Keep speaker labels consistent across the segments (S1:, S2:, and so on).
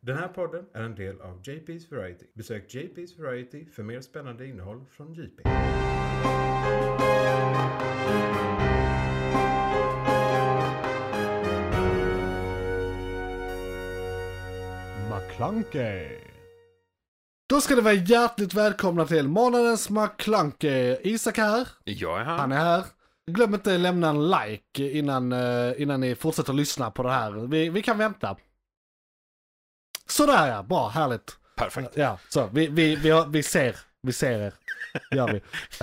S1: Den här podden är en del av JP's Variety. Besök JP's Variety för mer spännande innehåll från JP.
S2: McClunkey. Då ska ni vara hjärtligt välkomna till månadens McClunkey. Isak här.
S3: Jag är
S2: Han
S3: här.
S2: är här. Glöm inte lämna en like innan, eh, innan ni fortsätter lyssna på det här. Vi, vi kan vänta. Sådär ja, bra, härligt.
S3: Perfekt.
S2: Ja, så vi, vi, vi, har, vi ser, vi ser er. Gör vi.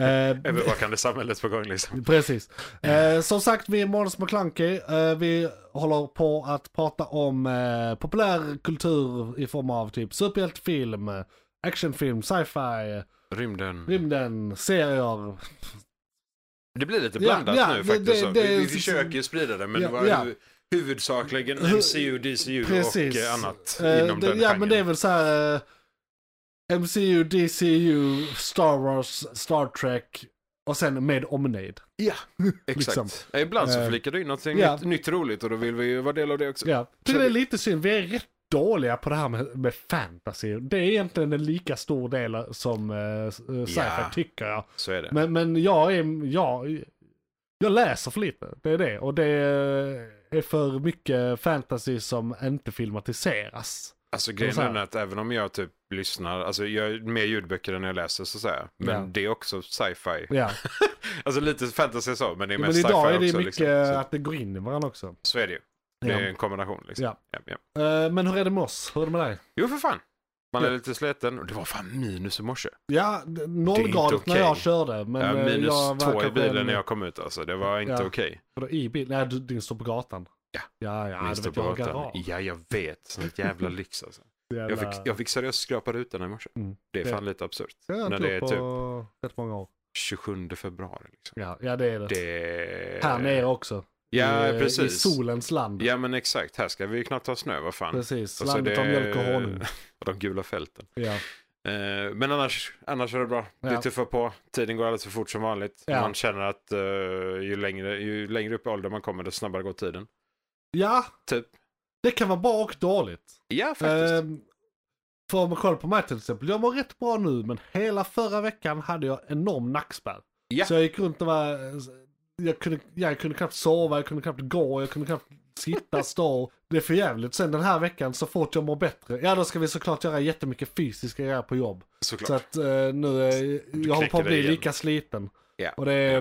S2: Eh,
S3: Övervakande samhället på gång liksom.
S2: Precis. Eh, som sagt, vi är Måns McClunky. Eh, vi håller på att prata om eh, populär kultur i form av typ superhjältefilm, eh, actionfilm, sci-fi,
S3: Rymden.
S2: rymden, serier.
S3: Det blir lite
S2: Ja,
S3: blandat
S2: ja, det-
S3: nu faktiskt.
S2: det-
S3: så.
S2: det-
S3: vi, vi försöker ju sprida det men
S2: Ja,
S3: det var
S2: ja.
S3: ju huvudsakligen
S2: Hu-
S3: MCU, DCU
S2: Precis.
S3: och eh, annat
S2: Eh,
S3: inom
S2: det,
S3: den
S2: ja,
S3: genren.
S2: men det är väl så här eh, MCU, DCU, Star Wars, Star Trek och sen med omnejd. Ja,
S3: Exakt.
S2: liksom.
S3: Ja, Ibland
S2: Eh,
S3: så flikar du in någonting
S2: ja.
S3: nytt, nytt roligt och då vill vi ju vara del av det också.
S2: Ja,
S3: Så
S2: tycker det är
S3: det-
S2: lite synd. Vi är rätt dåliga på det här med, med fantasy. Det är egentligen en lika stor del som uh, sci-fi
S3: Ja.
S2: tycker jag.
S3: Så är det.
S2: Men, men jag är, jag, jag läser för lite. Det är det. Och det är för mycket fantasy som inte filmatiseras.
S3: Alltså
S2: så
S3: grejen
S2: här-
S3: är att även om jag typ lyssnar, alltså jag är mer ljudböcker än jag läser så att säga. Men
S2: Ja.
S3: det är också sci-fi.
S2: Ja.
S3: Alltså lite fantasy så, men det är
S2: Men
S3: mest sci-fi
S2: idag är
S3: också.
S2: det mycket
S3: liksom. så,
S2: att det går in i varandra också.
S3: så är det ju. Det
S2: Ja.
S3: är en kombination liksom.
S2: Ja.
S3: Ja, ja.
S2: Eh, Men hur är det med oss? Hur är det med dig?
S3: Jo för fan. Man är
S2: Ja.
S3: lite sliten. Och Det var fan minus i morse.
S2: Ja, d- nollgradigt
S3: inte
S2: när jag
S3: okej.
S2: körde. Men
S3: ja,
S2: eh,
S3: minus
S2: jag var
S3: två i
S2: kanske
S3: bilen
S2: en-
S3: när jag kom ut alltså. Det var inte
S2: Ja.
S3: okej.
S2: Vadå i bil? Nej, du, din står på gatan.
S3: Ja.
S2: ja, ja
S3: Min
S2: det
S3: stod
S2: vet
S3: på
S2: jag. har
S3: gatan.
S2: garage.
S3: Ja, jag vet. Sånt jävla lyx alltså. Jag fick, jag fick seriöst skrapa rutan i morse.
S2: Mm.
S3: Det är
S2: Det-
S3: fan lite absurt.
S2: jag har
S3: när
S2: inte
S3: det är
S2: gjort
S3: typ-
S2: på rätt många år.
S3: 27 februari liksom.
S2: Ja, ja det är det.
S3: Det...
S2: Här nere också.
S3: Ja,
S2: I,
S3: precis.
S2: I solens land.
S3: Ja, men exakt. Här ska vi ju knappt ha snö, vad fan.
S2: Precis,
S3: Och så
S2: landet
S3: det-
S2: av mjölk och honung.
S3: Och de gula fälten.
S2: Ja.
S3: Eh, men annars, annars är det bra.
S2: Ja.
S3: Vi tuffar på. Tiden går alldeles för fort som vanligt.
S2: Ja.
S3: Man känner att eh, ju, längre, ju längre upp i ålder man kommer, desto snabbare går tiden.
S2: ja,
S3: Typ.
S2: det kan vara bra och dåligt.
S3: Ja, faktiskt.
S2: Ehm, för om man kollar på mig till exempel, jag mår rätt bra nu men hela förra veckan hade jag enorm nackspärr.
S3: Ja.
S2: Så jag gick runt och var, eh, jag kunde, jag kunde knappt sova, jag kunde knappt gå, jag kunde knappt sitta, stå. Det är för jävligt. Sen den här veckan så fort jag mår bättre, ja då ska vi såklart göra jättemycket fysiska grejer på jobb.
S3: Såklart.
S2: Så att eh, nu, är, jag håller på
S3: knäcker
S2: att bli
S3: dig igen.
S2: lika sliten.
S3: Ja.
S2: Och det är,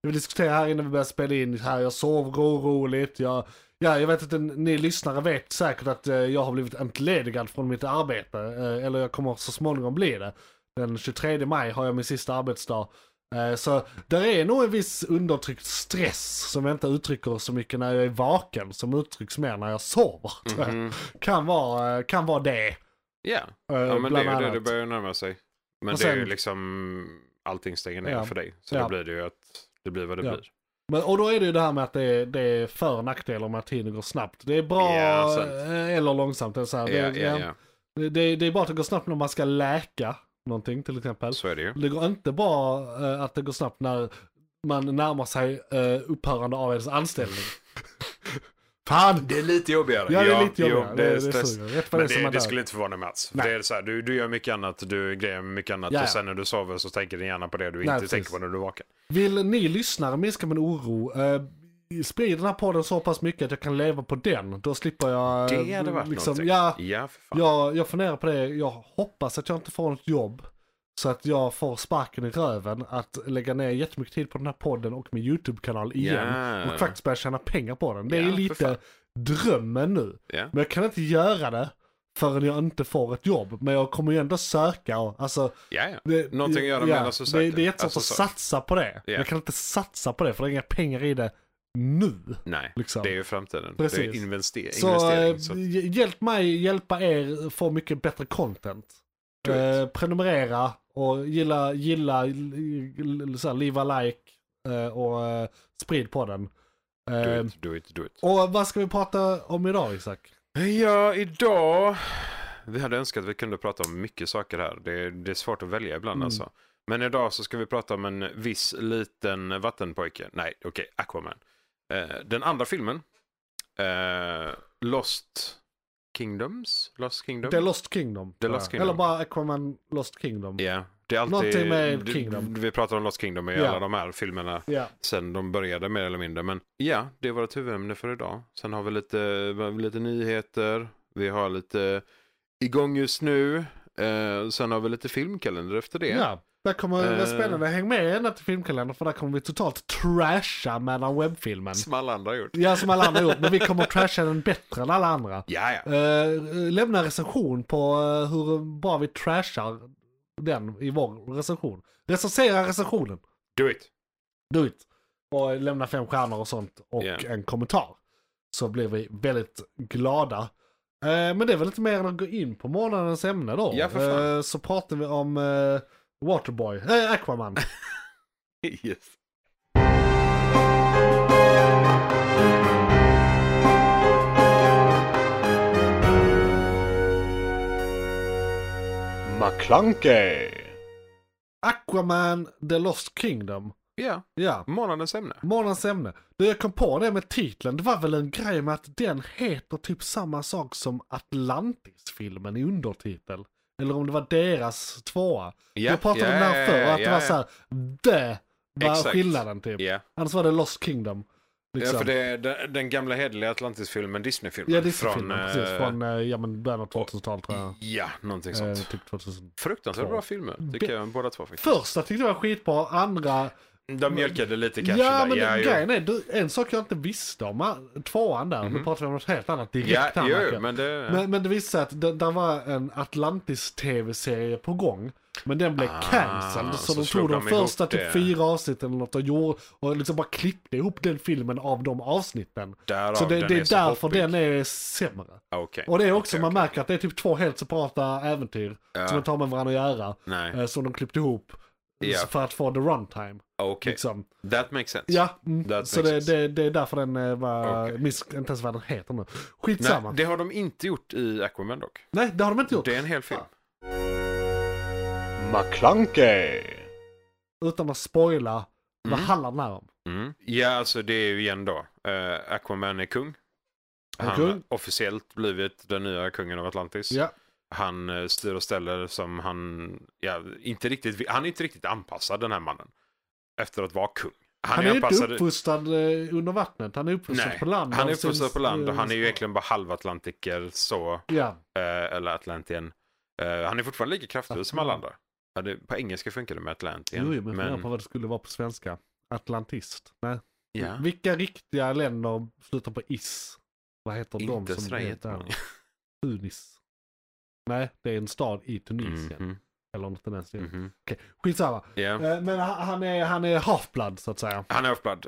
S2: jag vill diskutera här innan vi börjar spela in, här jag sover oroligt, jag, ja, jag vet att en, ni lyssnare vet säkert att eh, jag har blivit entledigad från mitt arbete, eh, eller jag kommer så småningom bli det. Den 23 maj har jag min sista arbetsdag. Eh, så där är nog en viss undertryckt stress som jag inte uttrycker så mycket när jag är vaken, som uttrycks mer när jag sover. tror jag.
S3: Mhm.
S2: Kan, vara, eh, kan vara det. eh,
S3: Ja. Ja, men det
S2: bland
S3: är ju det,
S2: annat.
S3: det börjar ju närma sig. Men
S2: Och
S3: det är ju
S2: sen-
S3: liksom, allting stänger ner
S2: Ja.
S3: för dig. Så
S2: Ja.
S3: då blir det ju att det blir vad det
S2: Ja.
S3: blir.
S2: Men, och då är det ju det här med att det är, det är för och nackdelar med att tiden går snabbt. Det är bra
S3: Ja, sant.
S2: eh, eller långsamt. Det är, så här,
S3: Ja,
S2: det,
S3: ja,
S2: ja.
S3: ja.
S2: Det, det, det är bra att det går snabbt när man ska läka någonting till exempel.
S3: Så är det ju.
S2: Det går inte bra eh, att det går snabbt när man närmar sig eh, upphörande av ens anställning. Fan!
S3: Det är lite jobbigare.
S2: Ja, det är lite
S3: jo,
S2: jobbigare.
S3: det är
S2: det,
S3: stress.
S2: suger. Rätt vad
S3: Men
S2: det, det,
S3: det,
S2: man
S3: det
S2: dör.
S3: skulle inte förvåna mig alls. För
S2: Nej.
S3: Det är så här, du, du gör mycket annat, du grejer med mycket annat
S2: Ja, ja.
S3: och sen när du sover så tänker din hjärna på det du
S2: Nej,
S3: inte
S2: precis.
S3: tänker på när du är vaken.
S2: Vill ni lyssnare minska min oro, eh, sprid den här podden så pass mycket att jag kan leva på den. Då slipper jag... eh,
S3: Det hade varit någonting.
S2: Ja,
S3: ja för fan.
S2: Jag, jag funderar på det, jag hoppas att jag inte får något jobb. Så att jag får sparken i röven att lägga ner jättemycket tid på den här podden och min YouTube-kanal igen.
S3: Ja.
S2: Och faktiskt börja tjäna pengar på den. Det är
S3: Ja, för
S2: lite
S3: fan.
S2: drömmen nu.
S3: Ja.
S2: Men jag kan inte göra det förrän jag inte får ett jobb. Men jag kommer ju ändå söka och alltså.
S3: Ja, ja.
S2: Det,
S3: Någonting att göra
S2: ja,
S3: medan du
S2: Det,
S3: söker.
S2: det är jättesvårt
S3: Alltså,
S2: att
S3: så.
S2: satsa på det.
S3: Ja.
S2: Jag kan inte satsa på det för det är inga pengar i det nu.
S3: Nej,
S2: Liksom.
S3: det är ju framtiden.
S2: Precis.
S3: Det är invester-
S2: Så, eh,
S3: investering. Så,
S2: hj- hjälp mig hjälpa er få mycket bättre content.
S3: Do it.
S2: Eh, prenumerera och gilla, gilla, l- l- så här, leave a like eh, och eh, sprid på den.
S3: do
S2: Eh,
S3: it, do it, do it.
S2: och vad ska vi prata om idag Isak?
S3: Ja, idag. Vi hade önskat att vi kunde prata om mycket saker här. Det är, det är svårt att välja ibland
S2: Mm.
S3: alltså. Men idag så ska vi prata om en viss liten vattenpojke. Nej, okej, Aquaman. Eh, den andra filmen. Eh, Lost Kingdoms? Lost Kingdom?
S2: The Lost Kingdom.
S3: The Lost
S4: Ja.
S3: Kingdom.
S2: Eller bara Aquaman Lost Kingdom.
S3: Ja. Det är alltid...
S2: Någonting med
S3: du-
S2: Kingdom.
S3: Vi pratar om Lost Kingdom i
S2: Ja.
S3: alla de här filmerna
S2: Ja.
S3: sen de började mer eller mindre. Men ja, det är vårt huvudämne för idag. Sen har vi lite, lite nyheter. Vi har lite igång just nu. Eh, sen har vi lite filmkalender efter det.
S2: ja. Där kommer det är
S3: Eh.
S2: spännande. Häng med ända till filmkalendern för där kommer vi totalt trasha mellan webbfilmen.
S3: Som alla andra har gjort.
S2: Ja, som alla andra gjort. Men vi kommer trasha den bättre än alla andra.
S3: Ja, ja.
S2: Eh, lämna recension på eh, hur bra vi trashar den i vår recension. Recensera recensionen.
S3: Do it.
S2: Do it. Och lämna fem stjärnor och sånt och
S3: Yeah.
S2: en kommentar. Så blir vi väldigt glada. Eh, men det är väl lite mer än att gå in på månadens ämne då.
S3: Ja, för fan.
S2: Eh, så pratar vi om eh, Waterboy, eh, Aquaman.
S3: Yes.
S5: McClunkey.
S2: Aquaman The Lost Kingdom.
S3: Ja,
S2: Ja.
S3: månadens ämne.
S2: Månadens ämne. Du, jag kom på det med titeln. Det var väl en grej med att den heter typ samma sak som Atlantis-filmen i undertitel. Eller om det var deras tvåa.
S3: Ja,
S2: jag pratade
S3: ja,
S2: om den
S3: ja,
S2: här förr,
S3: ja,
S2: att det
S3: ja,
S2: var
S3: ja.
S2: såhär, det var
S3: Exakt.
S2: skillnaden typ.
S3: Ja.
S2: Annars var det Lost Kingdom. Liksom.
S3: Ja, för det är den, den gamla hederliga Atlantis-filmen, Disney-filmen.
S2: Ja, Disney-filmen,
S3: eh,
S2: precis. Från eh, ja, men början av 2000-talet tror jag.
S3: Ja, någonting
S2: Eh,
S3: sånt.
S2: typ 2000.
S3: Fruktansvärt
S2: två.
S3: bra filmer, tycker
S2: Be-
S3: jag. Båda två faktiskt.
S2: Första tyckte jag var skitbra, andra...
S3: De mjölkade lite kanske
S2: Ja,
S3: där.
S2: men
S3: ja,
S2: det,
S3: jo.
S2: grejen är, du, en sak jag inte visste om, eh, tvåan där, nu pratar vi om något helt annat direkt
S3: Mhm. Ja,
S2: här,
S3: jo,
S2: märker jag.
S3: men det...
S2: Men, men det visade sig att det, där var en Atlantis-tv-serie på gång. Men den blev
S3: Ah,
S2: cancelled. Så,
S3: så
S2: de
S3: slog
S2: tog de
S3: de ihop
S2: första typ
S3: det.
S2: fyra avsnitten eller något och, gjorde, och liksom bara klippte ihop den filmen av de avsnitten.
S3: Därav
S2: så det,
S3: den
S2: det är,
S3: så
S2: därför
S3: hoppig.
S2: den är sämre.
S3: Ah, okej.
S2: Och det är också,
S3: Okej,
S2: man
S3: okej.
S2: märker att det är typ två helt separata äventyr
S3: Ja.
S2: som inte har med varandra att göra.
S3: Nej,
S2: eh, Som de klippte ihop eh,
S3: Ja.
S2: för att få the runtime.
S3: Ah, okej.
S2: Liksom.
S3: That makes sense.
S2: Ja, mm.
S3: That
S2: så
S3: makes
S2: det,
S3: sense.
S2: det, det är därför den eh, var,
S3: Okej.
S2: miss, inte ens vad den heter nu.
S3: Nej,
S2: Skitsamma. Nej,
S3: det har de inte gjort i Aquaman dock.
S2: Nej, det har de inte gjort.
S3: Det är en hel film.
S5: McClunkey.
S2: utan att spoila vad
S3: Mm.
S2: handlar den här om.
S3: Mm. Ja, alltså det är ju igen då. Eh, Aquaman är kung.
S2: En
S3: Han
S2: kung.
S3: har officiellt blivit den nya kungen av Atlantis.
S2: Ja.
S3: Han eh, styr och ställer som han... Ja, inte riktigt, vi- han är inte riktigt anpassad den här mannen. Efter att vara kung.
S2: Han, är ju inte
S3: anpassad-
S2: uppfostrad eh, under vattnet, han är uppfostrad
S3: Nej,
S2: på land. alltså,
S3: Han är
S2: av sin-
S3: uppfostrad på land och han är ju
S2: eh,
S3: egentligen bara halvatlantiker så.
S2: Ja,
S3: Eh, eller Atlantian. Eh, han är fortfarande lika kraftfull som alla andra. Ja, det, på engelska funkar det med Atlantian.
S2: jo, jo, men, men... på vad det skulle vara på svenska. Atlantist. Nej.
S3: ja,
S2: Vilka riktiga länder slutar på is? Vad heter
S3: inte
S2: de som
S3: sådär jättemånga.
S2: där? Tunis. Nej, det är en stad i Tunisien.
S3: Mhm,
S2: Eller något i den stilen.
S3: mhm.
S2: Okej, skitsamma.
S3: Ja.
S2: Eh, Men han han är, han är half-blood så att säga.
S3: Han är offblood,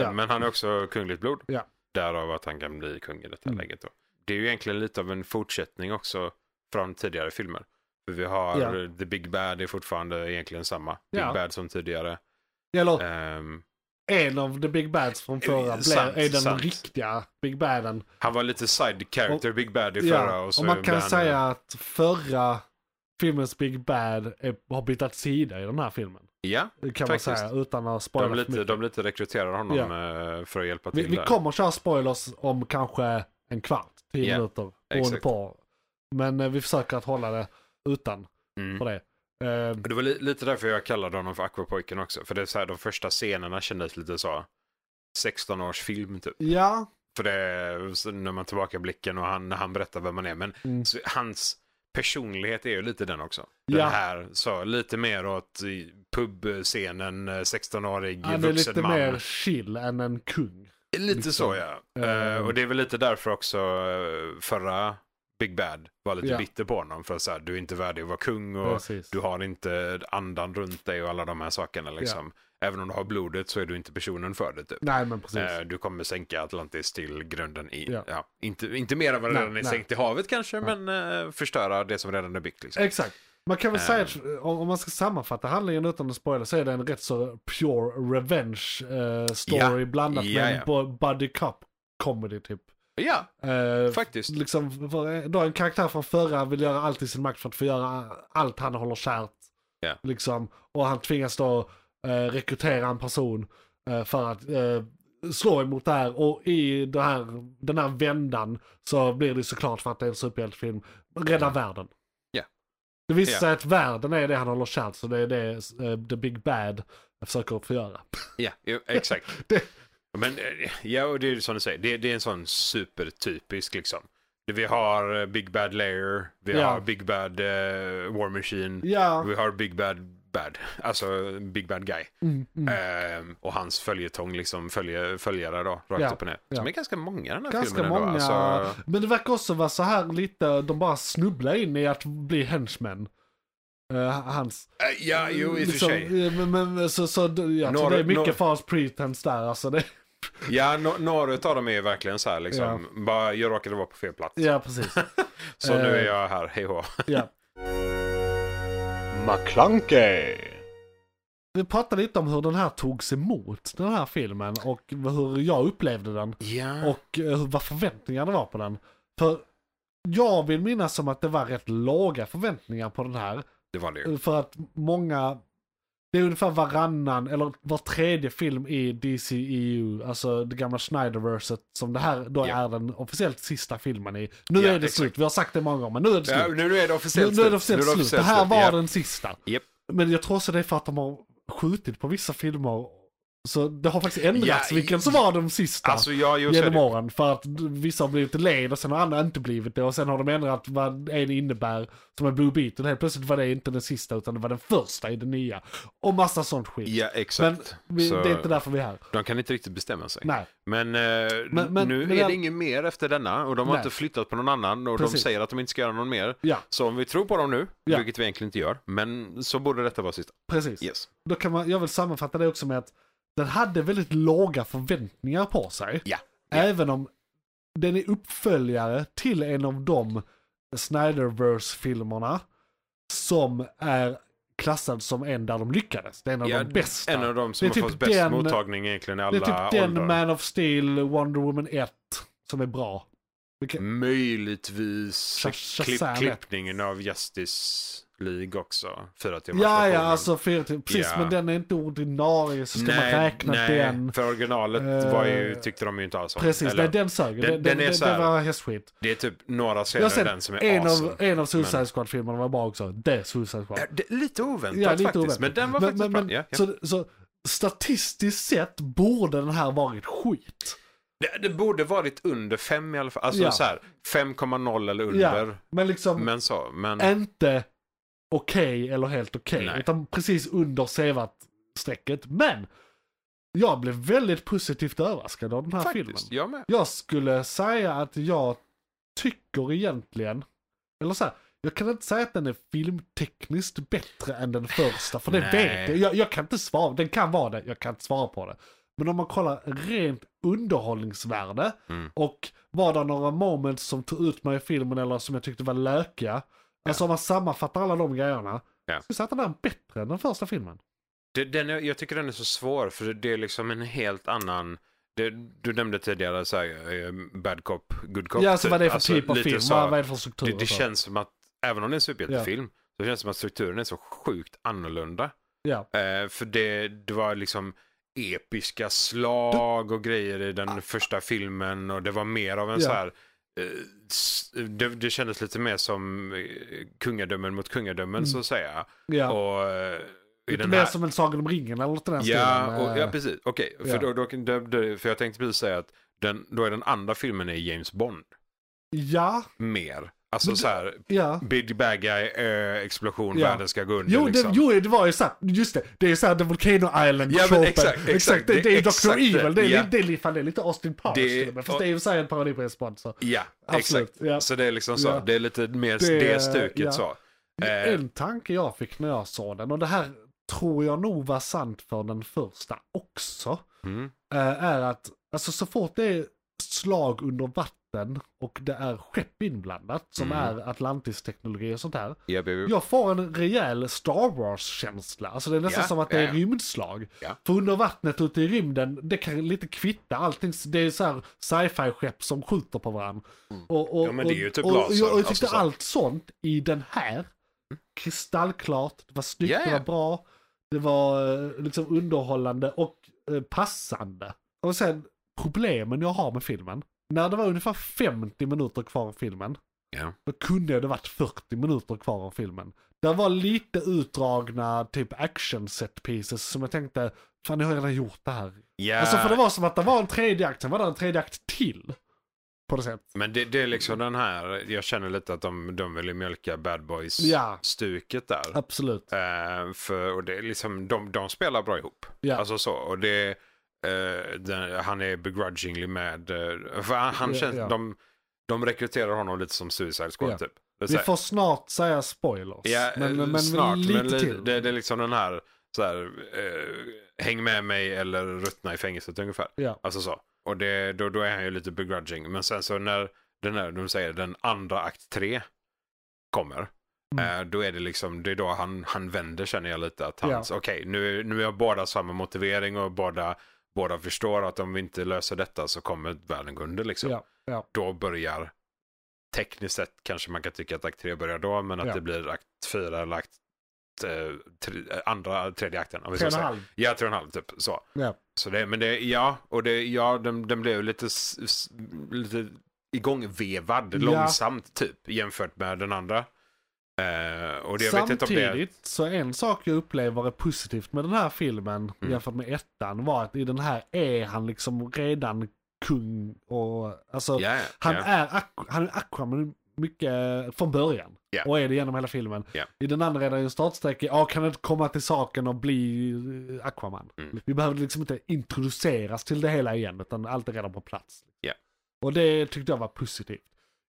S3: eh, men han är också kungligt blod.
S2: Ja.
S3: Därav att han kan bli kung i detta
S2: Mm.
S3: läget. Då. Det är ju egentligen lite av en fortsättning också från tidigare filmer. För vi har
S2: Ja.
S3: The Big Bad är fortfarande egentligen samma. Big
S2: Ja.
S3: Bad som tidigare.
S2: Eller
S3: Ehm,
S2: en av the big bads från förra
S3: Eh, Sant,
S2: blir, är den
S3: sant.
S2: riktiga big baden.
S3: han var lite side character, Big Bad i förra. Och, så
S2: och man
S3: blev
S2: kan
S3: han-
S2: säga att förra filmens Big Bad är, har bytt sida i den här filmen.
S3: Ja,
S2: Det kan man
S3: Faktiskt.
S2: säga utan att spoila
S3: De
S2: för
S3: lite,
S2: mycket.
S3: de lite rekryterar honom eh, för att hjälpa till
S2: vi, vi
S3: där.
S2: kommer köra spoilers om kanske en kvart, tio
S3: Ja,
S2: minuter, beroende
S3: exakt.
S2: på. Men eh, vi försöker att hålla det utan
S3: Mm.
S2: för det. Eh,
S3: Och Det var li, lite därför jag kallade honom för Aquapojken också. För det är så här, de första scenerna kändes lite så 16-års film typ.
S2: ja,
S3: För det så när man tillbaka blicken och han, när han berättar vem man är. Men
S2: Mm.
S3: så, hans personlighet är ju lite den också. Den
S2: Ja.
S3: här, så lite mer åt i pubscenen, eh, 16-årig
S2: han är
S3: vuxen
S2: lite
S3: man.
S2: mer chill än en kung.
S3: Lite
S2: Liksom.
S3: så ja.
S2: Eh.
S3: Eh, och det är väl lite därför också eh, förra Big Bad var lite
S2: Ja.
S3: bitter på honom. För att säga du är inte värdig att vara kung och
S2: Precis.
S3: du har inte andan runt dig och alla de här sakerna liksom. Även om du har blodet så är du inte personen för det typ.
S2: Nej men precis.
S3: Eh, Du kommer sänka Atlantis till grunden i,
S2: Ja.
S3: ja. inte, inte mer än vad det
S2: Nej,
S3: redan är
S2: nej.
S3: sänkt i havet kanske, men eh, förstöra det som redan är byggt. Liksom.
S2: Exakt. Man kan väl
S3: Eh.
S2: säga att om om man ska sammanfatta handlingen utan att spoila så är det en rätt så pure revenge eh, story blandat
S3: Ja,
S2: med en
S3: ja.
S2: bo- buddy cup comedy typ.
S3: Ja,
S2: Eh,
S3: faktiskt.
S2: liksom, för, då en karaktär från förra vill göra allt i sin makt för att få göra allt han håller kärt.
S3: Ja.
S2: Liksom, och han tvingas då eh, rekrytera en person eh, för att eh, slår emot det här och i det här, den här vändan så blir det såklart för att det är en superhjältefilm, rädda världen.
S3: Ja.
S2: Det visar
S3: Ja.
S2: sig att världen är det han håller kärt, så det är det eh, The Big Bad försöker förgöra.
S3: Ja, jo, exakt.
S2: Det-
S3: Men eh, ja, och det är ju som du säger, det, det är en sån supertypisk liksom. Vi har eh, Big Bad Layer, vi
S2: Ja.
S3: har Big Bad eh, War Machine,
S2: Ja.
S3: vi har Big Bad Bad, alltså Big Bad Guy.
S2: Mm, mm.
S3: Ehm, och hans följetong, liksom följe, följare då, rakt
S2: Ja,
S3: upp och ner.
S2: ja.
S3: Som är ganska många den här
S2: Ganska
S3: filmen
S2: många,
S3: ändå. Alltså,
S2: men det verkar också vara så här lite, de bara snubblar in i att bli henchmen. Eh, hans.
S3: Eh, ja, jo i och för
S2: Liksom,
S3: sig.
S2: eh, Men, men, så, så, jag tror
S3: Några-
S2: det är mycket
S3: några-
S2: false pretense där alltså. Det,
S3: Ja, no, några av dem är verkligen så här liksom. Bara, jag råkade vara på fel plats.
S2: ja, precis.
S3: Så nu
S2: Eh.
S3: är jag här, hej hå.
S2: Ja.
S6: McClunkey,
S2: Vi pratade lite om hur den här togs emot, den här filmen, och hur jag upplevde den.
S3: Ja.
S2: Och eh, hur- vad förväntningarna var på den. För jag vill minnas som att det var rätt låga förväntningar på den här.
S3: det var det ju.
S2: Eh, För att många, det är ungefär varannan eller var tredje film i DCEU, alltså det gamla Snyderverset som det här då
S3: Ja.
S2: är den officiellt sista filmen i. Nu
S3: Ja,
S2: är det
S3: exakt.
S2: slut, vi har sagt det många gånger, men nu är det slut.
S3: Ja, nu är det
S2: nu,
S3: officiellt
S2: nu är det officiellt slut. Det här var
S3: ja.
S2: den sista.
S3: Japp.
S2: Men jag tror också det är för att de har skjutit på vissa filmer. Så det har faktiskt ändrats
S3: Ja, i-
S2: vilken som var de sista
S3: Alltså, ja, just
S2: genom
S3: det.
S2: åren. För att vissa har blivit led och sen har andra inte blivit det. Och sen har de ändrat vad en innebär. Som en Blue Beetle. Helt plötsligt var det inte den sista utan det var den första i den nya. Och massa sånt skit.
S3: Ja,
S2: Men
S3: exakt.
S2: vi,
S3: Så
S2: det är inte därför vi är här.
S3: De kan inte riktigt bestämma sig.
S2: Nej.
S3: Men, eh,
S2: Men- men-
S3: nu
S2: men
S3: är
S2: jag-
S3: det inget mer efter denna och de har
S2: Nej.
S3: inte flyttat på någon annan och de
S2: Precis.
S3: säger att de inte ska göra någon mer.
S2: Ja,
S3: Så om vi tror på dem nu,
S2: Ja.
S3: vilket vi egentligen inte gör, men så borde detta vara sista.
S2: precis.
S3: Yes.
S2: Då kan man, jag vill sammanfatta det också med att den hade väldigt låga förväntningar på sig.
S3: Ja.
S2: Även om den är uppföljare till en av de Snyderverse-filmerna som är klassad som en där de lyckades. Det är en av
S3: Ja,
S2: de bästa.
S3: En av de som
S2: Det är
S3: har
S2: typ
S3: fått bäst
S2: den-
S3: mottagning egentligen i
S2: det
S3: alla
S2: är typ den
S3: åldrar.
S2: Man of Steel, Wonder Woman 1 som är bra. Vilken,
S3: Möjligtvis
S2: Shaz-
S3: klipp,
S2: Shazam.
S3: klippningen av Justice League också. Fyra timmars
S2: ja, ja,
S3: versionen.
S2: alltså fyra till, precis,
S3: Ja.
S2: men den är inte ordinarie så ska man räkna den.
S3: för originalet
S2: Eh,
S3: var ju, tyckte de ju inte alls om.
S2: Precis,
S3: Eller,
S2: nej, den sög. Den,
S3: den-
S2: den,
S3: den
S2: den,
S3: är
S2: den,
S3: så här-
S2: var hästskit.
S3: Det är typ några scener
S2: Jag har
S3: i
S2: sett
S3: den som är
S2: en,
S3: awesome.
S2: av, en av Suicide Squad-filmerna var bra också. Det Suicide Squad.
S3: Ja, det, lite oväntat
S2: Ja, lite
S3: faktiskt.
S2: oväntat.
S3: Men den var
S2: Men-
S3: faktiskt
S2: men- men-
S3: bra. Ja, ja.
S2: Så, så statistiskt sett borde den här varit skit.
S3: Det, det borde varit under 5 i alla fall. Alltså
S2: Ja.
S3: så här, 5,0 eller under.
S2: Ja, men liksom
S3: Men så, men
S2: inte okej eller helt okej.
S3: Nej.
S2: utan precis under sevat-strecket. Men jag blev väldigt positivt överraskad av den här filmen.
S3: faktiskt, jag med.
S2: Jag skulle säga att jag tycker egentligen, eller så här, jag kan inte säga att den är filmtekniskt bättre än den första, för det
S3: Nej.
S2: vet jag. jag. Jag kan inte svara, den kan vara det, jag kan inte svara på det. Men om man kollar rent underhållningsvärde
S3: Mm.
S2: och var det några moments som tog ut mig i filmen eller som jag tyckte var lökiga. Alltså om man sammanfattar alla de grejerna.
S3: Ja.
S2: Skulle jag säga att den är bättre än den första filmen.
S3: Det, den är, jag tycker den är så svår för det är liksom en helt annan... Det, du nämnde tidigare så här, eh, bad cop, good cop.
S2: ja, alltså
S3: typ.
S2: vad det är för
S3: Alltså,
S2: typ av
S3: lite
S2: film,
S3: så.
S2: vad, vad är det för typ struktur?
S3: det,
S2: och
S3: det
S2: så?
S3: känns som att, även om det är en superhjältefilm, så känns det som att strukturen är så sjukt annorlunda.
S2: ja.
S3: Eh, för det, det var liksom episka slag och grejer i den första filmen och det var mer av en
S2: Ah. Ja.
S3: så här eh, s- det, det kändes lite mer som eh, kungadömen mot kungadömen så att säga.
S2: Mm. ja.
S3: Och, eh, i
S2: Lite
S3: den
S2: mer
S3: här...
S2: som en Sagan om ringen eller något i den
S3: Ja,
S2: stilen. eh,
S3: och, ja, precis. Okej,
S2: ja.
S3: för, då, då, då, då, för jag tänkte precis säga att den, då är den andra filmen är James Bond
S2: ja,
S3: mer. Alltså så här,
S2: ja.
S3: Big Bad Guy, eh, explosion,
S2: Ja.
S3: världen ska gå under.
S2: Jo,
S3: liksom.
S2: det, jo, det var ju såhär, just det, det är såhär The Volcano Island
S3: Ja, men
S2: shopen.
S3: exakt, exakt,
S2: det, det är
S3: exakt
S2: Dr.
S3: det,
S2: Evil, det är,
S3: ja.
S2: li- det, är, li- fan, det är lite Austin Powers
S3: Det-
S2: till och med, fast det är ju såhär en parodi på en spot, så.
S3: Ja,
S2: Absolut,
S3: exakt.
S2: ja.
S3: Så det är liksom så.
S2: Ja.
S3: Det är lite mer
S2: Det-
S3: det, stuket
S2: ja.
S3: så. Eh,
S2: En tanke jag fick när jag såg den, och det här tror jag nog var sant för den första också,
S3: mm,
S2: eh, är att alltså, så fort det är slag under vatten och det är skepp inblandat, som
S3: Mm.
S2: är Atlantis-teknologi och sånt här,
S3: ja, baby.
S2: Jag får en rejäl Star Wars-känsla. Alltså det är nästan
S3: Ja,
S2: som att det
S3: ja,
S2: är
S3: ja.
S2: rymdslag.
S3: Ja.
S2: För under vattnet ute i rymden, det kan lite kvitta allting. Det är så här sci-fi-skepp som skjuter på varandra. Och, och,
S3: Mm. Ja, men det är ju typ
S2: och, och, och
S3: laser,
S2: jag tyckte
S3: alltså så.
S2: allt sånt i den här, kristallklart, det var snyggt,
S3: Ja, ja.
S2: det var bra, det var eh, liksom underhållande och eh, passande. Och sen problemen jag har med filmen. När det var ungefär 50 minuter kvar av filmen.
S3: Ja.
S2: Då kunde det varit 40 minuter kvar av filmen. Det var lite utdragna typ action set pieces som jag tänkte, fan jag har redan gjort det här.
S3: Ja,
S2: Alltså för det var som att det var en tredje akt, sen var det en tredje akt till. På det sättet.
S3: men det, det är liksom den här, jag känner lite att de, de vill ju mjölka bad
S2: Ja.
S3: boys-stuket där.
S2: Absolut.
S3: Eh, för, och det är liksom, de, de spelar bra ihop.
S2: Ja.
S3: Alltså så, och det, eh, den, han är begrudgingly med, eh, för han, han
S2: Ja,
S3: känns,
S2: ja.
S3: De, de rekryterar honom lite som Suicide Squad
S2: Ja.
S3: typ. Det är så
S2: Vi
S3: här-
S2: får snart säga spoilers.
S3: Ja,
S2: men, men
S3: snart,
S2: lite
S3: men li-
S2: till.
S3: Det, det är liksom den här, så här eh, häng med mig eller ruttna i fängelset ungefär.
S2: Ja.
S3: Alltså så. Och det, då, då är han ju lite begrudging. Men sen så när den här, de säger den andra akt tre kommer.
S2: Mm.
S3: eh, Då är det liksom, det är då han, han vänder känner jag lite att han,
S2: Ja.
S3: okej nu, nu har båda samma motivering och båda, båda förstår att om vi inte löser detta så kommer världen gå under liksom
S2: Ja, ja.
S3: då börjar tekniskt sett kanske man kan tycka att akt 3 börjar då, men att
S2: Ja.
S3: det blir akt 4 eller akt eh, tre, eh, andra, tredje akten. Om vi
S2: Tre
S3: ska
S2: och
S3: säga.
S2: en halv.
S3: Ja, tre och en halv typ. Så.
S2: Ja.
S3: Så det, men det, ja, och det, ja, den, den blev lite, s- s- lite igångvevad
S2: Ja.
S3: långsamt typ jämfört med den andra. Eh, och det, jag vet inte om det är...
S2: Samtidigt så en sak jag upplever är positivt med den här filmen
S3: Mm.
S2: jämfört med ettan var att i den här är han liksom redan kung och alltså
S3: Ja,
S2: han,
S3: ja.
S2: Är Aqu- han är Aquaman mycket eh, från början
S3: Ja.
S2: och är det genom hela filmen.
S3: Ja.
S2: I den andra är det en startsträcka, ja kan inte komma till saken och bli eh, Aquaman.
S3: Mm.
S2: Vi behövde liksom inte introduceras till det hela igen utan allt är redan på plats.
S3: Ja.
S2: Och det tyckte jag var positivt.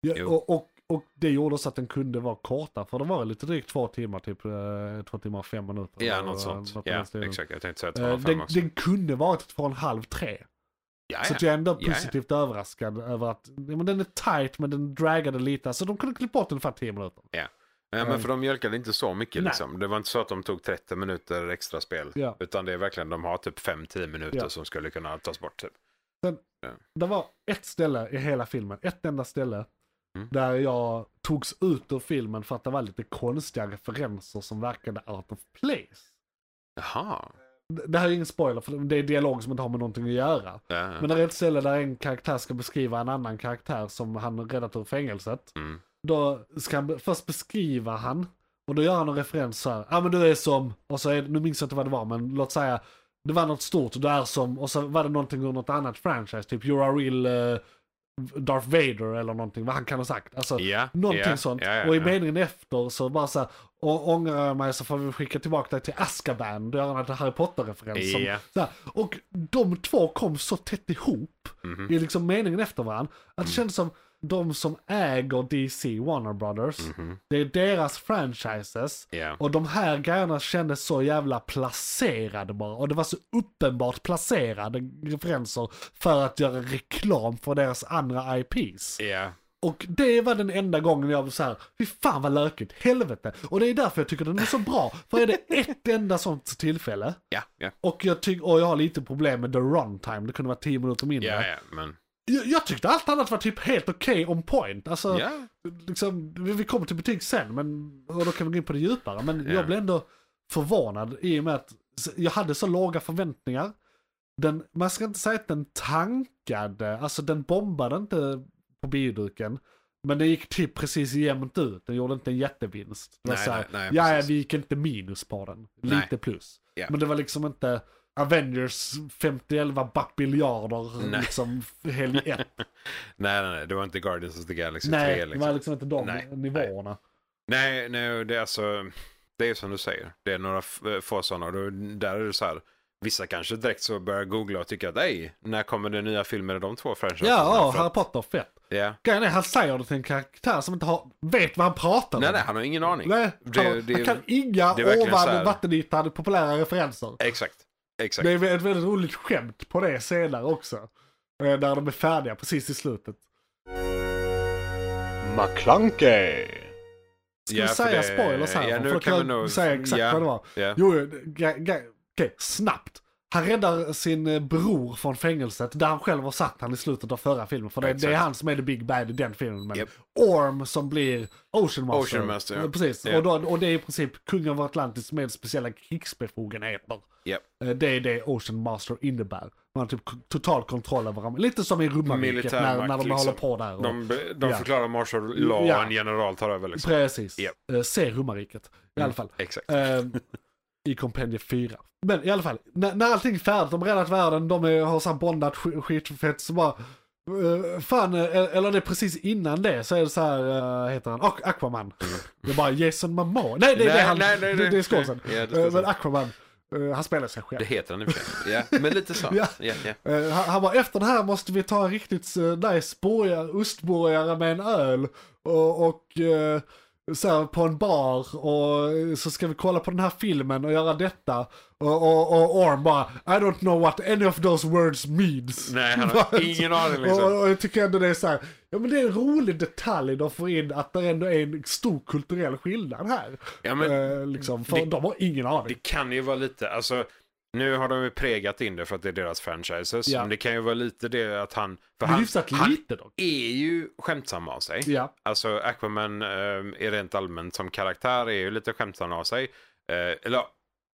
S2: Ja,
S3: Jo.
S2: och, och, och det gjorde så att den kunde vara kortare, för den var lite drygt två timmar, typ eh, två timmar och fem minuter.
S3: Ja,
S2: eller
S3: något sånt.
S2: något i den
S3: Ja,
S2: stilen.
S3: exakt. Jag tänkte säga
S2: Eh,
S3: 205
S2: Den,
S3: också.
S2: den kunde varit två och en halv, tre.
S3: Ja,
S2: Så typ-
S3: ja.
S2: att jag är ändå
S3: Ja, ja.
S2: positivt överraskad över att ja, men den är tight men den dragade lite. Så de kunde klippa bort ungefär 10 minuter.
S3: Ja, men för de mjölkade inte så mycket
S2: Nej.
S3: liksom. Det var inte så att de tog 30 minuter extra spel.
S2: Ja.
S3: Utan det är verkligen, de har typ 5-10 minuter
S2: Ja.
S3: som skulle kunna tas bort typ.
S2: Det var ett ställe i hela filmen, ett enda ställe.
S3: Mm.
S2: Där jag togs ut ur filmen för att det var lite konstiga referenser som verkade out of place.
S3: Jaha.
S2: Det- Det här är ingen spoiler för det är dialog som inte har med någonting att göra.
S3: Ja.
S2: Men det är ett ställe där en karaktär ska beskriva en annan karaktär som han räddat ur fängelset.
S3: Mm.
S2: Då ska han, be- först beskriva han. Och då gör han en referens så här. Ja ah, men du är som, och så är, nu minns jag inte vad det var men låt säga. Det var något stort och du är som, och så var det någonting ur något annat franchise. Typ you're a real eh, Darth Vader eller någonting. Vad han kan ha sagt. Alltså,
S3: Ja,
S2: Någonting
S3: ja,
S2: sånt.
S3: ja, ja,
S2: och i
S3: ja.
S2: meningen efter så bara så här, och ångrar jag mig så får vi skicka tillbaka dig till Azkaban. Då gör han en Harry Potter-referens. som-
S3: Ja.
S2: så här. Och de två kom så tätt ihop
S3: Mhm. Mm.
S2: i liksom meningen efter varandra. Att det kändes som de som äger DC Warner Brothers,
S3: Mhm.
S2: det är deras franchises.
S3: Ja.
S2: Och de här grejerna kändes så jävla placerade bara. Och det var så uppenbart placerade referenser för att göra reklam för deras andra IPs.
S3: Ja.
S2: Och det var den enda gången jag var så här, fy fan vad lökigt, helvete. Och det är därför jag tycker den är så bra. För är det ett enda sånt tillfälle,
S3: Ja. Ja.
S2: och jag, tyck- och jag har lite problem med the runtime, det kunde vara 10 minuter mindre.
S3: Ja. Ja. Men.
S2: Jag, jag tyckte allt annat var typ helt okej on point. Alltså,
S3: Ja.
S2: liksom, vi, vi kommer till betyg sen, men, och då kan vi gå in på det djupare. Men
S3: Ja.
S2: jag blev ändå förvånad i och med att s- jag hade så låga förväntningar. Den, man ska inte säga att den tankade, alltså den bombade inte på bioduken. Men den gick typ precis jämnt ut, den gjorde inte en jättevinst. Det var
S3: Nej,
S2: så här,
S3: nej, nej,
S2: ja,
S3: precis.
S2: vi gick inte minus på den,
S3: Nej.
S2: lite plus.
S3: Ja.
S2: Men det var liksom inte Avengers 50-11 babiljarder
S3: Nej.
S2: liksom helg ett.
S3: Nej, nej, nej. Det var inte Guardians of the Galaxy 3
S2: Nej, det
S3: liksom.
S2: var liksom inte de
S3: Nej,
S2: nivåerna.
S3: Nej, nej, det är alltså. Det är som du säger. Det är några f- eh, få sådana. Och då- Där är det så här. Vissa kanske direkt så börjar googla och tycker att ej, när kommer det nya filmer i de två franchiserna?
S2: Ja,
S3: För
S2: Harry
S3: att-
S2: Potter, fett.
S3: Ja.
S2: Grejen är, han säger det till en karaktär som inte har, vet vad han pratar
S3: Nej,
S2: om.
S3: nej, han har ingen aning.
S2: Nej, han,
S3: Det-
S2: har-
S3: det-
S2: han kan inga
S3: det är verkligen så
S2: ovan
S3: här-
S2: vattenytan populära referenser.
S3: Exakt. Exakt.
S2: Det är ett väldigt roligt skämt på det senare också. Eh, När de är färdiga precis i slutet.
S7: McClunkey!
S2: Ska vi säga spoilers här?
S3: Ja,
S2: För
S3: nu
S2: då
S3: kan vi
S2: jag
S3: nog...
S2: säga exakt
S3: ja,
S2: vad det var.
S3: Ja.
S2: Jo, jo, det- gre- gre- okej, snabbt. Han räddar sin eh, bror från fängelset där han själv har satt han i slutet av förra filmen. För det, det är
S3: Exakt.
S2: han som är the big bad i den filmen. Men
S3: Japp.
S2: Orm som blir Ocean Master.
S3: Ocean Master, ja.
S2: Eh, Precis.
S3: Ja.
S2: Och, då, och det är i princip kungen av Atlantis med speciella krigsbefogenheter.
S3: Japp.
S2: Eh, Det är det Ocean Master innebär. Man har typ k- total kontroll över varandra. Lite som i Romarriket
S3: Militär
S2: när,
S3: makt,
S2: när de
S3: liksom.
S2: håller på där. Och,
S3: De, de
S2: Ja.
S3: förklarar martial law
S2: Ja.
S3: och en general tar över liksom.
S2: Precis.
S3: Japp. Mm.
S2: Eh, Se Romarriket i alla fall.
S3: Exakt.
S2: Ehm, I Compendium 4. Men i alla fall, när, när allting är färdigt, de har räddat världen, de är, har sån bondat sk- skitfett så bara... eh, fan, eh, eller det är precis innan det så är det så här, eh, heter han, och Aquaman. Jag bara Jason Momoa. Nej,
S3: Mm.
S2: det är
S3: Nej,
S2: det han,
S3: nej, nej,
S2: det,
S3: nej.
S2: det är skådisen.
S3: Ja, det är
S2: Eh,
S3: skådisen.
S2: men Aquaman, eh, han spelar sig själv.
S3: Det heter han i och för sig. Ja, men lite så.
S2: Ja.
S3: ja. Ja,
S2: Eh, han, han bara, efter det här måste vi ta en riktigt eh, nice borgar, ostborgare med en öl och, och eh, så här, på en bar och eh, så ska vi kolla på den här filmen och göra detta. Och, och, och Orm bara, I don't know what any of those words means.
S3: Nej, han har ingen aning liksom.
S2: Och, och jag tycker ändå det är så här, ja men det är en rolig detalj de får in att det ändå är en stor kulturell skillnad här.
S3: Ja, men
S2: eh, liksom, för
S3: det-
S2: de har ingen
S3: Det
S2: aning.
S3: kan ju vara lite, alltså nu har de ju pregat in det för att det är deras franchises.
S2: Ja.
S3: Men det kan ju vara lite det att han, för han,
S2: Hyfsat
S3: han
S2: lite dock.
S3: är ju skämtsam av sig.
S2: Ja,
S3: Alltså Aquaman eh, är rent allmänt som karaktär är ju lite skämtsam av sig. Eh, eller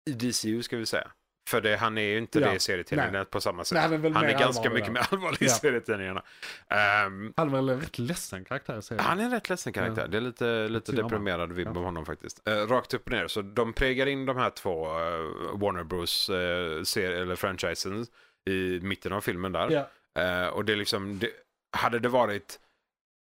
S3: i DCU ska vi säga. För det, han är ju inte
S2: Ja.
S3: det i serietidningarna på samma sätt.
S2: Nej, han är väl mer
S3: ganska
S2: allvarlig, ja.
S3: mycket mer allvarlig i
S2: Ja.
S3: serietidningarna. Ehm,
S2: han var väl en rätt ledsen karaktär i serien.
S3: han är en rätt ledsen karaktär.
S2: Ja.
S3: Det är lite, lite
S2: Synd om
S3: deprimerad vibb av honom faktiskt. Eh, rakt upp och ner. Så de pregar in de här två eh, Warner Bros. eh, ser- eller franchisen i mitten av filmen där.
S2: Ja.
S3: Eh, och det är liksom, det, hade det varit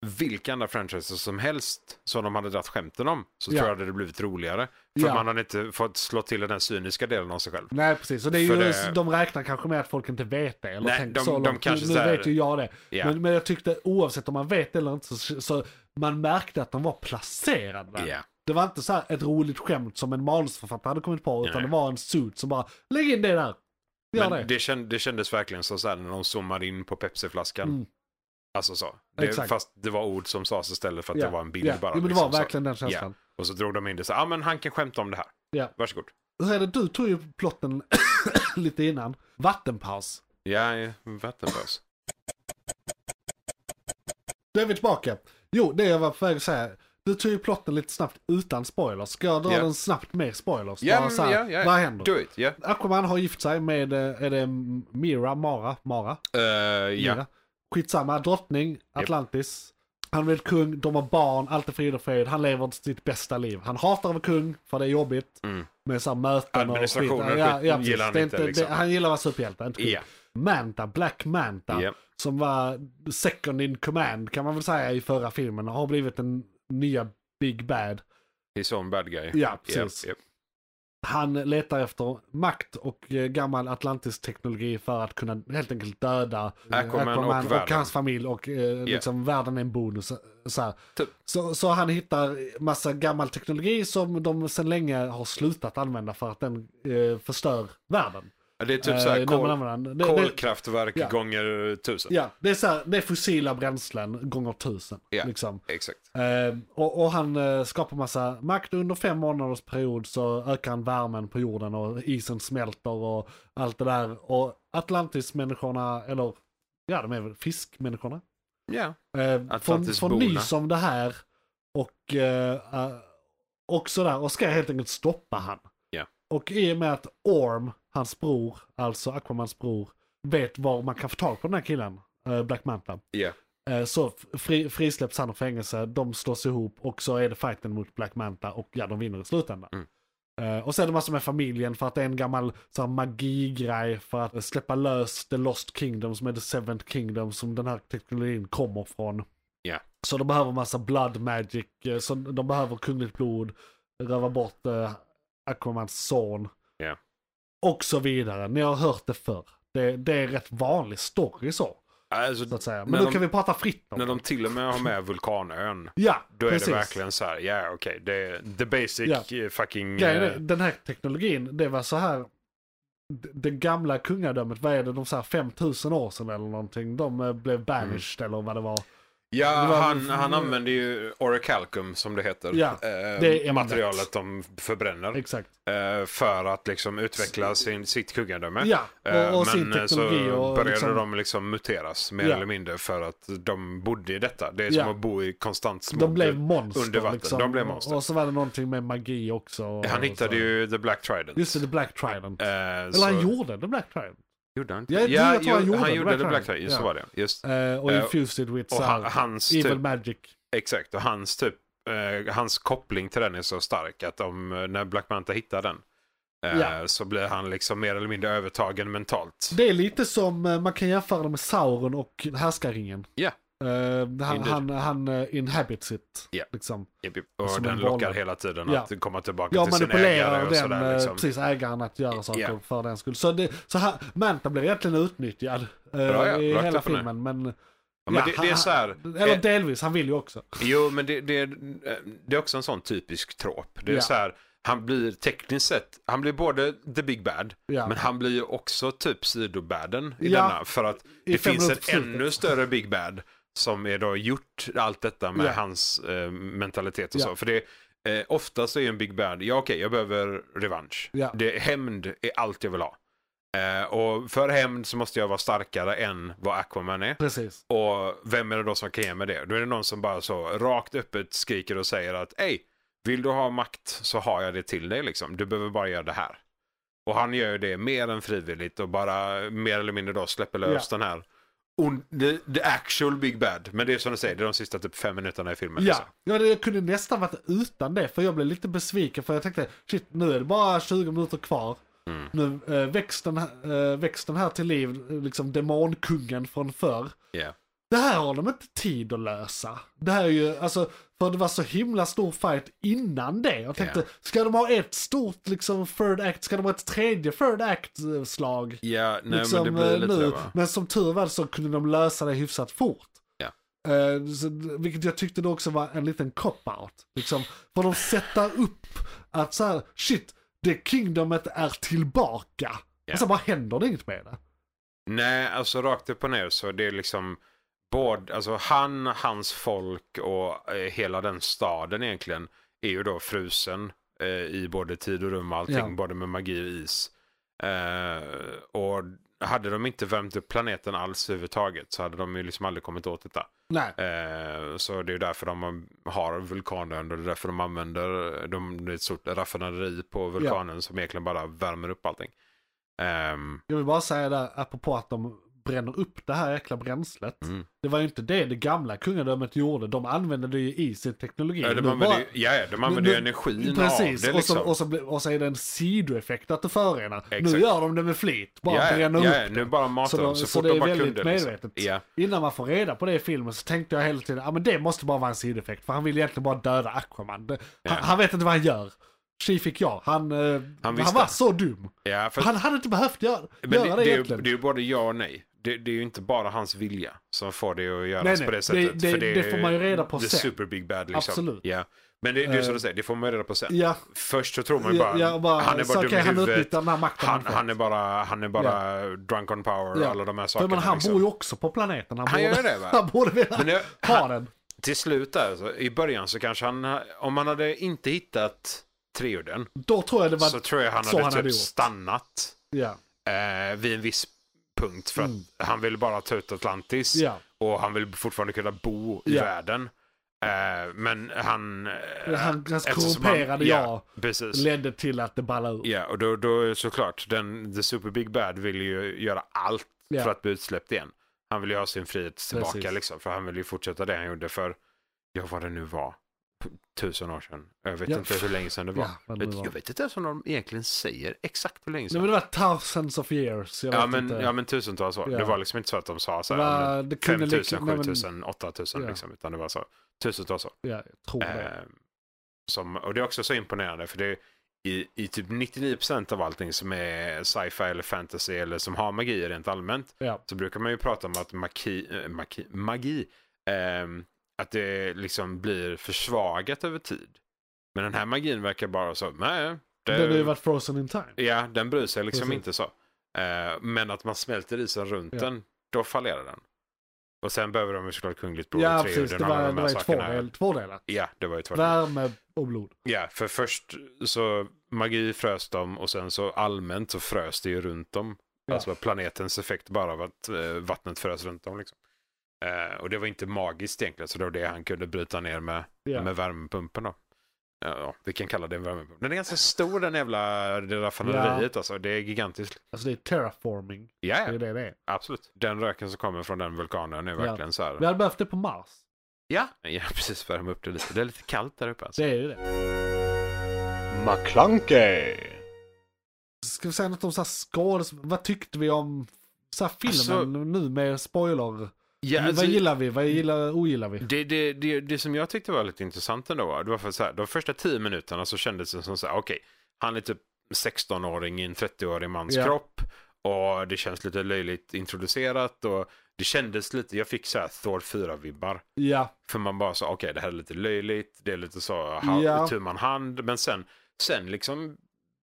S3: vilka andra franchises som helst som de hade dragit skämten om så
S2: Ja.
S3: tror jag det hade blivit roligare. För
S2: Ja.
S3: man hade inte fått slå till den här cyniska delen av sig själv.
S2: Nej precis, och det är ju,
S3: För det-
S2: de räknar kanske med att folk inte vet det. Eller
S3: Nej,
S2: tänker
S3: de-
S2: så
S3: de
S2: långt.
S3: kanske
S2: nu, nu
S3: så här-
S2: vet ju jag det.
S3: Ja.
S2: Men, men jag tyckte oavsett om man vet det eller inte så, så man märkte att de var placerade. där.
S3: Ja.
S2: Det var inte så här ett roligt skämt som en manusförfattare hade kommit på utan
S3: Nej.
S2: det var en suit som bara lägg in det där. Gör
S3: Men
S2: det.
S3: det. känd, det kändes verkligen så, så här när de zoomade in på Pepsi-flaskan.
S2: Mm.
S3: Alltså så. Det,
S2: Exakt.
S3: fast det var ord som sades istället för att
S2: Ja.
S3: det var en bild
S2: Ja.
S3: bara.
S2: Jo, men det
S3: liksom,
S2: var verkligen den
S3: så.
S2: känslan.
S3: Ja. Och så drog de in det så ja ah, men han kan skämta om det här.
S2: Ja.
S3: Varsågod.
S2: Hur är det, du tog ju plotten lite innan. Vattenpaus.
S3: Ja, ja, vattenbös.
S2: Då är vi tillbaka. Jo, det jag var på väg att säga. Du tog ju plotten lite snabbt utan spoilers. Ska jag dra
S3: Ja.
S2: den snabbt med spoilers?
S3: Ja,
S2: Bara
S3: men
S2: så här,
S3: ja, ja.
S2: Vad händer?
S3: Do it, ja.
S2: Aquaman har gift sig med, eh, är det Mira, Mara, Mara?
S3: Eh, ja.
S2: Mira. Skitsamma, drottning, Atlantis. Han blir kung, de har barn, allt är frid och fred. Han lever sitt bästa liv. Han hatar att vara kung, för det är jobbigt.
S3: Mm.
S2: Med så här möten och skit.
S3: Administrationen och skit
S2: precis.
S3: gillar han
S2: Det är
S3: inte, liksom.
S2: det, han gillar att vara superhjälte, inte kung.
S3: Ja.
S2: Manta, Black Manta,
S3: Ja.
S2: som var second in command kan man väl säga i förra filmen, har blivit den nya Big Bad.
S3: He's on bad guy.
S2: Ja, precis.
S3: Japp, japp.
S2: Han letar efter makt och eh, gammal atlantisk teknologi för att kunna helt enkelt döda eh,
S3: Aquaman och
S2: och,
S3: världen.
S2: hans familj och eh, liksom världen är en bonus. Så, här.
S3: Typ.
S2: så, så han hittar massa gammal teknologi som de sedan länge har slutat använda för att den eh, förstör världen.
S3: Det är typ
S2: Eh,
S3: så här
S2: när man
S3: kol,
S2: använder den. Det- det-
S3: kolkraftverk
S2: Ja.
S3: gånger tusen.
S2: Ja, det är, så här, det är fossila bränslen gånger tusen.
S3: Ja.
S2: Liksom.
S3: Exakt.
S2: Eh, och, och han eh, skapar massa makt. Under fem månaders period så ökar han värmen på jorden och isen smälter och allt det där. Och Atlantis-människorna, eller ja de är väl fiskmänniskorna.
S3: Ja.
S2: Eh, får, får
S3: Atlantisborna.
S2: nys om det här och, eh, eh, och sådär och ska helt enkelt stoppa han.
S3: Ja.
S2: Och i och med att Orm, hans bror, alltså Aquamans bror, vet var man kan få tag på den här killen, eh, Black Manta.
S3: Ja.
S2: Eh, Så f- fri, frisläpps han ur fängelse, de slås ihop och så är det fighten mot Black Manta och ja, de vinner i slutändan.
S3: Mm.
S2: Eh, Och sen är det massor med familjen för att det är en gammal så här, magigrej för att släppa lös The Lost Kingdom som är The Seventh Kingdom som den här teknologin kommer från.
S3: Ja.
S2: Så de behöver massa blood magic, eh, så de behöver kungligt blod, röva bort eh, Aquamans son.
S3: Ja.
S2: Och så vidare, ni har hört det förr. Det, det är rätt vanlig story så.
S3: Alltså,
S2: så att säga. Men
S3: När
S2: då
S3: de-
S2: kan vi prata fritt om
S3: när
S2: det.
S3: de till och med har med vulkanön.
S2: Ja,
S3: Då är
S2: precis.
S3: det verkligen så här, ja okej, det är the basic eh, fucking...
S2: Grejen är,
S3: eh,
S2: den här teknologin, det var så här. d- Det gamla
S3: Mm.
S2: kungadömet, vad är det, de så här 5000 år sedan eller någonting, de eh, blev banished eller vad det var.
S3: Ja,
S2: Det var-
S3: han, han använder ju orichalcum som det heter.
S2: Ja,
S3: Eh,
S2: det är ämnet.
S3: materialet de förbränner.
S2: Exakt.
S3: eh, för att liksom utveckla sin, sitt kungadöme.
S2: Ja,
S3: Eh,
S2: och, och sin
S3: Men eh, så
S2: teknologi och
S3: började
S2: liksom,
S3: de liksom muteras mer
S2: Ja.
S3: eller mindre för att de bodde i detta. Det är som
S2: Ja.
S3: att bo i konstant smog.
S2: de blev monster.
S3: under vatten.
S2: Liksom.
S3: De blev monster.
S2: Och så var det någonting med magi också. Och,
S3: Han hittade
S2: och så.
S3: ju The Black Trident.
S2: alltså. Just det, The Black Trident.
S3: Eh,
S2: Eller han
S3: så-
S2: gjorde The Black Trident.
S3: Gjorde han inte?
S2: Ja, det- jag tror han
S3: jo,
S2: gjorde
S3: han
S2: The
S3: gjorde
S2: Black
S3: The Black
S2: Trident.
S3: Trident. Så
S2: Ja.
S3: var det. Just.
S2: Eh, och
S3: Eh,
S2: infused with
S3: Och
S2: så
S3: han,
S2: här,
S3: hans
S2: evil
S3: typ,
S2: magic.
S3: exakt, och hans typ, eh, hans koppling till den är så stark att om, eh, när Black Manta hittar den eh,
S2: Ja.
S3: så blir han liksom mer eller mindre övertagen mentalt.
S2: Det är lite som eh, man kan jämföra det med Sauron och Härskarringen.
S3: Ja.
S2: Eh, han
S3: Indeed.
S2: han, han eh, inhabits it.
S3: Ja.
S2: Liksom.
S3: Och
S2: Som en
S3: den lockar
S2: boll.
S3: hela tiden
S2: Ja.
S3: att komma tillbaka
S2: Jag
S3: till sin
S2: manipulerar
S3: ägare och
S2: den,
S3: sådär.
S2: eh,
S3: Liksom.
S2: precis ägaren att göra saker
S3: Ja.
S2: för den skull. Så, det, så här, Manta blir egentligen utnyttjad eh,
S3: ja.
S2: i
S3: Rakt
S2: hela
S3: upp och ner.
S2: filmen. Men,
S3: Ja, men det, det är
S2: han-
S3: så här,
S2: Eller
S3: eh,
S2: delvis, han vill ju också.
S3: Jo, men det, det, det är också en sån typisk trop. Det är
S2: Ja.
S3: så här, han blir tekniskt sett, han blir både the big bad,
S2: Ja.
S3: men han blir ju också typ sidobaden i
S2: Ja.
S3: denna. För att
S2: I
S3: det
S2: fem
S3: finns
S2: minuter
S3: en
S2: på slutet.
S3: ännu större big bad som är då gjort allt detta med
S2: Ja.
S3: hans eh, mentalitet och
S2: Ja.
S3: så. För det eh, ofta så är ju en big bad, ja okej, jag behöver revansch.
S2: Ja.
S3: Det, hämnd är allt jag vill ha. Eh, och för hämnd så måste jag vara starkare än vad Aquaman är.
S2: Precis.
S3: Och vem är det då som kan ge mig det? Då är det någon som bara så rakt öppet skriker och säger att hej, vill du ha makt så har jag det till dig liksom. Du behöver bara göra det här. Och han gör ju det mer än frivilligt och bara mer eller mindre då släpper lös den här. on- The, the actual big bad. Men det är som du säger, det är de sista typ fem minuterna i filmen.
S2: Ja,
S3: liksom.
S2: ja det, jag kunde nästan varit utan det för jag blev lite besviken för jag tänkte shit nu är det bara 20 minuter kvar.
S3: Mm.
S2: Nu äh, växten, äh, växten här till liv, eh, liksom demonkungen från förr.
S3: Ja.
S2: Det här har de inte tid att lösa. Det här är ju, alltså, för det var så himla stor fight innan det. Jag tänkte,
S3: Ja.
S2: ska de ha ett stort liksom third act, ska de ha ett tredje third act-slag?
S3: Ja, nej
S2: liksom,
S3: men det blir
S2: eh,
S3: lite
S2: nu.
S3: det va?
S2: Men som tur var så kunde de lösa det hyfsat fort.
S3: Ja.
S2: Eh, så, vilket jag tyckte då också var en liten cop-out. Liksom, för de sätter upp att så här, shit, det kingdomet är tillbaka.
S3: Ja.
S2: Och sen bara händer det inget med det.
S3: Nej, alltså rakt upp och ner så det är liksom både, alltså han, hans folk och eh, hela den staden egentligen är ju då frusen eh, i både tid och rum och allting,
S2: Ja.
S3: både med magi och is. Eh, och hade de inte värmt upp planeten alls överhuvudtaget så hade de ju liksom aldrig kommit åt detta.
S2: Nej,
S3: Eh, så det är ju därför de har vulkanen och det är därför de använder de, det är ett stort raffinaderi på vulkanen som egentligen bara värmer upp allting. Ehm,
S2: jag vill bara säga där, apropå att de bränner upp det här jäkla bränslet.
S3: Mm.
S2: Det var ju inte det det gamla kungadömet gjorde. De använde det ju i sin teknologi.
S3: Ja,
S2: Nu
S3: de använder,
S2: bara-
S3: ju- ja, ja, de använder ju
S2: Nu- nu-
S3: energin
S2: Precis,
S3: av det.
S2: och, så,
S3: Liksom.
S2: och, så, blir- och så är det en sidoeffekt att det förorenar. Nu
S3: Exakt.
S2: gör de det med flit, bara
S3: ja, ja,
S2: bränner upp.
S3: ja, nu bara matar
S2: Så,
S3: så
S2: då,
S3: dem
S2: så,
S3: så, fort
S2: det
S3: de
S2: är
S3: bara
S2: väldigt
S3: kunde. Liksom.
S2: medvetet.
S3: Ja,
S2: Innan man får reda på det i filmen så tänkte jag hela tiden, ja men det måste bara vara en sidoeffekt. För han vill egentligen bara döda Aquaman. Det, han, han vet inte vad han gör. Tji fick jag. Han, eh, han,
S3: visste.
S2: var så dum.
S3: ja för,
S2: Han hade inte behövt göra,
S3: men
S2: göra
S3: det,
S2: det,
S3: det, är, ju-
S2: egentligen.
S3: det är ju både ja och nej. Det, det är ju inte bara hans vilja som får det att göras
S2: Nej, nej,
S3: på det
S2: det-
S3: sättet.
S2: det-
S3: för
S2: det får man ju reda på
S3: the
S2: sen.
S3: super big bad liksom.
S2: Absolut.
S3: Ja. Men det, det är som
S2: Eh,
S3: du säger, det får man ju reda på sen.
S2: ja,
S3: Först så tror man ju
S2: ja,
S3: bara,
S2: ja, bara,
S3: han är
S2: så
S3: bara dum i
S2: okej, han
S3: huvudet.
S2: utnyttjar den här makten
S3: Han,
S2: fått.
S3: han är bara, han är bara drunk on power och
S2: Ja.
S3: alla de här
S2: För
S3: sakerna.
S2: men han
S3: liksom.
S2: bor ju också på planeten. Han,
S3: Han
S2: borde,
S3: gör det, va?
S2: han borde vilja
S3: Men det-
S2: ha
S3: han-
S2: den.
S3: Till slut där, så, i början så kanske han, om han hade inte hittat treuden
S2: Då tror jag det var...
S3: så tror jag han
S2: så
S3: hade
S2: han
S3: typ
S2: hade gjort.
S3: stannat
S2: ja,
S3: eh, vid en viss punkt för att
S2: Mm.
S3: han vill bara ta ut Atlantis
S2: ja.
S3: och han vill fortfarande kunna bo i
S2: Ja.
S3: världen. Eh, men han... eh,
S2: Han- hans
S3: eftersom
S2: korrumperade
S3: ja. Precis.
S2: ledde till att det ballade ur.
S3: Ja, och då, då är det såklart, den, The Super Big Bad vill ju göra allt
S2: Ja.
S3: för att bli utsläppt igen. Han vill ju ha sin frihet tillbaka
S2: Precis.
S3: liksom, för han vill ju fortsätta det han gjorde för, ja vad det nu var, p- tusen år sedan. Jag vet
S2: Ja.
S3: inte hur länge sedan det var.
S2: Ja, vad det
S3: jag,
S2: nu var.
S3: jag vet inte ens om de egentligen säger exakt hur länge
S2: Nej
S3: sedan.
S2: men det var thousands of years. Jag
S3: Ja
S2: vet
S3: men,
S2: inte.
S3: ja men tusentals år.
S2: Ja.
S3: Det var liksom inte så att de sa så
S2: Det
S3: här,
S2: var-
S3: ja,
S2: det
S3: men
S2: kunde
S3: 5000,
S2: lika- nej, men-
S3: 7000, 8000
S2: Ja. Oh,
S3: liksom. Utan det var så tusentals år.
S2: ja, jag tror det.
S3: Eh, som, och det är också så imponerande för det är i, i typ 99% av allting som är sci-fi eller fantasy eller som har magi rent allmänt
S2: Ja.
S3: så brukar man ju prata om att maki, eh, maki, magi, ehm, att det liksom blir försvagat över tid. Men den här magin verkar bara så, nej, det,
S2: Den har ju varit frozen in time.
S3: ja, den bryr sig liksom
S2: Precis.
S3: inte så. Eh, men att man smälter isen runt
S2: Ja.
S3: den, då fallerar den. Och sen behöver de ju såklart Kungligt blod
S2: Ja,
S3: och tre och
S2: precis.
S3: den
S2: Det
S3: alla
S2: var,
S3: de här
S2: det var ju två,
S3: sakerna.
S2: del, två delar.
S3: Ja, det var ju tvärtom.
S2: Värme och blod.
S3: Ja, för först så magi frös de och sen så allmänt så frös det ju runt dem.
S2: Ja.
S3: Alltså planetens effekt bara av att eh, vattnet frös runt dem. Liksom. Eh, och det var inte magiskt egentligen, så det var det han kunde bryta ner med,
S2: Ja.
S3: med värmepumpen. Då. Ja, Ja, vi kan kalla det en värmepump. Den är ganska stor den jävla det raffinaderiet alltså. Det är gigantiskt.
S2: Alltså det är terraforming.
S3: Ja,
S2: Det är
S3: ja,
S2: det det är.
S3: absolut. Den röken som kommer från den vulkanen är
S2: Ja.
S3: verkligen så
S2: Vi
S3: här.
S2: hade behövt det på Mars.
S3: Ja, ja precis. Värma upp det lite. Det är lite kallt där uppe. Alltså.
S2: Det är ju det.
S8: McClunkey.
S2: Ska vi säga något om så här skådes... Vad tyckte vi om så här filmen
S3: Alltså-
S2: nu med spoiler?
S3: Ja, alltså-
S2: vad gillar vi? Vad gillar, ogillar vi?
S3: Det, det, det, det som jag tyckte var lite intressant ändå var, det var för så här, de första tio minuterna så kändes det som så här, okej, han är typ 16-åring i en 30-årig mans
S2: Ja.
S3: kropp och det känns lite löjligt introducerat och det kändes lite, jag fick så här Thor 4-vibbar.
S2: Ja,
S3: För man bara sa, okej det här är lite löjligt, det är lite så, ha,
S2: Ja.
S3: tu man hand, men sen, sen liksom,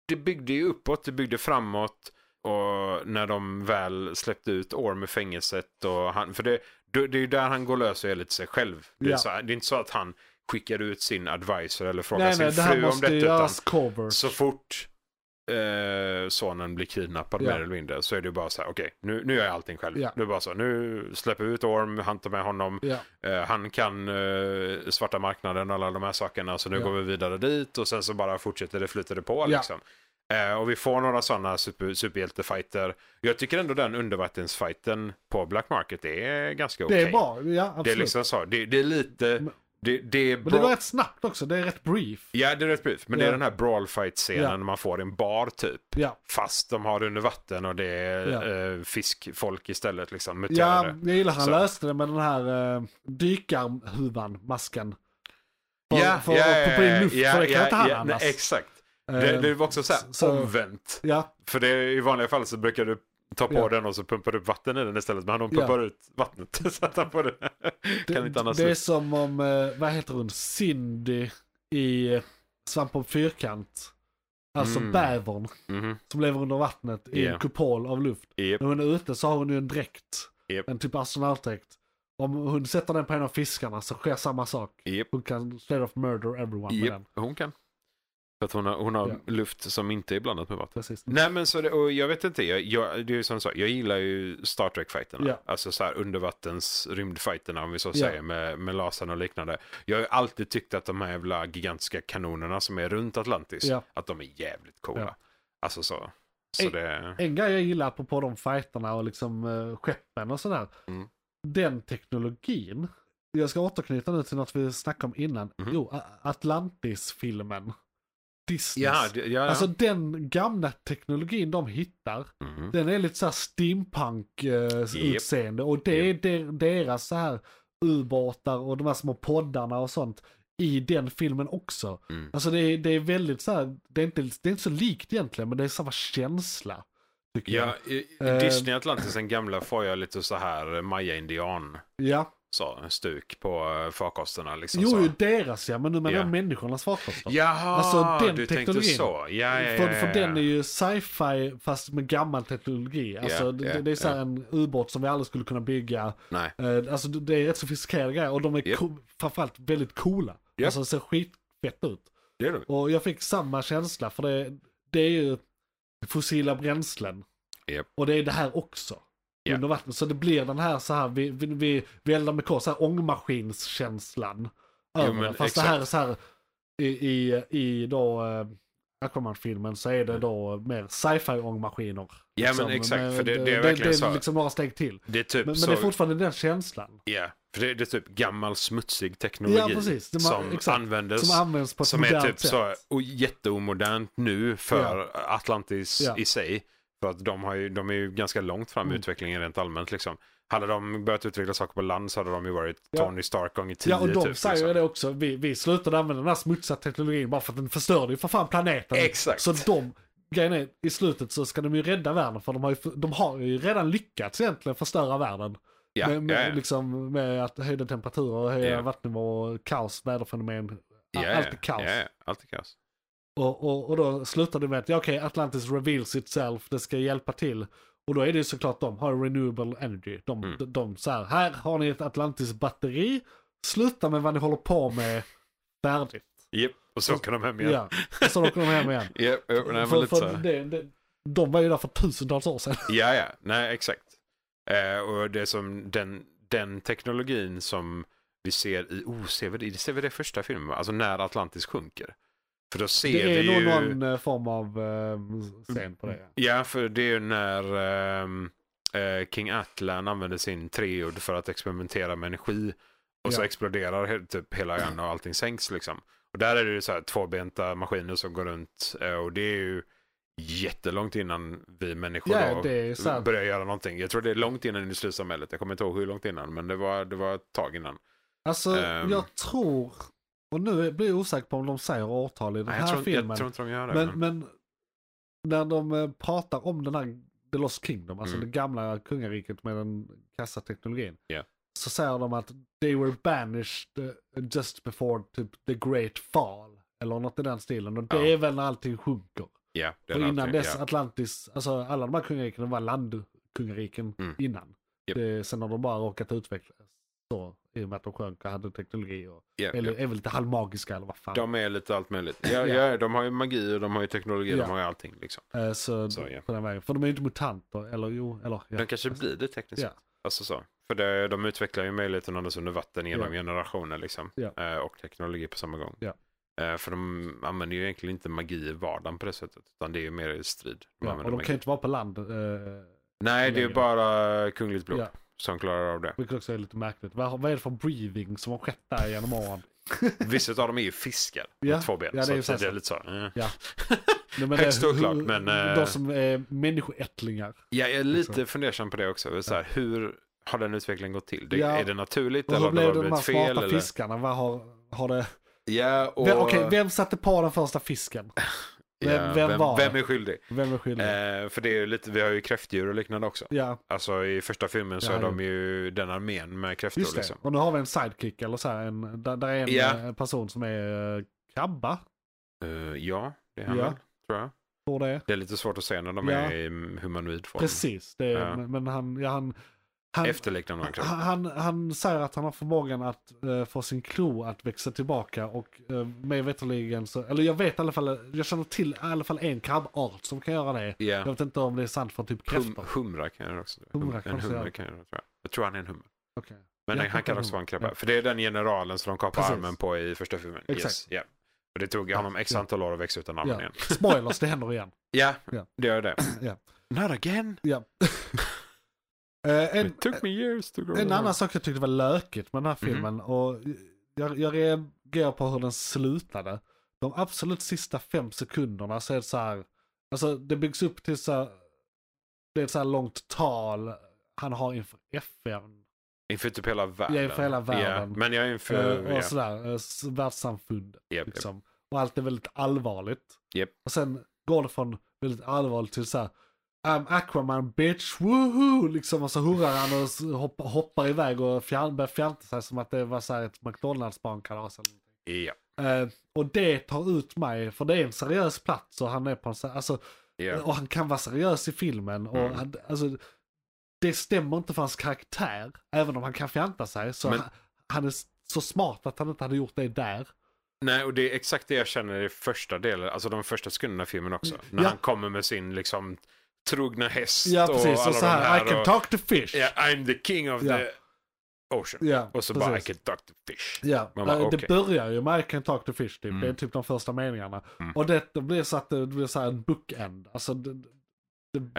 S3: det byggde ju uppåt, det byggde framåt och när de väl släppte ut Orm i fängelset och han, för det, det, det är ju där han går lös och är lite sig själv. Det är,
S2: Ja.
S3: så, det är inte så att han skickar ut sin advisor eller frågar
S2: nej
S3: sin
S2: nej, det här
S3: fru om
S2: måste
S3: detta,
S2: ju
S3: utan
S2: göras cover.
S3: så fort eh, sonen blir kidnappad
S2: Ja.
S3: mer eller mindre så är det ju bara så här, okej, nu, nu gör jag allting själv.
S2: Ja.
S3: Nu är det bara så, nu släpper vi ut Orm, han tar med honom,
S2: Ja.
S3: Eh, han kan eh, svarta marknaden och alla de här sakerna så nu
S2: Ja.
S3: går vi vidare dit och sen så bara fortsätter det flyter det på
S2: Ja.
S3: liksom. Eh, och vi får några sådana super, superhjältefighter. Jag tycker ändå den undervattensfighten på Black Market är ganska okej.
S2: Det är bra, ja absolut.
S3: Det är liksom så, det, det är lite, det, det är
S2: Men det
S3: bra.
S2: var rätt snabbt också, det är rätt brief.
S3: Ja, det är rätt brief. Men det
S2: Ja.
S3: är den här brawl fight scenen
S2: Ja.
S3: man får i en bar typ.
S2: Ja.
S3: Fast de har under vatten och det är
S2: Ja.
S3: eh, fiskfolk istället liksom.
S2: Ja,
S3: muterade.
S2: jag gillar han
S3: Så.
S2: löste det med den här uh, dykarhuvan, masken. För,
S3: Ja,
S2: för
S3: ja,
S2: att
S3: ja,
S2: poppa in
S3: ja,
S2: luft,
S3: ja,
S2: för det kan
S3: ja,
S2: inte han
S3: ja,
S2: annars.
S3: Nej, exakt.
S2: Eh,
S3: Det, det var också så här
S2: så-
S3: omvänt.
S2: ja,
S3: För det, i vanliga fall så brukar du ta på
S2: Ja.
S3: den och så pumpar du upp vatten i den istället. Men han
S2: Ja.
S3: pumpar ut vattnet så att han får det. kan inte
S2: det,
S3: annars.
S2: det är som om, eh, vad heter hon, Cindy i eh, Svamp om fyrkant. Alltså
S3: Mm.
S2: bävern
S3: Mhm.
S2: som lever under vattnet i
S3: Ja.
S2: en kupol av luft.
S3: Japp.
S2: När hon är ute så har hon ju en dräkt,
S3: Japp.
S2: en typ astronautdräkt. Om hon sätter den på en av fiskarna så sker samma sak.
S3: Japp.
S2: Hon kan straight off murder everyone med
S3: Japp,
S2: den.
S3: Hon kan. För att hon har, hon har
S2: Ja.
S3: luft som inte är blandat med vatten.
S2: Precis.
S3: Nej men så det, och jag vet inte, jag, jag, det är ju som sagt, jag gillar ju Star Trek-fighterna.
S2: Ja.
S3: Alltså så här undervattens rymdfighterna om vi så
S2: Ja.
S3: säger med, med lasern och liknande. Jag har ju alltid tyckt att de här jävla gigantiska kanonerna som är runt Atlantis,
S2: Ja.
S3: att de är jävligt coola.
S2: Ja.
S3: Alltså så. Så
S2: Ey.
S3: det,
S2: En grej jag gillar på de fighterna och liksom eh, skeppen och sådär.
S3: Mm.
S2: Den teknologin. Jag ska återknyta nu till något vi snackade om innan.
S3: Mhm.
S2: Jo, A- Atlantis-filmen. Disneys.
S3: ja, det, ja, ja.
S2: Alltså den gamla teknologin de hittar.
S3: Mhm.
S2: Den är lite såhär
S3: Japp.
S2: steampunk-utseende. eh, Och det är der- deras så här ubåtar och de här små poddarna och sånt. I den filmen också.
S3: Mm.
S2: Alltså det är, det är väldigt så här, det är, inte, det är inte så likt egentligen men det är samma känsla. Tycker
S3: Ja,
S2: jag.
S3: i- i
S2: Eh.
S3: Disney Atlantis, den gamla, får jag lite så här eh, maya-indian
S2: Ja.
S3: så, stuk på eh, farkosterna. Liksom,
S2: Jo,
S3: så.
S2: ju deras ja, men nu menar
S3: Ja.
S2: jag människornas farkoster.
S3: Jaha,
S2: Alltså, den
S3: du
S2: teknologin.
S3: tänkte så. Ja, ja, ja,
S2: För, för
S3: ja.
S2: den är ju sci-fi fast med gammal teknologi. Alltså
S3: Ja,
S2: det,
S3: ja,
S2: det är så här en ubåt som vi aldrig skulle kunna bygga.
S3: Nej.
S2: Eh, Alltså det det är rätt sofistikerade grejer och de är
S3: Japp.
S2: co- framförallt väldigt coola.
S3: Japp.
S2: Alltså det ser skitfett ut.
S3: Det är det.
S2: Och jag fick samma känsla för det, det är ju fossila bränslen.
S3: Japp.
S2: Och det är det här också.
S3: Ja.
S2: Under vattnet. Så det blir den här så här, vi, vi, vi, vi eldar med kol, så här ångmaskinskänslan.
S3: Jo,
S2: över
S3: men
S2: det. Fast det här är så här, i, i, i då eh, Aquaman-filmen så är det då mer sci-fi ångmaskiner.
S3: Mm.
S2: liksom.
S3: Ja, men exakt,
S2: Men
S3: för det- det är
S2: det
S3: verkligen
S2: är
S3: så.
S2: liksom några steg till.
S3: Det är typ
S2: Men, men
S3: så.
S2: det är fortfarande den känslan.
S3: Ja, för det, det är typ gammal smutsig teknologi
S2: Ja, precis. Det man-
S3: som
S2: exakt.
S3: användes.
S2: Som används på ett
S3: som är
S2: modernt
S3: typ
S2: sätt.
S3: så och jätteomodernt nu för Atlantis
S2: Ja.
S3: i sig. För att de, har ju, de är ju ganska långt fram i
S2: Mm.
S3: utvecklingen rent allmänt. Liksom. Hade de börjat utveckla saker på land så hade de ju varit
S2: Ja.
S3: Tony Stark gånger 10.
S2: Ja, och de
S3: typ,
S2: säger
S3: liksom.
S2: ju det också. Vi, vi slutade använda den här smutsiga teknologin bara för att den förstörde ju för fan planeten.
S3: Exakt.
S2: Så de, grejen är, i slutet så ska de ju rädda världen för de har ju, de har ju redan lyckats egentligen förstöra världen.
S3: Ja,
S2: med, med,
S3: ja, ja.
S2: Liksom, med att höjda temperaturer, höjda
S3: Ja.
S2: vattennivåer, kaos, väderfenomen.
S3: Ja, ja,
S2: Allt är kaos.
S3: Ja, ja, allt är kaos.
S2: Och, och, och då slutar det med att, ja okej, Atlantis reveals itself, det ska hjälpa till. Och då är det ju såklart de har renewable energy. De,
S3: Mm.
S2: de, de så här, här har ni ett Atlantis-batteri, sluta med vad ni håller på med, färdigt.
S3: Japp, och så åker de hem igen.
S2: Ja, och så åker de hem igen.
S3: Japp, ja, nej, men
S2: för,
S3: lite så.
S2: för
S3: här.
S2: det, det, de var ju där för tusentals år sedan.
S3: Ja, ja, nej exakt. Eh, och det är som den, den teknologin som vi ser i, oh, ser vi det, ser vi det i första filmen? va? Alltså när Atlantis sjunker. För då ser
S2: Det är
S3: vi
S2: nog
S3: ju...
S2: någon eh, form av eh, scen på det.
S3: Ja, för det är ju när ehm, eh, King Atlan använder sin treod för att experimentera med energi. Och så
S2: Ja.
S3: exploderar he- typ hela ön och allting sänks liksom. Och där är det ju så här tvåbenta maskiner som går runt. eh, Och det är ju jättelångt innan vi människor
S2: Ja,
S3: då
S2: det är sant.
S3: börjar göra någonting. Jag tror det är långt innan industrisamhället. Jag kommer inte ihåg hur långt innan, men det var, det var ett tag innan.
S2: Alltså,
S3: Ehm.
S2: jag tror, och nu blir jag osäker på om de säger årtal i den
S3: Nej,
S2: här
S3: jag, tror,
S2: filmen.
S3: jag tror inte de gör det.
S2: Men,
S3: men-
S2: men när de eh, pratar om den här The Lost Kingdom, alltså
S3: Mm.
S2: det gamla kungariket med den kassa teknologin.
S3: Ja.
S2: Så säger de att they were banished eh, just before typ, the great fall. Eller något i den stilen. Och det
S3: Ja.
S2: är väl när allting sjunker.
S3: ja, det är
S2: Och
S3: en
S2: innan
S3: annan-
S2: dess
S3: ja.
S2: Atlantis, alltså alla de här kungariken var landkungariken
S3: Mm.
S2: innan.
S3: Japp.
S2: Det, sen har de bara råkat utvecklas. Så, I och med att de sjönk och hade teknologi. Och,
S3: Ja, ja.
S2: eller är väl lite halvmagiska eller vad fan.
S3: De är lite allt möjligt. Ja, ja.
S2: Ja.
S3: de har ju magi och de har ju teknologi,
S2: Ja.
S3: de har ju allting. Liksom.
S2: Eh, så,
S3: Så, ja.
S2: på den vägen. För de är ju inte mutanter. Eller jo, eller ja.
S3: De kanske blir det tekniskt
S2: Ja.
S3: sett. Alltså så. För det, de utvecklar ju möjligheten att andas under vatten genom
S2: Ja.
S3: generationer liksom.
S2: Ja.
S3: Eh, och teknologi på samma gång.
S2: Ja.
S3: Eh, för de använder ju egentligen inte magi i vardagen på det sättet. Utan det är ju mer i strid. De
S2: Ja, och
S3: använder
S2: de
S3: magi.
S2: kan ju inte vara på land. Eh,
S3: Nej, det är ju
S2: längre.
S3: bara kungligt blod
S2: Ja.
S3: som klarar av det.
S2: vilket också är lite märkligt. Vad, har- vad är det för breathing som har skett där genom åren?
S3: Vissa av dem är ju fiskar med
S2: Ja.
S3: två ben.
S2: Ja, det är
S3: så
S2: ju
S3: att det är
S2: sant.
S3: lite så. eh.
S2: Ja. Nej, men
S3: Högst
S2: det- hur-
S3: oklart, men, eh,
S2: De som är människoättlingar.
S3: Jag är lite
S2: Liksom.
S3: fundersam på det också. Så här, Hur har den utvecklingen gått till? Det,
S2: Ja.
S3: Är det naturligt
S2: Och
S3: eller
S2: hur
S3: har det
S2: blev
S3: bara
S2: det de här
S3: blivit fel?
S2: smarta
S3: Eller?
S2: fiskarna? Vad har, har det...
S3: Ja, och...
S2: Vem, okej, vem satte på den första fisken? Vem-
S3: ja,
S2: vem
S3: vem,
S2: var Mm.
S3: vem
S2: det?
S3: är skyldig?
S2: Vem är skyldig?
S3: Eh, för det är ju lite, vi har ju kräftdjur och liknande också.
S2: ja,
S3: Alltså i första filmen så
S2: Ja,
S3: är de ju den armén med kräftor
S2: just det.
S3: liksom.
S2: Och nu har vi en sidekick, eller så här, en, där, där är en
S3: Ja.
S2: eh, person som är eh, krabba,
S3: Eh, ja, det är han
S2: Ja.
S3: väl, tror jag.
S2: tror det är.
S3: Det är lite svårt att säga när de
S2: Ja.
S3: är i humanoid form.
S2: Precis, det är,
S3: Ja.
S2: men- men han... Ja, han, han
S3: Efterliknar någon kräftor.
S2: Han, han, han säger att han har förmågan att eh, få sin klo att växa tillbaka och uh, mig veterligen så, eller jag vet i alla fall, jag känner till i alla fall en krabbart som kan göra det.
S3: Ja,
S2: Jag vet inte om det är sant för typ
S3: hum,
S2: kräftor.
S3: humra kan jag också.
S2: Humra
S3: Hum, en
S2: kanske
S3: humra
S2: jag-
S3: kan jag tror jag. Jag tror han är en hummer.
S2: Okej.
S3: Men
S2: Ja,
S3: han, han kan också vara en krabba. För det är den generalen som de kapar
S2: Precis.
S3: armen på i första filmen.
S2: Exakt.
S3: Yes, ja. Och det tog honom x
S2: Ja.
S3: antal år att växa utan armen
S2: Ja.
S3: igen.
S2: Spoilers, det händer igen.
S3: Ja,
S2: Ja.
S3: det gör det.
S2: Ja.
S3: Not again.
S2: Ja. Eh, en,
S3: It took me years to grow
S2: en
S3: old.
S2: annan sak jag tyckte var lökigt med den här filmen och jag, jag reagerar på hur den slutade. De absolut sista fem sekunderna så är det så här, alltså det byggs upp till så här, det är ett så här långt tal han har inför FN.
S3: Inför typ hela världen.
S2: Ja, inför hela världen.
S3: Ja, men jag är inför...
S2: eh,
S3: ja.
S2: och sådär, eh, s- världssamfundet.
S3: Japp, japp.
S2: Liksom. Och allt är väldigt allvarligt.
S3: Japp.
S2: Och sen går det från väldigt allvarligt till såhär I'm Aquaman bitch, woohoo! Liksom och så hurrar han och s- hoppar, hoppar iväg och fjär, börjar fjanta sig som att det var såhär ett McDonalds-barnkalas eller någonting.
S3: Ja,
S2: Eh, och det tar ut mig, för det är en seriös plats och han är på en sån, alltså,
S3: ja.
S2: och han kan vara seriös i filmen och
S3: Mm.
S2: han, alltså, det stämmer inte för hans karaktär, även om han kan fjanta sig. Så
S3: Men-
S2: han, han är s- så smart att han inte hade gjort det där.
S3: Nej, och det är exakt det jag känner i första delen, alltså de första sekunderna i filmen också. När
S2: Ja.
S3: han kommer med sin liksom trogna häst
S2: Ja
S3: och
S2: precis,
S3: alla
S2: och så
S3: de
S2: här,
S3: här.
S2: I can
S3: och,
S2: talk to fish.
S3: Ja, I'm the king of
S2: Ja.
S3: the ocean.
S2: Ja,
S3: och så bara I
S2: precis.
S3: can talk to fish.
S2: Ja,
S3: Man bara,
S2: eh,
S3: okej.
S2: det börjar ju med I can talk to fish typ.
S3: Mm.
S2: Det är typ de första meningarna.
S3: Mm.
S2: Och det, det blir så att det blir så här en bookend. Alltså det, det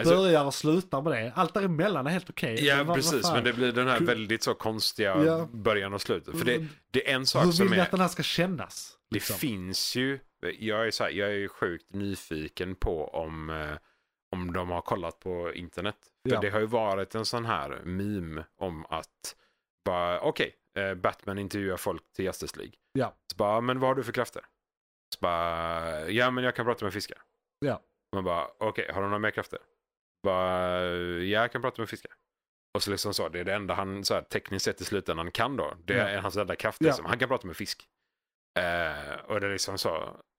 S3: Alltså-
S2: börjar och slutar med det. Allt däremellan är helt okej.
S3: Ja,
S2: Men vad- vad
S3: precis.
S2: fan?
S3: Men det blir den här
S2: Kul.
S3: väldigt så konstiga
S2: Ja. Mm.
S3: början och slutet. För det, det är en sak
S2: Hur vill
S3: som
S2: ni
S3: är...
S2: att den här ska kännas?
S3: Det
S2: liksom?
S3: finns ju, jag är, så här, jag är ju sjukt nyfiken på om, eh, om de har kollat på internet. För
S2: Ja.
S3: det har ju varit en sån här meme om att, bara okej, eh, Batman intervjuar folk till Justice League.
S2: Ja.
S3: Så bara, men vad har du för krafter? Så bara, ja men jag kan prata med fiskar.
S2: Ja.
S3: Man bara, okej, har du några mer krafter? Bara, ja jag kan prata med fiskar. Och så liksom så, det är det enda han så här, tekniskt sett i slutändan kan då. Det är hans enda kraft.
S2: Ja.
S3: Liksom. Han kan prata med fisk. Eh, och det är liksom så.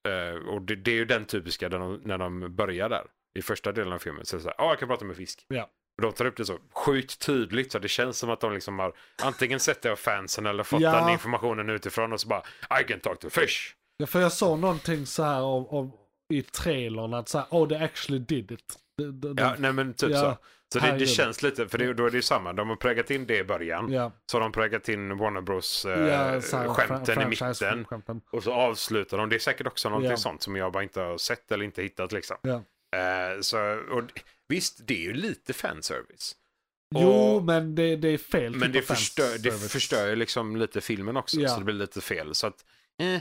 S3: eh, och det, det är ju den typiska när de, när de börjar där. I första delen av filmen. Så är det så här, ja jag kan prata med fisk.
S2: Ja.
S3: Och de tar upp det så sjukt tydligt så det känns som att de liksom har antingen sett det av fansen eller fått
S2: Ja.
S3: den informationen utifrån och så bara I can talk to fish.
S2: Ja, för jag såg någonting så här om, om, i trailern att så här, oh they actually did it. De, de,
S3: Ja, nej men typ
S2: Mm. Ja.
S3: så. Så det, det
S2: Herregud.
S3: känns lite, för det, då är det ju samma. De har prägat in det i början.
S2: ja,
S3: Så har de prägat in Warner Bros eh,
S2: ja, så här,
S3: skämten i
S2: fran-
S3: mitten.
S2: franchise-skämten.
S3: Och så avslutar de. Det är säkert också någonting
S2: Ja.
S3: sånt som jag bara inte har sett eller inte hittat liksom.
S2: Ja.
S3: Eh, så, och, visst, det är ju lite fanservice.
S2: Jo,
S3: Och-
S2: men det, det är fel
S3: Men
S2: typ
S3: det
S2: av fans
S3: förstör, det
S2: service.
S3: förstör ju liksom lite filmen också,
S2: Ja.
S3: så det blir lite fel. Så att, eh.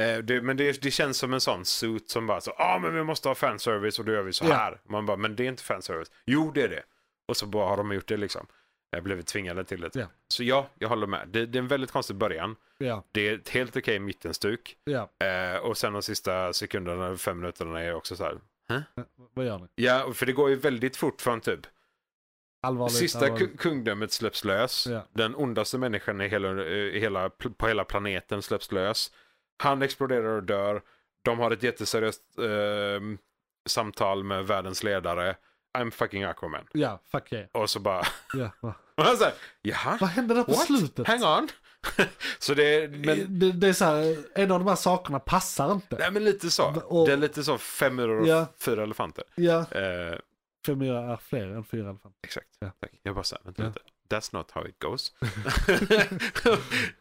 S3: Eh, det, men det, det känns som en sån suit som bara så, ja ah, men vi måste ha fanservice och då gör vi så
S2: Ja.
S3: här. Man bara, men det är inte fanservice. Jo, det är det. Och så bara har de gjort det liksom. Jag blivit tvingade till det.
S2: Ja.
S3: Så ja, jag håller med. Det, det är en väldigt konstig början.
S2: Ja,
S3: Det är ett helt okej mittenstuk.
S2: ja,
S3: Eh, och sen de sista sekunderna, fem minuterna är också så här.
S2: vad gör ni?
S3: Ja, för det går ju väldigt fort från typ
S2: Allvarligt.
S3: Sista
S2: allvarligt.
S3: ku- kungdömet släpps lös.
S2: Ja.
S3: Den ondaste människan i hela, eh, i hela, på hela planeten släpps lös. Han exploderar och dör. De har ett jätteseriöst ehm, samtal med världens ledare. I'm fucking Aquaman.
S2: Ja, fuck yeah.
S3: Och så bara...
S2: Ja. va.
S3: Och han säger, Jaha?
S2: Vad hände där på
S3: What?
S2: slutet? Eh,
S3: Hang on. så det är... Men,
S2: det, det är så här, en av de här sakerna passar inte.
S3: nej, men lite så.
S2: Och-
S3: det är lite så fem myror och
S2: Ja.
S3: fyra elefanter.
S2: Ja,
S3: Eh,
S2: fem är fler än fyra i alla fall.
S3: Exakt.
S2: Ja.
S3: Tack. Jag bara såhär, vänta
S2: Ja.
S3: lite. That's not how it goes.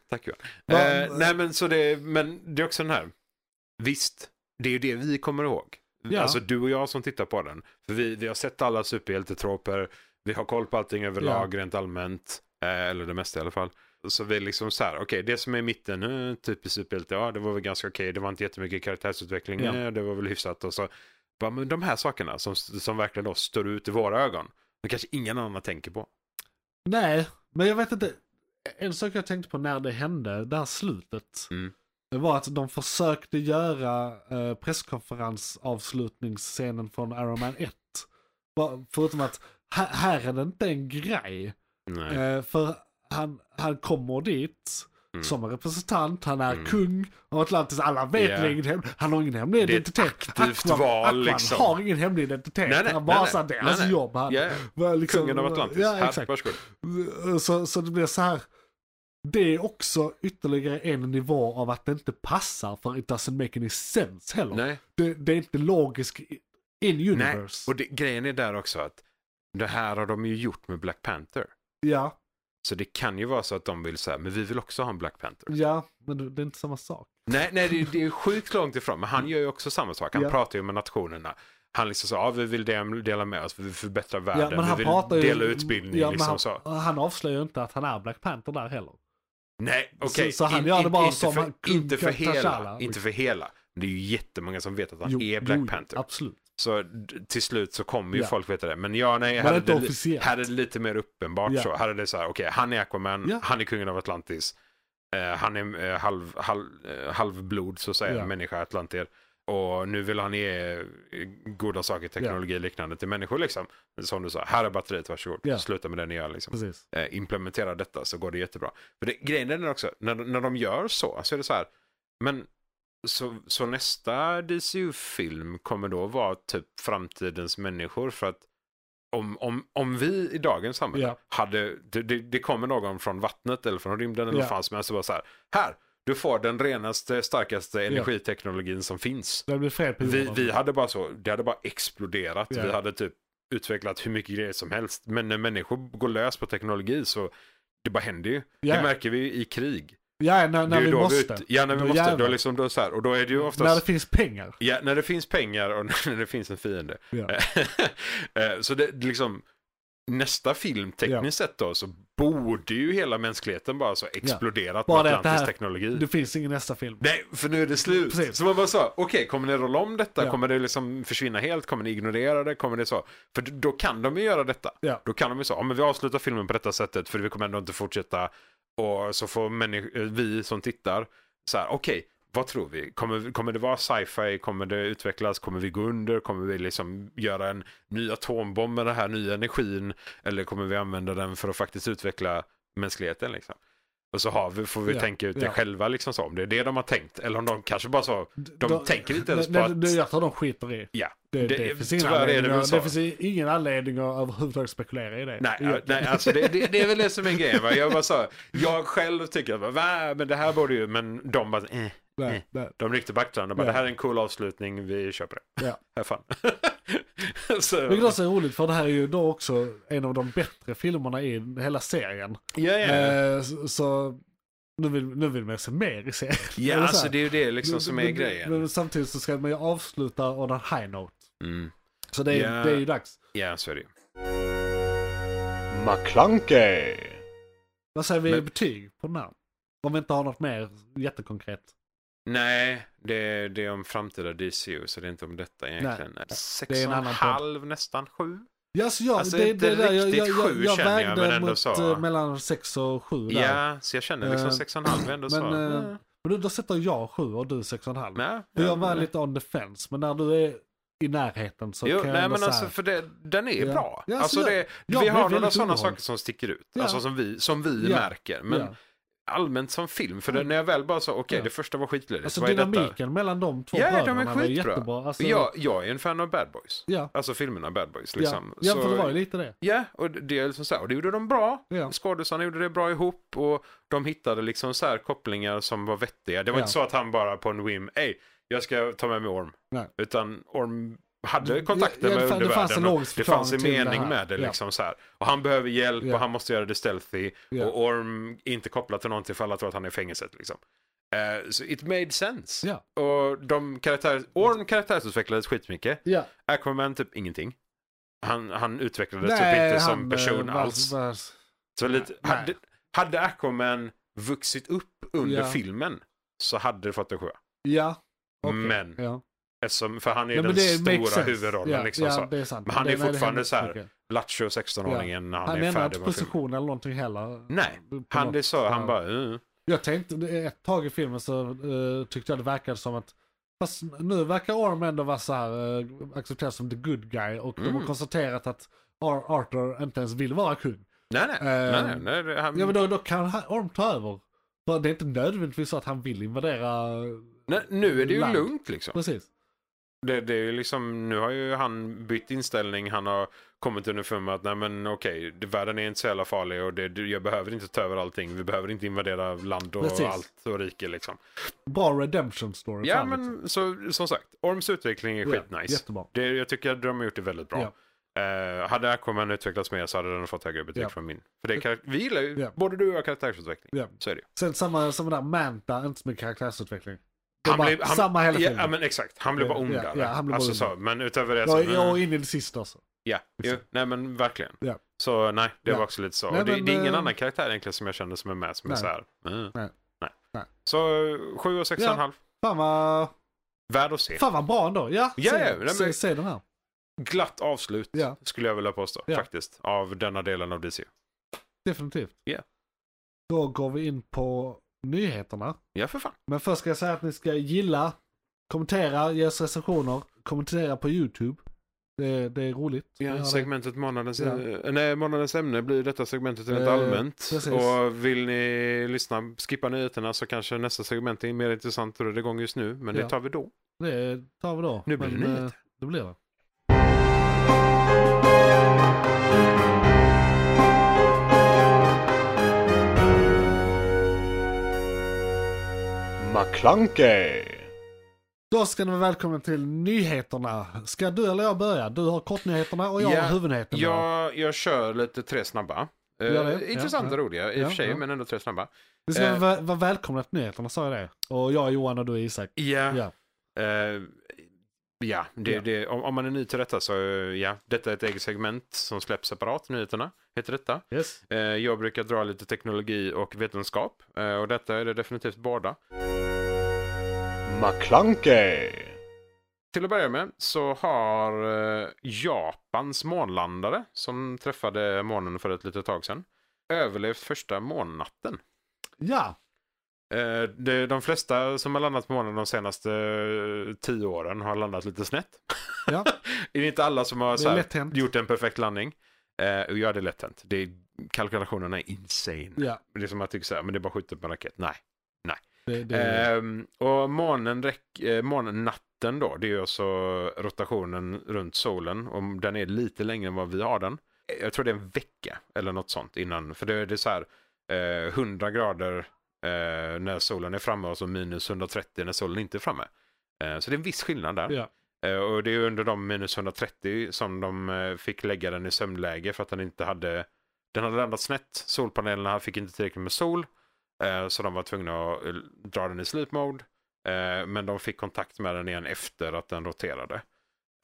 S3: Tack Johan.
S2: Va-
S3: Eh, nej men så det, men det är också den här. Visst, det är ju det vi kommer ihåg.
S2: Ja.
S3: Alltså du och jag som tittar på den. För vi, vi har sett alla superhjältetroper. Vi har koll på allting överlag rent allmänt. Eh, eller det mesta i alla fall. Så vi är liksom så här, okej det som är i mitten, eh, typiskt superhjälte, ja det var väl ganska okej, det var inte jättemycket karaktärsutveckling,
S2: Ja.
S3: eh, det var väl hyfsat och så. Bara, men de här sakerna som, som verkligen då står ut i våra ögon. Men kanske ingen annan tänker på.
S2: Nej, men jag vet inte. En sak jag tänkte på när det hände, det här slutet.
S3: Mm.
S2: Det var att de försökte göra eh, presskonferensavslutningsscenen från Iron Man 1. Bara- Förutom att här, här är det inte en grej.
S3: Nej.
S2: Eh, för han, han kommer dit
S3: Mm.
S2: som en representant, han är
S3: Mm.
S2: kung av Atlantis, alla vet
S3: Ja.
S2: yeah. ingen hem, han har ingen hemlig
S3: Det är ett
S2: identitet.
S3: aktivt
S2: Aquaman-
S3: val,
S2: Aquaman
S3: liksom.
S2: har ingen hemlig identitet,
S3: Nej, nej,
S2: han bara
S3: nej,
S2: så här, det är
S3: nej,
S2: hans
S3: nej.
S2: jobb. Han,
S3: Ja,
S2: var liksom-
S3: Kungen av Atlantis.
S2: Ja,
S3: Här,
S2: exakt.
S3: varsågod.
S2: Eh, Så, så det blir så här. Det är också ytterligare en nivå av att det inte passar för it doesn't make any sense heller.
S3: Nej.
S2: Det, det är inte logiskt i- in
S3: Nej.
S2: universe.
S3: Och det, grejen är där också att det här har de ju gjort med Black Panther.
S2: Ja,
S3: Så det kan ju vara så att de vill säga, men vi vill också ha en Black Panther.
S2: ja, men det- det är inte samma sak.
S3: Nej, nej det, är- det är sjukt långt ifrån, men han gör ju också samma sak. Han
S2: Mm. Ja.
S3: pratar ju med nationerna. Han liksom sa, ja vi vill del- dela med oss, vi vill förbättra världen,
S2: ja, men han
S3: vi
S2: pratar
S3: vill
S2: ju-
S3: dela utbildning.
S2: ja, men
S3: liksom,
S2: han,
S3: så.
S2: han avslöjar ju inte att han är Black Panther där heller.
S3: Nej, okej.
S2: Så- så han gör det bara
S3: inte
S2: som
S3: för,
S2: han-
S3: inte för
S2: Kung
S3: hela.
S2: T'Challa.
S3: Inte för hela. Men Det är ju jättemånga som vet att han
S2: Jo,
S3: är Black
S2: jo,
S3: Panther.
S2: Absolut.
S3: Så d- till slut så kommer ju
S2: Ja.
S3: folk veta det. Men ja, nej,
S2: Men
S3: här är
S2: inte
S3: det, li-
S2: officiellt.
S3: här är det lite mer uppenbart
S2: Ja.
S3: så. Här är det så här, okej, han är Aquaman,
S2: Ja.
S3: han är kungen av Atlantis. Eh, han är eh, halv, halv, eh, halvblod, så att säga,
S2: Ja.
S3: människa, Atlanter. Och nu vill han ge eh, goda saker, teknologi och liknande till människor liksom. Som du sa, här är batteriet, varsågod.
S2: Ja.
S3: Sluta med det ni gör liksom
S2: Precis.
S3: eh, implementera detta så går det jättebra. För det, grejen är den också, när, när de gör så, så är det så här, men så, så nästa DCU-film kommer då vara typ framtidens människor för att om, om, om vi i dagens samhälle
S2: Ja.
S3: hade, det, det, det kommer någon från vattnet eller från rymden eller
S2: Ja.
S3: vad fan som helst och bara så här, här, du får den renaste, starkaste energiteknologin som finns.
S2: Det blir fred på
S3: Vi,
S2: jorden.
S3: vi hade bara så, det hade bara exploderat.
S2: Ja.
S3: Vi hade typ utvecklat hur mycket grejer som helst. Men när människor går lös på teknologi så det bara händer ju. Det
S2: Ja.
S3: märker vi ju i krig.
S2: Ja, när,
S3: det
S2: när
S3: är ju
S2: vi
S3: då
S2: måste.
S3: ut- ja, när vi
S2: Då
S3: måste. Då
S2: jävlar.
S3: är liksom då så här, och då är det ju oftast...
S2: När det finns pengar.
S3: Ja, när det finns pengar och när det finns en fiende.
S2: Ja.
S3: Eh, så det det liksom, nästa film tekniskt sett då så borde ju hela mänskligheten bara så exploderat
S2: Bara
S3: med
S2: det att det
S3: Atlantis
S2: här-
S3: teknologi.
S2: Det finns ingen nästa film.
S3: Nej, för nu är det slut.
S2: Precis.
S3: Så man bara sa, okej, kommer ni rolla om detta?
S2: Ja.
S3: Kommer det liksom försvinna helt? Kommer ni ignorera det? Kommer det så? För d- då kan de ju göra detta.
S2: Ja.
S3: Då kan de ju säga, ja men vi avslutar filmen på detta sättet för vi kommer ändå inte fortsätta. Och så får människ- eh, vi som tittar, så här, okej, vad tror vi? Kommer, kommer det vara sci-fi? Kommer det utvecklas? Kommer vi gå under? Kommer vi liksom göra en ny atombomb med den här nya energin? Eller kommer vi använda den för att faktiskt utveckla mänskligheten liksom? Och så har vi, får vi
S2: Ja,
S3: tänka ut det
S2: ja.
S3: själva liksom så, om det är det de har tänkt. Eller om de kanske bara så, de tänker inte ens
S2: nej,
S3: på
S2: nej,
S3: att-
S2: Jag tror de skiter i.
S3: ja.
S2: Det, det, finns ingen
S3: tyvärr är det
S2: anledning,
S3: väl
S2: att- det
S3: så.
S2: finns ingen anledning att överhuvudtaget spekulera i det.
S3: Nej,
S2: Ja.
S3: ja, nej alltså det, det, det är väl det som är grejen. Va? Jag, bara så, jag själv tycker att va, men det här borde ju, men de bara, eh,
S2: nej, nej.
S3: de ryckte på axlarna och bara,
S2: Ja.
S3: det här är en cool avslutning, vi köper det.
S2: Ja.
S3: Här fan. så,
S2: Vilket också är roligt för det här är ju då också en av de bättre filmerna i hela serien.
S3: ja, ja.
S2: Eh, så- så nu vill, nu vill man se mer i serien.
S3: ja
S2: Eller så här.
S3: alltså det är ju det liksom som är
S2: Men-
S3: grejen.
S2: Men samtidigt så ska man ju avsluta on a high note.
S3: Mm.
S2: Så det är,
S3: Ja.
S2: det är ju dags.
S3: Ja, så är det ju.
S9: McClunkey,
S2: Vad säger vi i
S3: Men-
S2: betyg på den här? Om vi inte har något mer jättekonkret.
S3: Nej, det, det är om framtida DCU, så det är inte om detta egentligen.
S2: det är
S3: Sex
S2: en
S3: och en
S2: annan podd.
S3: halv, nästan sju.
S2: Ja, så jag,
S3: Alltså,
S2: det,
S3: inte
S2: det där, jag,
S3: riktigt
S2: jag, jag,
S3: sju
S2: jag
S3: känner jag,
S2: vägde
S3: men ändå
S2: mot
S3: så.
S2: eh, mellan 6 och 7 där.
S3: Ja, så jag känner liksom
S2: Eh,
S3: sex och en halv ändå så.
S2: men, eh,
S3: Mm.
S2: Men då, då sätter jag 7 och du 6,5.
S3: Nej,
S2: För
S3: ja,
S2: jag var
S3: men-
S2: lite on the fence, men när du är i närheten så
S3: Jo,
S2: kan jag
S3: nej
S2: ändå
S3: men
S2: så här-
S3: alltså för det, den är
S2: Ja.
S3: bra.
S2: Ja,
S3: alltså,
S2: alltså,
S3: det,
S2: jag
S3: vi
S2: blev
S3: har några
S2: väldigt
S3: sådana
S2: underhållen.
S3: saker som sticker ut.
S2: Ja.
S3: Alltså som vi, som vi
S2: Ja.
S3: märker. Men
S2: ja.
S3: allmänt som film. För det, när jag väl bara sa okej
S2: Ja.
S3: det första var skitlöjligt.
S2: alltså
S3: vad är detta?
S2: dynamiken mellan de två
S3: Ja, de är
S2: bröderna var
S3: skitbra.
S2: jättebra. Alltså,
S3: Jag, jag är en fan av Bad Boys.
S2: ja,
S3: Alltså filmerna Bad Boys
S2: ja.
S3: liksom.
S2: ja,
S3: Så-
S2: för det var ju lite det.
S3: Ja, och det- det är liksom så här, och det gjorde de bra.
S2: Ja.
S3: Skådisarna gjorde det bra ihop och de hittade liksom så här kopplingar som var vettiga. Det var
S2: Ja.
S3: inte så att han bara på en whim, ey, jag ska ta med mig Orm.
S2: Nej.
S3: Utan Orm hade
S2: Det-
S3: kontakter
S2: ja, det
S3: med
S2: fann- det
S3: undervärlden.
S2: fanns en
S3: och
S2: logisk
S3: det fanns en
S2: förklaring till det
S3: mening
S2: här.
S3: med det
S2: Ja.
S3: liksom så här. Och han behöver hjälp
S2: Ja.
S3: och han måste göra det stealthy.
S2: Ja.
S3: Och Orm är inte kopplad till någonting för alla tror att han är i fängelset liksom. Eh, så it made sense.
S2: Ja.
S3: Och de karaktär, Orm karaktärsutvecklades skitmycket.
S2: Ja.
S3: Aquaman typ ingenting. Han, han utvecklades typ
S2: Nej,
S3: inte
S2: han,
S3: som person
S2: eh, var-
S3: alls.
S2: var-
S3: så lite,
S2: nej.
S3: hade, hade Aquaman vuxit upp under
S2: Ja.
S3: filmen så hade det fått en sjua.
S2: Ja, okej.
S3: Men,
S2: ja.
S3: eftersom, för han är
S2: Ja,
S3: den
S2: men det makes
S3: stora
S2: sense.
S3: huvudrollen.
S2: ja,
S3: liksom,
S2: ja,
S3: så.
S2: Det är sant.
S3: Men han
S2: Det-
S3: är
S2: nej, det
S3: fortfarande
S2: händer
S3: så här-
S2: mycket.
S3: Lattjo 16-åringen när han,
S2: Han
S3: är
S2: ändrar
S3: färdig
S2: inte
S3: med filmen.
S2: position eller någonting heller.
S3: Nej,
S2: På
S3: Han
S2: något
S3: det är så, han
S2: sätt.
S3: bara, uh,
S2: Jag tänkte ett tag i filmen så eh, tyckte jag det verkade som att Fast nu verkar Orm ändå vara så här eh, accepterad som the good guy och de har
S3: Mm.
S2: konstaterat att Ar- Arthur inte ens vill vara kung.
S3: nej nej,
S2: Eh,
S3: nej, nej, nej, han,
S2: Ja men då, då kan han- Orm ta över. För det är inte nödvändigtvis så att han vill invadera...
S3: nej, nu är det ju
S2: land.
S3: lugnt liksom.
S2: Precis.
S3: Det, det är ju liksom, nu har ju han bytt inställning. Han har kommit underfund med att nej men okej, det- världen är inte så jävla farlig och det, det- jag behöver inte ta över allting. Vi behöver inte invadera land och
S2: Precis. Mm.
S3: allt och rike liksom.
S2: Bra redemption story.
S3: Ja
S2: framåt.
S3: men så, som sagt, Orms utveckling är
S2: liksom. Ja,
S3: skitnice.
S2: Jättebra.
S3: Det, jag tycker att de har gjort det väldigt bra.
S2: Ja.
S3: Eh, hade Aquaman utvecklats mer så hade den fått högre betyg
S2: Ja.
S3: från min. För det är karak- vi gillar ju,
S2: Ja.
S3: både du och jag karaktärsutveckling.
S2: Ja.
S3: Så är det ju.
S2: Sen samma, samma där Manta, inte så mycket karaktärsutveckling. Det är
S3: Han
S2: bara
S3: blev- han-
S2: samma hela
S3: Ja,
S2: filmen.
S3: ja men exakt, han blev
S2: Ja,
S3: bara
S2: ja,
S3: ondare.
S2: ja, han blev bara
S3: alltså, så,
S2: ondare.
S3: men utöver det
S2: jag,
S3: så...
S2: jag är inne i det sista också.
S3: Ja, ju,
S2: Liksom.
S3: nej men verkligen.
S2: Ja.
S3: Så nej, det
S2: Ja.
S3: var också lite så.
S2: Nej,
S3: Och det,
S2: men,
S3: det är ingen
S2: eh,
S3: annan karaktär egentligen som jag känner som är med som
S2: nej.
S3: är så här. Mm.
S2: Nej. Nej.
S3: Så 7 och 6,5.
S2: Ja.
S3: och en halv.
S2: Fan vad,
S3: Värd att se.
S2: fan vad bra ändå. Ja,
S3: Ja,
S2: se,
S3: ja, nej, men-
S2: se, se den här.
S3: Glatt avslut
S2: Ja.
S3: skulle jag vilja påstå
S2: Ja.
S3: faktiskt. Av denna delen av DC.
S2: Definitivt.
S3: Ja.
S2: Då går vi in på nyheterna.
S3: Ja för fan.
S2: Men först ska jag säga att ni ska gilla, kommentera, ge oss recensioner, kommentera på YouTube. Det, det är roligt. Vi har
S3: Ja,
S2: det.
S3: segmentet månadens,
S2: Ja.
S3: eh, nej, månadens ämne blir detta segmentet rent
S2: Eh,
S3: allmänt.
S2: precis.
S3: Och vill ni lyssna, skippa nyheterna så kanske nästa segment är mer intressant och det är igång just nu. Men
S2: Ja.
S3: det tar vi då.
S2: Det tar vi då.
S3: Nu blir det
S2: Men,
S3: nyheter.
S2: eh, Det blir det.
S9: McClunkey,
S2: Då ska ni vara välkomna till nyheterna. Ska du eller jag börja? Du har kortnyheterna och jag
S3: Ja,
S2: har huvudnyheterna.
S3: Jag, jag kör lite tre snabba. Eh,
S2: Gör det.
S3: intressanta
S2: Ja, ja.
S3: roliga i och
S2: Ja,
S3: för sig,
S2: ja.
S3: men ändå tre snabba.
S2: Ni ska
S3: eh,
S2: vara, vara välkomna till nyheterna, sa jag det. Och jag är Johan och du är Isak.
S3: Ja.
S2: Ja.
S3: Eh, ja, det,
S2: Ja.
S3: Det, om, om man är ny till detta så eh, ja, detta är ett eget segment som släpps separat, nyheterna heter detta.
S2: Yes.
S3: Eh, jag brukar dra lite teknologi och vetenskap eh, och detta är det definitivt båda.
S9: McClunkey,
S3: Till att börja med så har eh, Japans månlandare som träffade månen för ett litet tag sedan överlevt första månnatten.
S2: Ja,
S3: Eh, det, de flesta som har landat på månen de senaste eh, tio åren har landat lite snett.
S2: Ja.
S3: det är inte alla som har
S2: det
S3: så
S2: är
S3: här,
S2: lätt hänt.
S3: gjort en perfekt landning. Eh, och ja, det är lätt hänt. Det är kalkylationerna är insane.
S2: Ja,
S3: Det är som Liksom att tycker så här, men det är bara att skjuta upp en raket. Nej.
S2: det, det,
S3: Ehm, och månen räck, eh, månnatten då, det är ju alltså rotationen runt solen. Och den är lite längre än vad vi har den. Jag tror det är en vecka eller något sånt innan. För det, det är så här eh, 100 grader eh, när solen är framme och så minus 130 när solen inte är framme. Eh, så det är en viss skillnad där.
S2: ja.
S3: Eh, Och det är under de minus 130 som de eh, fick lägga den i sömnläge för att den inte hade... Den hade landat snett, solpanelerna fick inte tillräckligt med sol. eh, Så de var tvungna att eh, dra den i sleep mode. Eh, Men de fick kontakt med den igen efter att den roterade.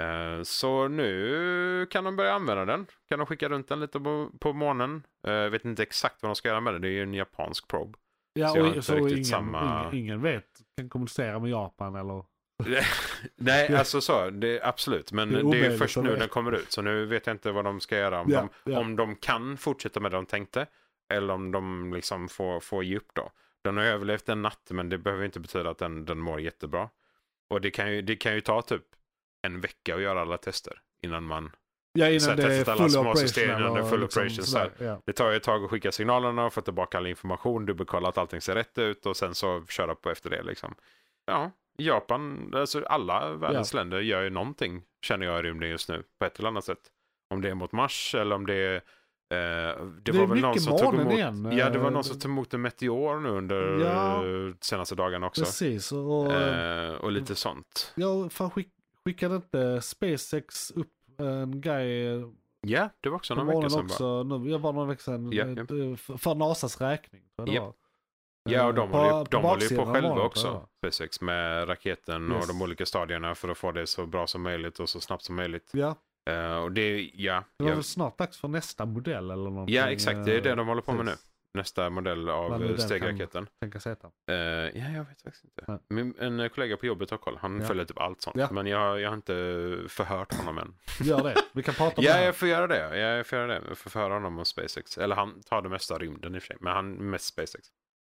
S3: Eh, Så nu kan de börja använda den. Kan de skicka runt den lite på, på månen. Eh, Jag vet inte exakt vad de ska göra med den. Det är ju en japansk probe.
S2: ja
S3: så jag har
S2: och,
S3: inte
S2: så
S3: riktigt
S2: ingen,
S3: samma-
S2: ingen, ingen vet, kan kommunicera med Japan eller...
S3: Nej, alltså så. Det, absolut. Men
S2: Det
S3: det
S2: är
S3: är, ju
S2: omöjligt
S3: först
S2: att
S3: nu
S2: veta.
S3: den kommer ut. Så nu vet jag inte vad de ska göra. Om,
S2: Ja,
S3: de,
S2: ja.
S3: om de kan fortsätta med det de tänkte. Eller om de liksom får, får ge upp då. Den har överlevt en natt men det behöver inte betyda att den, den mår jättebra. Och det kan, ju, det kan ju ta typ en vecka att göra alla tester. Innan man...
S2: Ja, innan
S3: Så att
S2: det är
S3: testet alla
S2: full
S3: små
S2: operation.
S3: system innan det är
S2: eller
S3: full
S2: liksom
S3: operation,
S2: sådär, Ja.
S3: Det tar ju ett tag att skicka signalerna och få tillbaka all information. Dubbelkolla att allting ser rätt ut och sen så köra på efter det liksom. Ja, Japan, alltså alla världens länder gör ju någonting känner jag i rymden just nu på ett eller annat sätt. Om det är mot Mars eller om det är... Eh, det,
S2: Det är
S3: var väl någon
S2: mycket
S3: som tog
S2: månen
S3: emot,
S2: igen.
S3: Ja, det var
S2: Eh,
S3: någon som tog emot en meteor nu under
S2: Ja.
S3: eh, senaste dagarna också.
S2: Precis, och... eh,
S3: Eh, och lite sånt.
S2: Ja, fan skick, skickade inte SpaceX upp en guy
S3: Ja, det var också
S2: på
S3: någon vecka
S2: morgonen
S3: sedan bara.
S2: också, nu, jag var några veckor sedan,
S3: Ja,
S2: eh, för Nasas räkning. tror jag det
S3: Japp.
S2: var.
S3: Ja, och
S2: Eh,
S3: de,
S2: på-
S3: håller, ju, de
S2: på
S3: håller ju på
S2: baksidan av
S3: själva
S2: molnet,
S3: också.
S2: ja.
S3: SpaceX med raketen
S2: Yes.
S3: och de olika stadierna för att få det så bra som möjligt och så snabbt som möjligt.
S2: Ja,
S3: Eh, och det är, ja,
S2: det var
S3: ja,
S2: väl snart dags för nästa modell eller någonting.
S3: ja, exakt. Det är det
S2: eh,
S3: de håller på med nu.
S2: precis.
S3: Nästa modell av
S2: Vad
S3: eh,
S2: nu den
S3: stegraketen.
S2: Tänkas heta.
S3: Eh, ja, jag vet faktiskt
S2: Nej.
S3: inte. Min, en eh, kollega på jobbet har koll. Han
S2: Ja.
S3: följer typ allt sånt.
S2: Ja.
S3: Men jag, jag har inte förhört honom än.
S2: Gör det, vi kan prata om det
S3: Ja,
S2: här.
S3: jag får göra det. Ja, jag får göra det. Jag får förhöra honom om SpaceX. Eller han tar det mesta av rymden i och för sig. Men han mest SpaceX.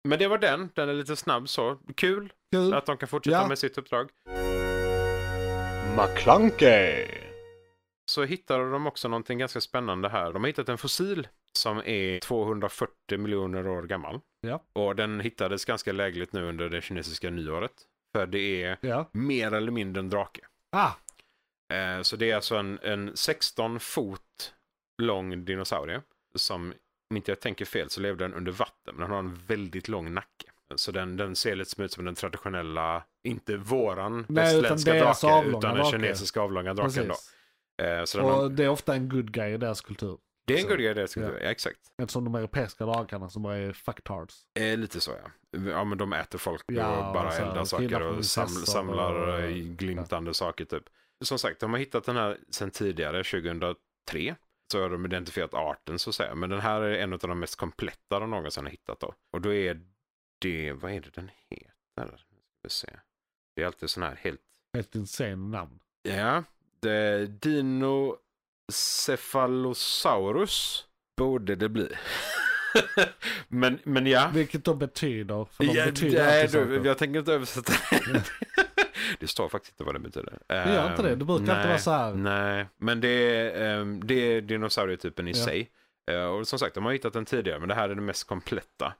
S3: Men det var den. Den är lite snabb så. Kul
S2: Kul.
S3: att de kan fortsätta
S2: Mm. Ja.
S3: med sitt uppdrag.
S9: McClunkey.
S3: så hittade de också någonting ganska spännande här. De har hittat en fossil som är 240 miljoner år gammal.
S2: Ja.
S3: Och den hittades ganska lägligt nu under det kinesiska nyåret. För det är
S2: Ja.
S3: mer eller mindre en drake.
S2: Ah,
S3: Eh, så det är alltså en, en 16 fot lång dinosaurie. Som, om inte jag tänker fel, så levde den under vatten. Men den har en väldigt lång nacke. Så den, den ser lite ut som den traditionella, inte våran
S2: Nej, utan
S3: västländska
S2: deras
S3: drake,
S2: avlånga
S3: utan den
S2: drake.
S3: kinesiska avlånga draken. Då.
S2: precis.
S3: Eh, så den har-
S2: Och det är ofta en good guy i deras kultur.
S3: det är en
S2: Så-
S3: good guy det skulle
S2: ja.
S3: jag säga, ja. exakt.
S2: Eftersom de europeiska drakarna som bara är fucktards.
S3: Eh, lite så ja. Ja men de äter folk
S2: Ja,
S3: och bara
S2: och så här,
S3: eldar
S2: killar
S3: saker
S2: från
S3: och
S2: prinsessor
S3: saml- samlar
S2: och-
S3: eh, glimtande saker typ. Som sagt, de har hittat den här sen tidigare, 2003. Så har de identifierat arten så att säga. Men den här är en av de mest kompletta de någonsin har hittat då. Och då är det, vad är det den heter? Nu ska vi se. Det är alltid sån här helt
S2: Helt insane namn.
S3: Ja, det Dinocephalosaurus borde det bli. men, men ja.
S2: Vilket då betyder, för de
S3: ja
S2: betyder
S3: nej,
S2: alltid
S3: du,
S2: saker.
S3: jag tänker inte översätta det. det står faktiskt inte vad det betyder. Ehm,
S2: Det gör inte det, det brukar inte vara så här.
S3: Nej, men det är, ehm, det är dinosaurietypen i
S2: Ja.
S3: sig. Eh, Och som sagt, de har hittat den tidigare, men det här är den mest kompletta.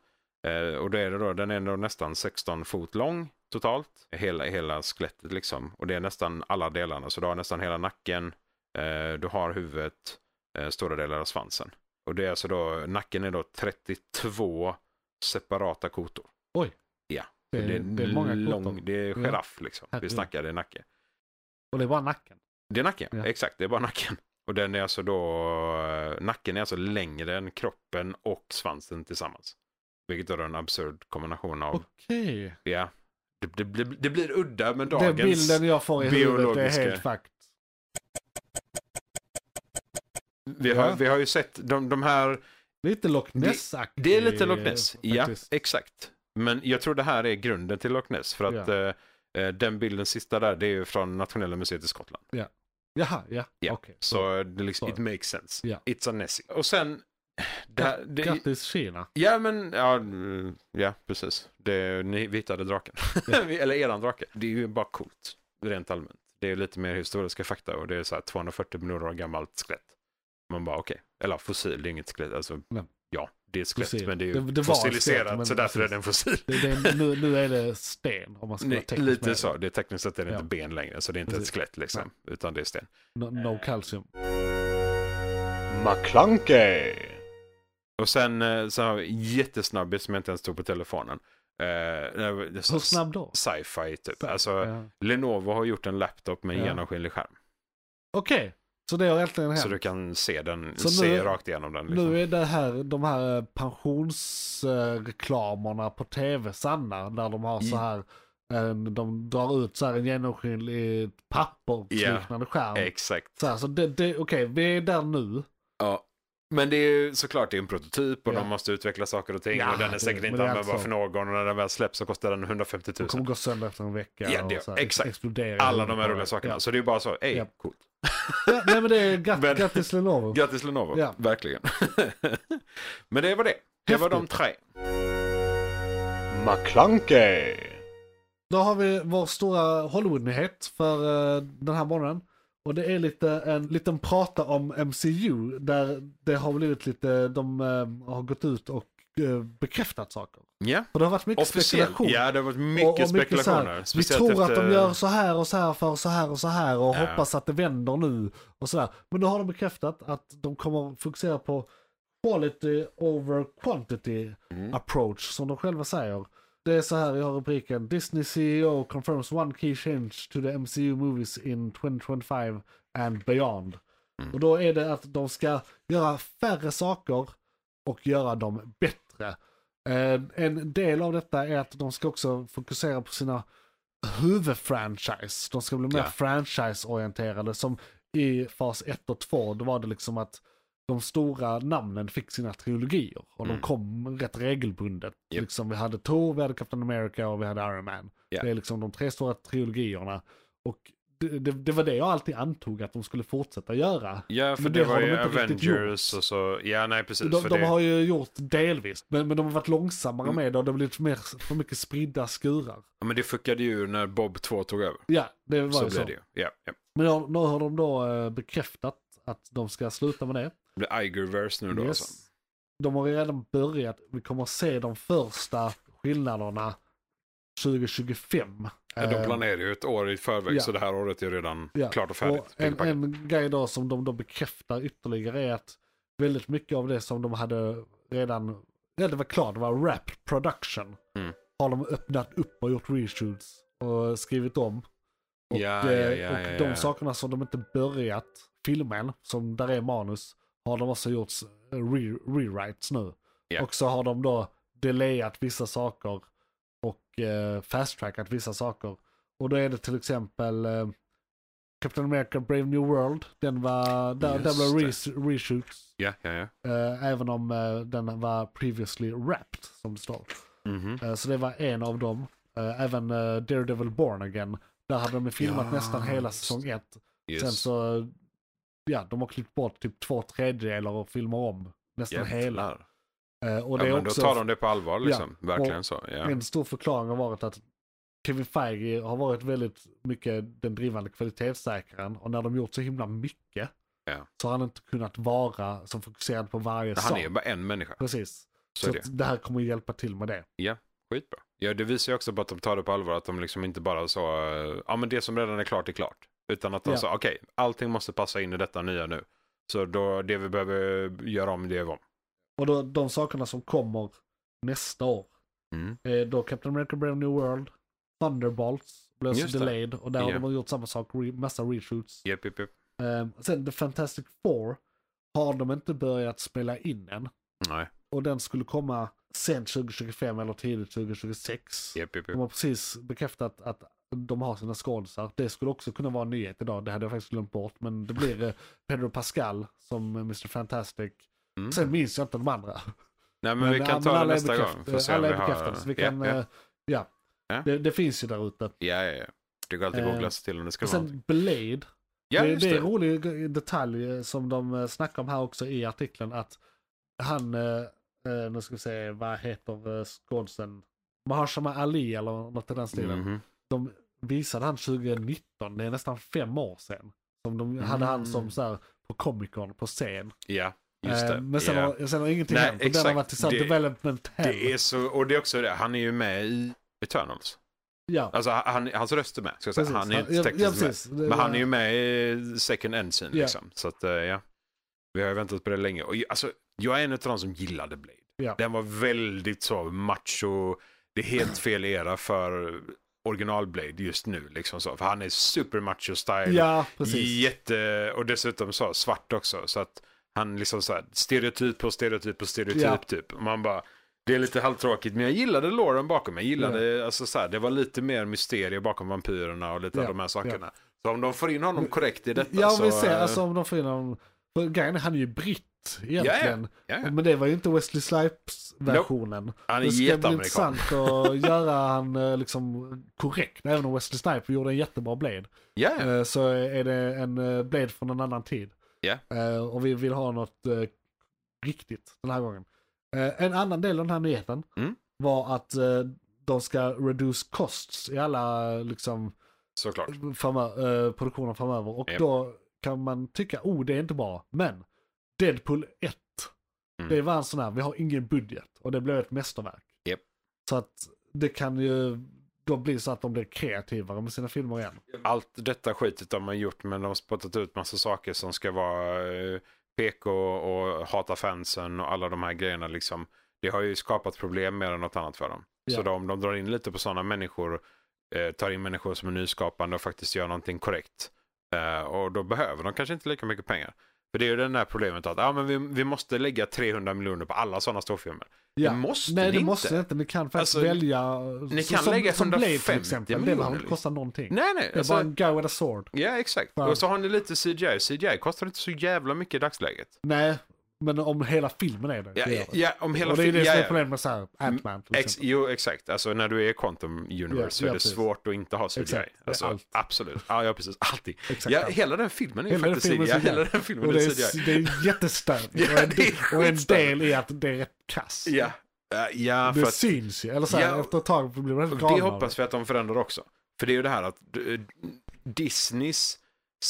S3: Eh, Och då är det då, den är då nästan 16 fot lång totalt. Hela, hela skelettet liksom. Och det är nästan alla delarna. Så du har nästan hela nacken, eh, du har huvudet, eh, stora delar av svansen. Och det är alltså då, nacken är då 32 separata kotor.
S2: Det, är- det är många lång...
S3: Det är
S2: Ja.
S3: giraff liksom. Vi
S2: Herregud.
S3: snackar, det är nacke.
S2: Och det är bara nacken.
S3: Det är nacken,
S2: Ja.
S3: exakt. Det är bara nacken. Och den är alltså då, nacken är alltså längre än kroppen och svansen tillsammans. Vilket är en absurd kombination av,
S2: Okej.
S3: ja. Det, det, blir- det blir udda med
S2: Den
S3: dagens...
S2: bilden jag får i huvudet är
S3: biologiska-
S2: helt fakt.
S3: vi, har,
S2: Ja.
S3: vi har ju sett, de, de här,
S2: Lite Loch
S3: Det-
S2: ness
S3: det är lite Loch Ness. Ja, exakt. Men jag tror det här är grunden till Loch Ness. För att eh, eh, den bilden sista där, det är ju från Nationella museet i Skottland.
S2: Jaha, ja.
S3: Ja.
S2: Okej.
S3: Så det liksom,
S2: Så.
S3: it makes sense.
S2: Ja.
S3: It's a Nessie. Och sen, det, här- det,
S2: Grattis Kina.
S3: Ja, men ja, mm, ja precis. Det, ni vi hittade draken. Vi- Eller eran drake. Det är ju bara coolt, rent allmänt. Det är lite mer historiska fakta och det är så här 240 miljoner år gammalt skelett. Man bara okej. Eller ja, fossil, det är inget skelett. Alltså,
S2: Nej.
S3: ja, det är ett skelett
S2: Fossil.
S3: men det är ju
S2: Det- det var ett
S3: fossiliserat
S2: skelett, men
S3: så därför är
S2: precis.
S3: den fossil.
S2: Det, det, nu, nu är det sten om man ska vara
S3: Nej,
S2: teknisk
S3: lite
S2: med.
S3: så. Det är tekniskt sett är det
S2: Ja.
S3: inte ben längre så det är inte
S2: Precis.
S3: ett skelett liksom. Utan det är sten.
S2: No,
S3: Eh,
S2: no calcium.
S9: McClunkey.
S3: Och sen eh, så har vi en jättesnabbis som jag inte ens tog på telefonen. Eh, det var- det är så-
S2: Hur snabb då?
S3: Sci-fi typ. Alltså,
S2: Ja.
S3: Lenovo har gjort en laptop med en
S2: Ja.
S3: genomskinlig skärm.
S2: Okej, så det har egentligen hänt.
S3: Så du kan se den,
S2: Så
S3: se
S2: nu-
S3: rakt igenom den. Liksom.
S2: Nu är det här, de här eh, pensionsreklamerna på tv sanna. Där de har så här, en, de drar ut så här en genomskinlig pappersliknande skärm.
S3: Exakt.
S2: Så, här, så det, det, okej, vi är där nu.
S3: Ja. Men det är ju såklart det är en prototyp och
S2: Ja.
S3: de måste utveckla saker och ting.
S2: Ja,
S3: och den är
S2: det-
S3: säkert
S2: men
S3: inte
S2: det är
S3: användbar
S2: alltså-
S3: för någon. Och när den väl släpps så kostar den 150
S2: Det
S3: 000.
S2: kommer gå sönder efter en vecka.
S3: Ja, det-
S2: och så
S3: exakt.
S2: explodera.
S3: Alla de här roliga sakerna.
S2: Ja.
S3: Så det är ju bara så, ey,
S2: Ja.
S3: coolt.
S2: Ja, nej men det är gatt,
S3: Men-
S2: grattis Lenovo.
S3: Grattis Lenovo,
S2: Ja.
S3: verkligen. Men det var det. Det var de tre.
S9: McClunkey.
S2: Då har vi vår stora Hollywood-nyhet för eh, den här morgonen. Och det är lite en liten prata om MCU där det har blivit lite, de eh, har gått ut och eh, bekräftat saker.
S3: Ja,
S2: För det har varit mycket
S3: officiellt.
S2: spekulation.
S3: Ja, det har varit mycket
S2: Och- och så
S3: spekulationer.
S2: här, vi
S3: Speciellt
S2: tror att
S3: efter-
S2: de gör så här och så här för så här och så här och
S3: Ja.
S2: hoppas att det vänder nu och sådär. Men nu har de bekräftat att de kommer fokusera på quality over quantity
S3: Mm.
S2: approach som de själva säger. Det är så här, jag har rubriken Disney CEO confirms one key change to the MCU movies in 2025 and beyond.
S3: Mm.
S2: Och då är det att de ska göra färre saker och göra dem bättre. Eh, En del av detta är att de ska också fokusera på sina huvudfranchise. De ska bli mer
S3: Ja.
S2: franchise-orienterade som i fas 1 och 2 då var det liksom att de stora namnen fick sina trilogier och
S3: Mm.
S2: de kom rätt regelbundet.
S3: Japp.
S2: Liksom, vi hade Thor, vi hade Captain America och vi hade Iron Man.
S3: Ja.
S2: Det är liksom de tre stora trilogierna. Och det, det, det var det jag alltid antog att de skulle fortsätta göra.
S3: Ja, för
S2: Men
S3: det,
S2: det
S3: var
S2: har de
S3: ju
S2: inte riktigt
S3: Avengers
S2: gjort.
S3: och så. Ja, nej precis.
S2: De,
S3: för
S2: de
S3: det...
S2: har ju gjort delvis, men, men de har varit långsammare
S3: Mm.
S2: med det och det har blivit mer, för mycket spridda skurar.
S3: ja, men det fuckade ju när Bob 2 tog över.
S2: Ja, det var
S3: Så
S2: ju
S3: blev
S2: så.
S3: det ju. Ja, ja.
S2: Men nu har- nu har de då eh, bekräftat att de ska sluta med det.
S3: Det blir Igerverse nu då
S2: Yes.
S3: alltså.
S2: De har redan börjat. Vi kommer att se de första skillnaderna 2025.
S3: Ja, de
S2: Eh,
S3: planerar ju ett år i förväg
S2: ja.
S3: så det här året är redan
S2: ja.
S3: klart och färdigt.
S2: Och en, en grej då som de då bekräftar ytterligare är att väldigt mycket av det som de hade redan, ja det var klart, det var rap production.
S3: Mm.
S2: Har de öppnat upp och gjort reshoots och skrivit om. Och,
S3: Ja,
S2: eh,
S3: ja, ja,
S2: och
S3: ja,
S2: de
S3: ja.
S2: sakerna som de inte börjat filma än, som där är manus, har de också gjort eh, re- rewrites nu.
S3: Ja.
S2: Och så har de då delayat vissa saker och eh, fast-trackat vissa saker. Och då är det till exempel eh, Captain America Brave New World. Den var, där, där
S3: Just
S2: blev
S3: det.
S2: res- reshoots.
S3: Ja, ja, ja.
S2: Eh, även om eh, den var previously wrapped, som det står.
S3: Mhm.
S2: Eh, så det var en av dem. Eh, även eh, Daredevil Born Again. Där hade de ju filmat
S3: Ja,
S2: nästan hela
S3: just.
S2: säsong ett.
S3: Yes.
S2: Sen så, eh, ja, de har klippt bort typ två tredjedelar och filmar om nästan
S3: Jävlar.
S2: hela. Eh, och
S3: Ja,
S2: det är
S3: men
S2: också
S3: Då tar de det på allvar liksom.
S2: Ja,
S3: Verkligen
S2: och
S3: så. Ja.
S2: en stor förklaring har varit att Kevin Feige har varit väldigt mycket den drivande kvalitetssäkraren och när de gjort så himla mycket
S3: Ja.
S2: så har han inte kunnat vara som fokuserad på varje
S3: Han
S2: sak.
S3: är ju bara en människa.
S2: Precis.
S3: Så,
S2: Så
S3: är det.
S2: att det här kommer hjälpa till med det.
S3: Skitbra. Ja, det visar ju också på att de tar det på allvar. Att de liksom inte bara så, eh, ja men det som redan är klart är klart. Utan att de
S2: Ja.
S3: sa, okej, allting måste passa in i detta nya nu. Så då, det vi behöver göra om, det gör vi om.
S2: Och då, de sakerna som kommer nästa år
S3: Mm.
S2: är då Captain America Brave New World, Thunderbolts blev
S3: Just
S2: så
S3: det.
S2: delayed och där
S3: Ja.
S2: har de gjort samma sak, re, massa reshoots.
S3: Japp, japp, japp.
S2: Ehm, sen The Fantastic Four har de inte börjat spela in än.
S3: Nej,
S2: och den skulle komma sent 2025 eller tidigt 2026.
S3: japp, japp,
S2: De
S3: japp.
S2: har precis bekräftat att de har sina skådisar. Det skulle också kunna vara en nyhet idag, det hade jag faktiskt glömt bort. Men det blir eh, Pedro Pascal som eh, Mr Fantastic.
S3: Mm.
S2: Sen minns jag inte de andra.
S3: Nej, men, vi kan
S2: ja,
S3: ta det
S2: alla är
S3: nästa gång.
S2: bekräft-
S3: Får se om
S2: alla
S3: vi
S2: är
S3: har-
S2: bekräftade, så vi kan...
S3: Ja, ja.
S2: eh, Ja,
S3: Ja.
S2: Det, det finns ju där ute.
S3: Ja, ja, ja. Det går alltid att
S2: Eh,
S3: googla sig till om det ska
S2: Och
S3: vara något.
S2: sen Blade.
S3: Ja,
S2: det,
S3: just
S2: det är en
S3: det.
S2: rolig g- detalj eh, som de eh, snackar om här också i artikeln. Att han, eh, eh, nu ska vi se, vad heter eh, skådisen? Mahershala Ali eller något i den stilen.
S3: Mhm.
S2: De visade han 2019, det är nästan fem år sedan. Som de hade han som så här på Comic Con på scen.
S3: Ja, Mm. just
S2: Eh,
S3: det.
S2: Men sen,
S3: ja.
S2: har, sen har ingenting
S3: Nej,
S2: hänt. Och den har
S3: exakt.
S2: varit i sån
S3: Det-
S2: development hell.
S3: Det är så, och det är också det, han är ju med i Eternals.
S2: ja.
S3: Alltså han, hans röst är med, ska jag säga.
S2: Precis.
S3: Han är inte
S2: Ja,
S3: tekniskt
S2: ja,
S3: med.
S2: precis. Det-
S3: Men han är ju med i Second Ensign
S2: Ja.
S3: liksom. Så att, eh, ja. Vi har ju väntat på det länge. Och, ju- alltså, jag är en av de som gillade Blade.
S2: Ja.
S3: Den var väldigt så macho. Det är helt fel era för original Blade just nu. Liksom så. För han är super macho style.
S2: Ja, precis.
S3: Jätte, och dessutom så svart också. Så att han liksom så här, stereotyp på stereotyp på stereotyp
S2: Ja.
S3: typ. Man bara, det är lite halvtråkigt men jag gillade låren bakom. Jag gillade, alltså så här, det var lite mer mysterier bakom vampyrerna och lite
S2: Ja,
S3: av de här sakerna. Så om de får in honom korrekt i detta
S2: Jag
S3: så...
S2: vill se,
S3: eh,
S2: alltså om de får in honom. För grejen är, han är ju britt egentligen.
S3: ja, ja.
S2: Men det var ju inte Wesley Snipes-versionen.
S3: Han är
S2: Det ska bli
S3: jätteamerikan.
S2: intressant att göra han eh, liksom korrekt. Även om Wesley Snipes gjorde en jättebra Blade.
S3: Ja, ja.
S2: eh, Så är det en eh, Blade från en annan tid.
S3: Ja.
S2: Eh, Och vi vill ha något eh, riktigt den här gången. Eh, En annan del av den här nyheten
S3: Mm.
S2: var att eh, de ska reduce costs i alla eh, liksom,
S3: såklart.
S2: framö- eh, produktioner framöver. Och
S3: Japp.
S2: då kan man tycka, oh det är inte bra. Men Deadpool 1,
S3: Mm.
S2: det var en sån här, vi har ingen budget. Och det blev ett mästerverk.
S3: Japp.
S2: Så att det kan ju då bli så att de blir kreativare med sina filmer igen.
S3: Allt detta skitet de har gjort men de har spottat ut massa saker som ska vara eh, PK och hata fansen och alla de här grejerna liksom. Det har ju skapat problem mer än något annat för dem.
S2: Ja.
S3: Så de, de drar in lite på sådana människor, eh, tar in människor som är nyskapande och faktiskt gör någonting korrekt. Eh, och då behöver de kanske inte lika mycket pengar. För det är ju det där problemet att ah, men vi, vi måste lägga 300 miljoner på alla sådana storfilmer.
S2: Ja.
S3: Det måste
S2: Nej,
S3: ni
S2: det
S3: inte.
S2: måste ni inte. Ni kan faktiskt
S3: Alltså,
S2: välja.
S3: ni kan lägga 150
S2: Det
S3: miljoner,
S2: behöver inte
S3: liksom.
S2: kosta någonting.
S3: Nej, nej.
S2: det är
S3: alltså-
S2: bara en guy with a sword.
S3: Ja, exakt.
S2: Fan.
S3: Och så har ni lite CGI. CGI kostar inte så jävla mycket i dagsläget.
S2: Nej, men om hela filmen är det.
S3: Ja,
S2: det gör
S3: ja, ja, om hela
S2: och det är det
S3: fi- ja,
S2: som är
S3: ja.
S2: problemet med så här, Ant-Man. till
S3: Ex,
S2: exempel.
S3: jo, exakt. Alltså när du är i Quantum Universe
S2: Ja,
S3: så är
S2: ja,
S3: det
S2: precis.
S3: svårt att inte ha CGI.
S2: Exakt. Det är
S3: Alltså,
S2: allt.
S3: Absolut. Ja, ja, precis. Alltid.
S2: Exakt
S3: Ja,
S2: allt.
S3: hela den filmen är ju
S2: Hela den
S3: faktiskt CGI.
S2: filmen är CGI.
S3: Hela den filmen
S2: Och
S3: är
S2: det
S3: CGI.
S2: är, det är jättestörigt.
S3: Ja,
S2: och, en,
S3: det är
S2: och en
S3: skitstörigt.
S2: del är att det är rätt kass.
S3: Ja, Ja, ja
S2: det
S3: för att,
S2: syns ju. Eller så här,
S3: Ja,
S2: efter ett tag blir man helt galen
S3: det
S2: av
S3: hoppas vi att de förändrar också. För det är ju det här att eh, Disneys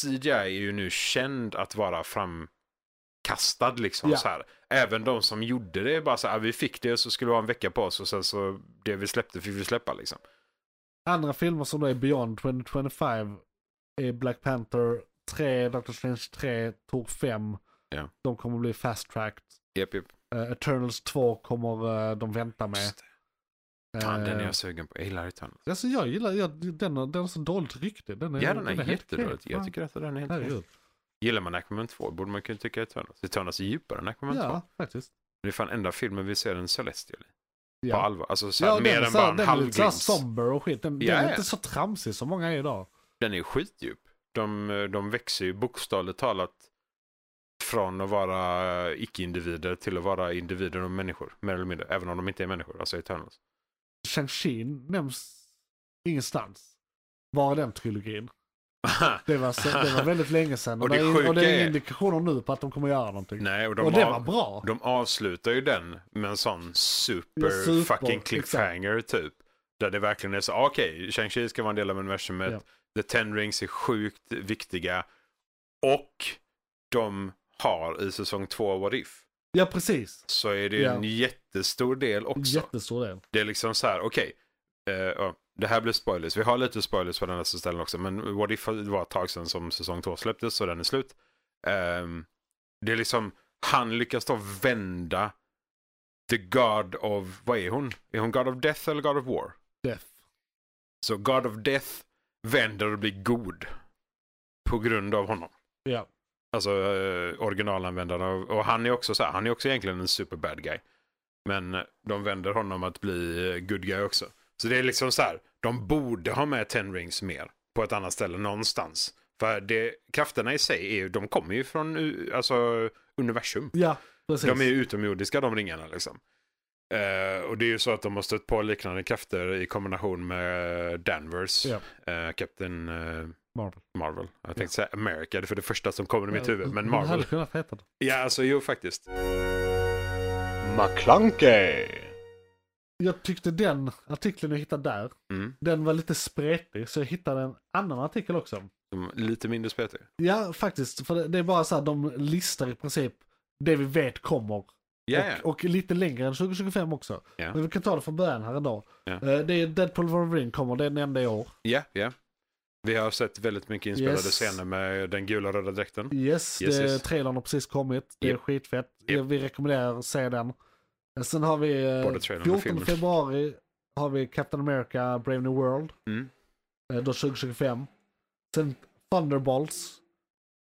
S3: CGI är ju nu känd att vara framkastad liksom
S2: Ja.
S3: så här. Även de som gjorde det är bara så här, "Ah, vi fick det och så skulle vi ha en vecka på oss och sen så det vi släppte fick vi släppa liksom.
S2: Andra filmer som då är Beyond 2025 är Black Panther 3, Doctor Strange 3, Tor 5.
S3: Ja.
S2: De kommer bli fast-tracked.
S3: Japp, japp.
S2: Eh, Eternals 2 kommer eh, de vänta med.
S3: Just det. Fan, den är
S2: Eh,
S3: jag sugen på. Jag gillar Eternals.
S2: Alltså jag gillar, jag, den, har- den har så dåligt rykte. Den är,
S3: Ja, den
S2: den
S3: är
S2: helt
S3: jättedålig.
S2: okej.
S3: Jag tycker att den är helt okej.
S2: Herregud.
S3: Gillar man Aquaman 2 borde man kunna tycka Eternals. Eternals är djupare än Aquaman 2.
S2: Ja, faktiskt.
S3: Det är fan enda filmen vi ser en Celestial i.
S2: Ja.
S3: På allvar. Alltså så här,
S2: den
S3: mer
S2: är
S3: än
S2: så här-
S3: bara en
S2: Den är
S3: halv
S2: lite såhär
S3: glimt.
S2: somber och skit. Den,
S3: Ja,
S2: den är
S3: ja.
S2: inte så tramsig som många är idag.
S3: Den är skitdjup. De, de växer ju bokstavligt talat från att vara eh, icke-individer till att vara individer och människor. Mer eller mindre. Även om de inte är människor. Alltså Eternals.
S2: Shang-Chi nämns ingenstans. Var är den trilogin? Det var, så, det var väldigt länge sedan. Och,
S3: Och
S2: det,
S3: det
S2: är, och
S3: sjuka
S2: det är inga
S3: är-
S2: indikationer nu på att de kommer göra någonting.
S3: Nej, och de,
S2: och det
S3: av-
S2: var bra.
S3: de avslutar ju den med en sån super,
S2: Ja, super,
S3: fucking cliffhanger typ. Där det verkligen är så, ah, okej, Shang-Chi ska vara en del av universumet.
S2: Ja.
S3: The Ten Rings är sjukt viktiga. Och de har i säsong två What If.
S2: Ja, precis.
S3: Så är det
S2: Ja.
S3: en jättestor del också.
S2: Jättestor del.
S3: Det är liksom så här, okej. eh, ja, det här blir spoilers. Vi har lite spoilers på den här ställen också. Men What If var ett tag sedan som säsong två släpptes så den är slut. Ehm, det är liksom, han lyckas då vända The God of, vad är hon? Är hon God of Death eller God of War?
S2: Death.
S3: Så God of Death vänder och blir god. På grund av honom.
S2: Ja.
S3: Alltså eh, originalanvändaren. av- Och han är också så här, han är också egentligen en super bad guy. Men eh, de vänder honom att bli eh, good guy också. Så det är liksom så här, de borde ha med Ten Rings mer på ett annat ställe någonstans. För det, krafterna i sig, är, ju- de kommer ju från u- alltså, universum.
S2: Ja, precis.
S3: De är ju utomjordiska de ringarna liksom. Eh, och det är ju så att de har stött på liknande krafter i kombination med Danvers,
S2: Ja.
S3: eh, Captain eh,
S2: Marvel.
S3: Marvel. Jag tänkte säga America, det är för det första som kommer i mitt huvud, men
S2: Det
S3: Marvel.
S2: hade kunnat heta det.
S3: Ja, alltså jo faktiskt.
S9: McClunkey!
S2: jag tyckte den artikeln jag hittade där,
S3: Mm.
S2: den var lite spretig så jag hittade en annan artikel också.
S3: De- Lite mindre spetig.
S2: Ja, faktiskt. För det- det är bara så här, de listar i princip det vi vet kommer.
S3: Ja, ja.
S2: Och, och lite längre än 2025 också.
S3: Ja.
S2: Men vi kan ta det från början här idag.
S3: Ja.
S2: Eh, Det är Deadpool Wolverine kommer, det är den enda i år.
S3: Ja, ja. Vi har sett väldigt mycket inspelade
S2: Yes.
S3: scener med den gula och röda dräkten.
S2: Yes,
S3: Yes,
S2: det,
S3: yes.
S2: trailern har precis kommit. Det är
S3: Japp.
S2: skitfett.
S3: Japp.
S2: Vi rekommenderar att se den. Eh, Sen har vi eh,
S3: Både trailern och
S2: 14
S3: filmen.
S2: februari har vi Captain America Brave New World.
S3: Mm.
S2: Eh, Då 2025. Sen Thunderbolts.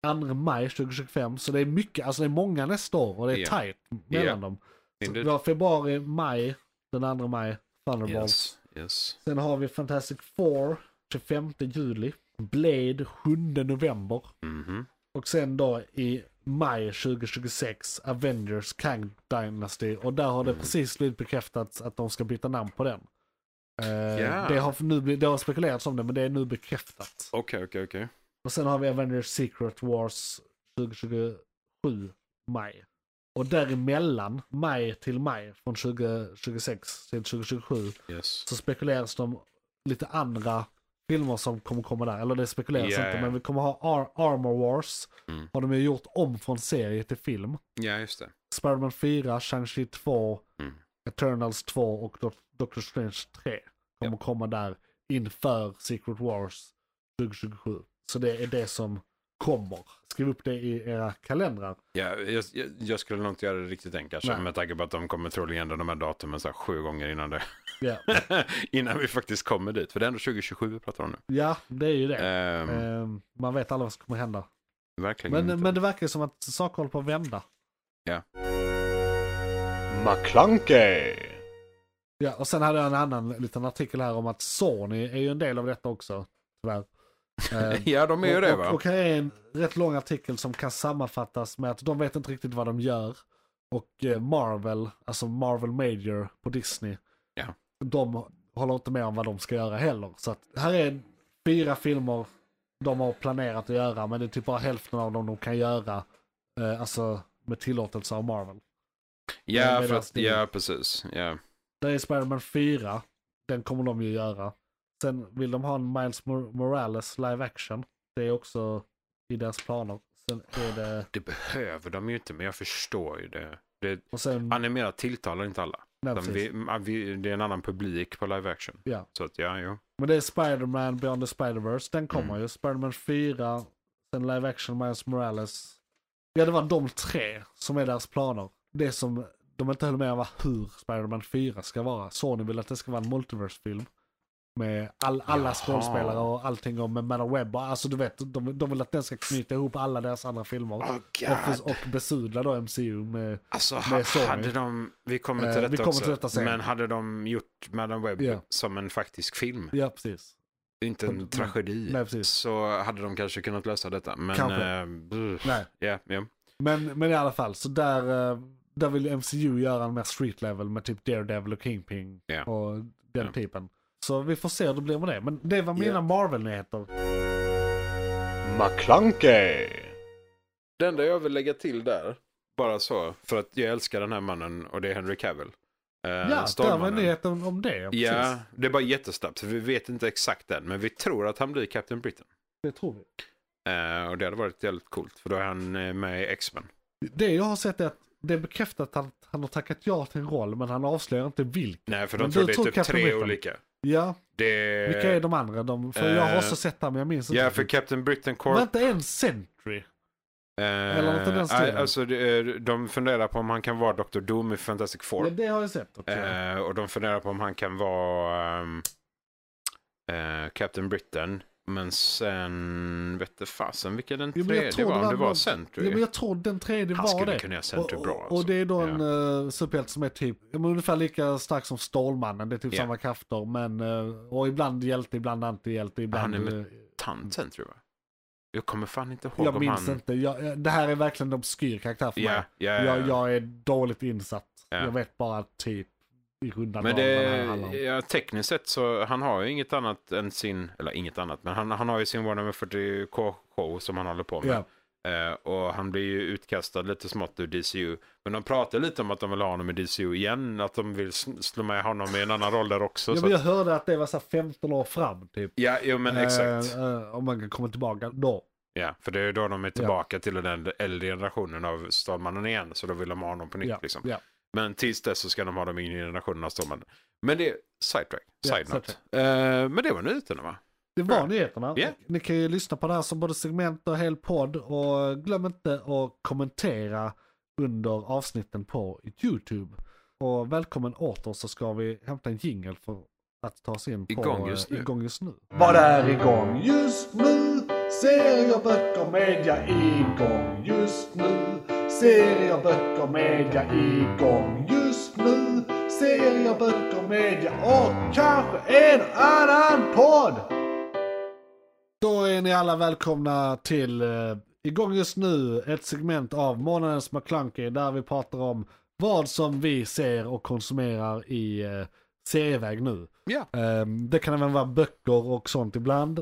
S2: 2 maj 2025. Så det är mycket, alltså det är många nästa år och det är
S3: Ja.
S2: tajt mellan
S3: Ja.
S2: dem. Så
S3: Indeed.
S2: vi har februari, maj, den 2 maj, Thunderbolts.
S3: Yes. yes.
S2: Sen har vi Fantastic Four 25 juli. Blade 7 november.
S3: Mhm.
S2: Och sen då i maj 2026 Avengers Kang Dynasty. Och där har det precis blivit bekräftat att de ska byta namn på den. Eh,
S3: Ja.
S2: det, har nu, bli- det har spekulerats om det men det är nu bekräftat.
S3: Okej, okej, okej.
S2: Och sen har vi Avengers Secret Wars 2027 maj. Och däremellan, maj till maj, från 2026 till 2027,
S3: Yes.
S2: så spekuleras de lite andra filmer som kommer komma där. Eller det spekuleras
S3: Ja,
S2: inte,
S3: ja.
S2: men vi kommer ha Ar- Armor Wars.
S3: Mm.
S2: Har de ju gjort om från serie till film.
S3: Ja, just det.
S2: Spiderman 4, Shang-Chi 2,
S3: Mm.
S2: Eternals 2 och Do- Doctor Strange 3 kommer komma där inför Secret Wars 2027. Så det är det som kommer. Skriv upp det i era kalendrar.
S3: Ja, jag, jag- jag skulle nog inte göra det riktigt än kanske.
S2: Nej.
S3: Med tanke på att de kommer troligen ändra de här datumen så här sju gånger innan det.
S2: Ja,
S3: innan vi faktiskt kommer dit. För det är ändå 2027 vi pratar om nu.
S2: ja det är ju det.
S3: Ehm,
S2: Ehm, man vet aldrig vad som kommer hända.
S3: verkligen
S2: Men,
S3: inte.
S2: men det verkar som att saker håller på att vända.
S9: McClunkey.
S2: Ja, och sen hade jag en annan liten artikel här om att Sony är ju en del av detta också, tyvärr. Ehm,
S3: Ja, de är ju det
S2: och,
S3: va?
S2: och, och här är en rätt lång artikel som kan sammanfattas med att de vet inte riktigt vad de gör. Och eh, Marvel, alltså Marvel Major på Disney,
S3: Ja.
S2: de håller inte med om vad de ska göra heller. Så att här är fyra filmer de har planerat att göra, men det är typ bara hälften av dem de kan göra. Eh, alltså med tillåtelse av Marvel.
S3: ja,
S2: men
S3: för
S2: alltså,
S3: att,
S2: det-
S3: ja, precis. Ja.
S2: Där är Spider-Man 4, den kommer de ju göra. Sen vill de ha en Miles Mor- Morales live action. Det är också i deras planer. Sen är det...
S3: Det behöver de ju inte, men jag förstår ju det. det
S2: Och sen...
S3: animerat tilltalar inte alla.
S2: nej,
S3: Utan
S2: precis.
S3: vi, vi, det är en annan publik på live action.
S2: Ja.
S3: Så att, ja, jo.
S2: Men det är Spider-Man Beyond the Spider-Verse. Den kommer
S3: Mm.
S2: ju. Spider-Man 4, sen live action Miles Morales. Ja, det var de tre som är deras planer. Det som de inte höll med om var hur Spider-Man 4 ska vara. Sony vill att det ska vara en multiverse-film. Med all, alla
S3: Jaha.
S2: skådespelare och allting och med Man of Web. och- Alltså du vet, de, de vill att den ska knyta ihop alla deras andra filmer.
S3: Oh,
S2: och, för- och besudla då MCU med...
S3: Alltså,
S2: Med Sony.
S3: ha, hade de, vi kommer
S2: Eh,
S3: till detta
S2: vi kommer
S3: också,
S2: till detta sen.
S3: men hade de gjort Madame Web
S2: Ja.
S3: som en faktisk film,
S2: Ja, precis.
S3: inte en
S2: Mm.
S3: tragedi,
S2: Nej, precis.
S3: så hade de kanske kunnat lösa detta. Men,
S2: Kanske.
S3: eh, brr,
S2: Nej.
S3: ja, ja.
S2: Men, men i alla fall, så där, eh, där vill MCU göra en mer street level med typ Daredevil och Kingpin
S3: Ja.
S2: och den
S3: Ja.
S2: typen. Så vi får se hur det blir med det. Men det var mina
S3: Ja.
S2: Marvel-nyheter.
S9: McClunkey.
S3: Det enda jag vill lägga till där, bara så, för att jag älskar den här mannen och det är Henry Cavill. Eh,
S2: ja, där var
S3: Stålmannen.
S2: nyheten om det. Precis.
S3: Ja, det är bara jättesnabbt, för vi vet inte exakt än, men vi tror att han blir Captain Britain.
S2: Det tror vi.
S3: Eh, och det hade varit jävligt coolt, för då är han eh, med i X-Men.
S2: Det jag har sett är att det är bekräftat att han har tackat ja till en roll, men han avslöjar inte vilken.
S3: Nej, för
S2: Men
S3: de
S2: du
S3: tror det är
S2: tror
S3: typ
S2: Captain
S3: tre
S2: Britain?
S3: olika.
S2: Ja,
S3: Det...
S2: vilka är de andra? De, för jag har
S3: eh,
S2: också sett det, men jag minns inte.
S3: Ja, för Captain Britain Corp.
S2: Var inte en Sentry?
S3: eh,
S2: eller något i den stilen.
S3: nej, alltså, det är- de funderar på om han kan vara Dr. Doom i Fantastic Four.
S2: Ja, det har jag sett också.
S3: Eh, och de funderar på om han kan vara ehm, eh, Captain Britain. Men sen vette fasen vilka den
S2: Jo, men jag
S3: tredje
S2: tror
S3: var.
S2: det
S3: Om
S2: var
S3: det var
S2: någon-
S3: Sentry.
S2: ja, men jag tror den tredje
S3: han
S2: var
S3: skulle
S2: det.
S3: kunna göra
S2: Och,
S3: Sentry bra.
S2: och,
S3: Alltså.
S2: och det är då en
S3: Ja.
S2: eh, superhjälte som är typ, ja, men ungefär lika stark som Stålmannen. Det är typ
S3: Ja.
S2: samma krafter. Men, eh, och ibland hjälte, ibland antihjälte, ibland...
S3: Han är med-
S2: eh,
S3: Tant Sentry va? Jag kommer fan inte ihåg
S2: jag
S3: om
S2: minns
S3: han...
S2: inte. Jag, eh, det här är verkligen en obskyr karaktär för
S3: Ja,
S2: mig.
S3: ja, ja.
S2: Jag, jag är dåligt insatt.
S3: Ja.
S2: Jag vet bara typ i runda
S3: Men
S2: drag
S3: det,
S2: vad det här handlar om.
S3: ja, tekniskt sett så han har ju inget annat än sin, eller inget annat, men han, han har ju sin Warhammer 40K show som han håller på med.
S2: Ja.
S3: Eh, och han blir ju utkastad lite smått ur DCU. Men de pratar lite om att de vill ha honom i DCU igen. Att de vill sl- slå med honom i en annan roll där också.
S2: Ja,
S3: så
S2: men
S3: att,
S2: jag hörde att det var så här 15 år fram typ.
S3: ja, jo, men exakt.
S2: Eh, eh, om man kan komma tillbaka då.
S3: Ja, för det är ju då de är tillbaka till den äldre generationen av Stålmannen igen. Så då vill de ha honom på nytt
S2: Ja,
S3: liksom.
S2: ja.
S3: Men tills dess så ska de ha de yngre generationerna av Stålmannen. Men det är sidetrack,
S2: Ja,
S3: side note. Eh, men det var nyheterna va?
S2: Det var nyheterna.
S3: Ja.
S2: Ni kan ju lyssna på det här som både segment och hel podd. Och glöm inte att kommentera under avsnitten på YouTube. Och välkommen åter så ska vi hämta en jingle för att ta oss in på
S3: Igång just
S2: eh,
S3: nu.
S2: igång just nu. Vad är igång just nu? Serier, böcker, media igång just nu. Serier, böcker, media igång just nu. Serier, böcker, media och kanske en annan podd. Då är ni alla välkomna till eh, igång just nu ett segment av månadens McKlunky där vi pratar om vad som vi ser och konsumerar i eh, serieväg nu.
S3: Ja.
S2: Eh, det kan även vara böcker och sånt ibland.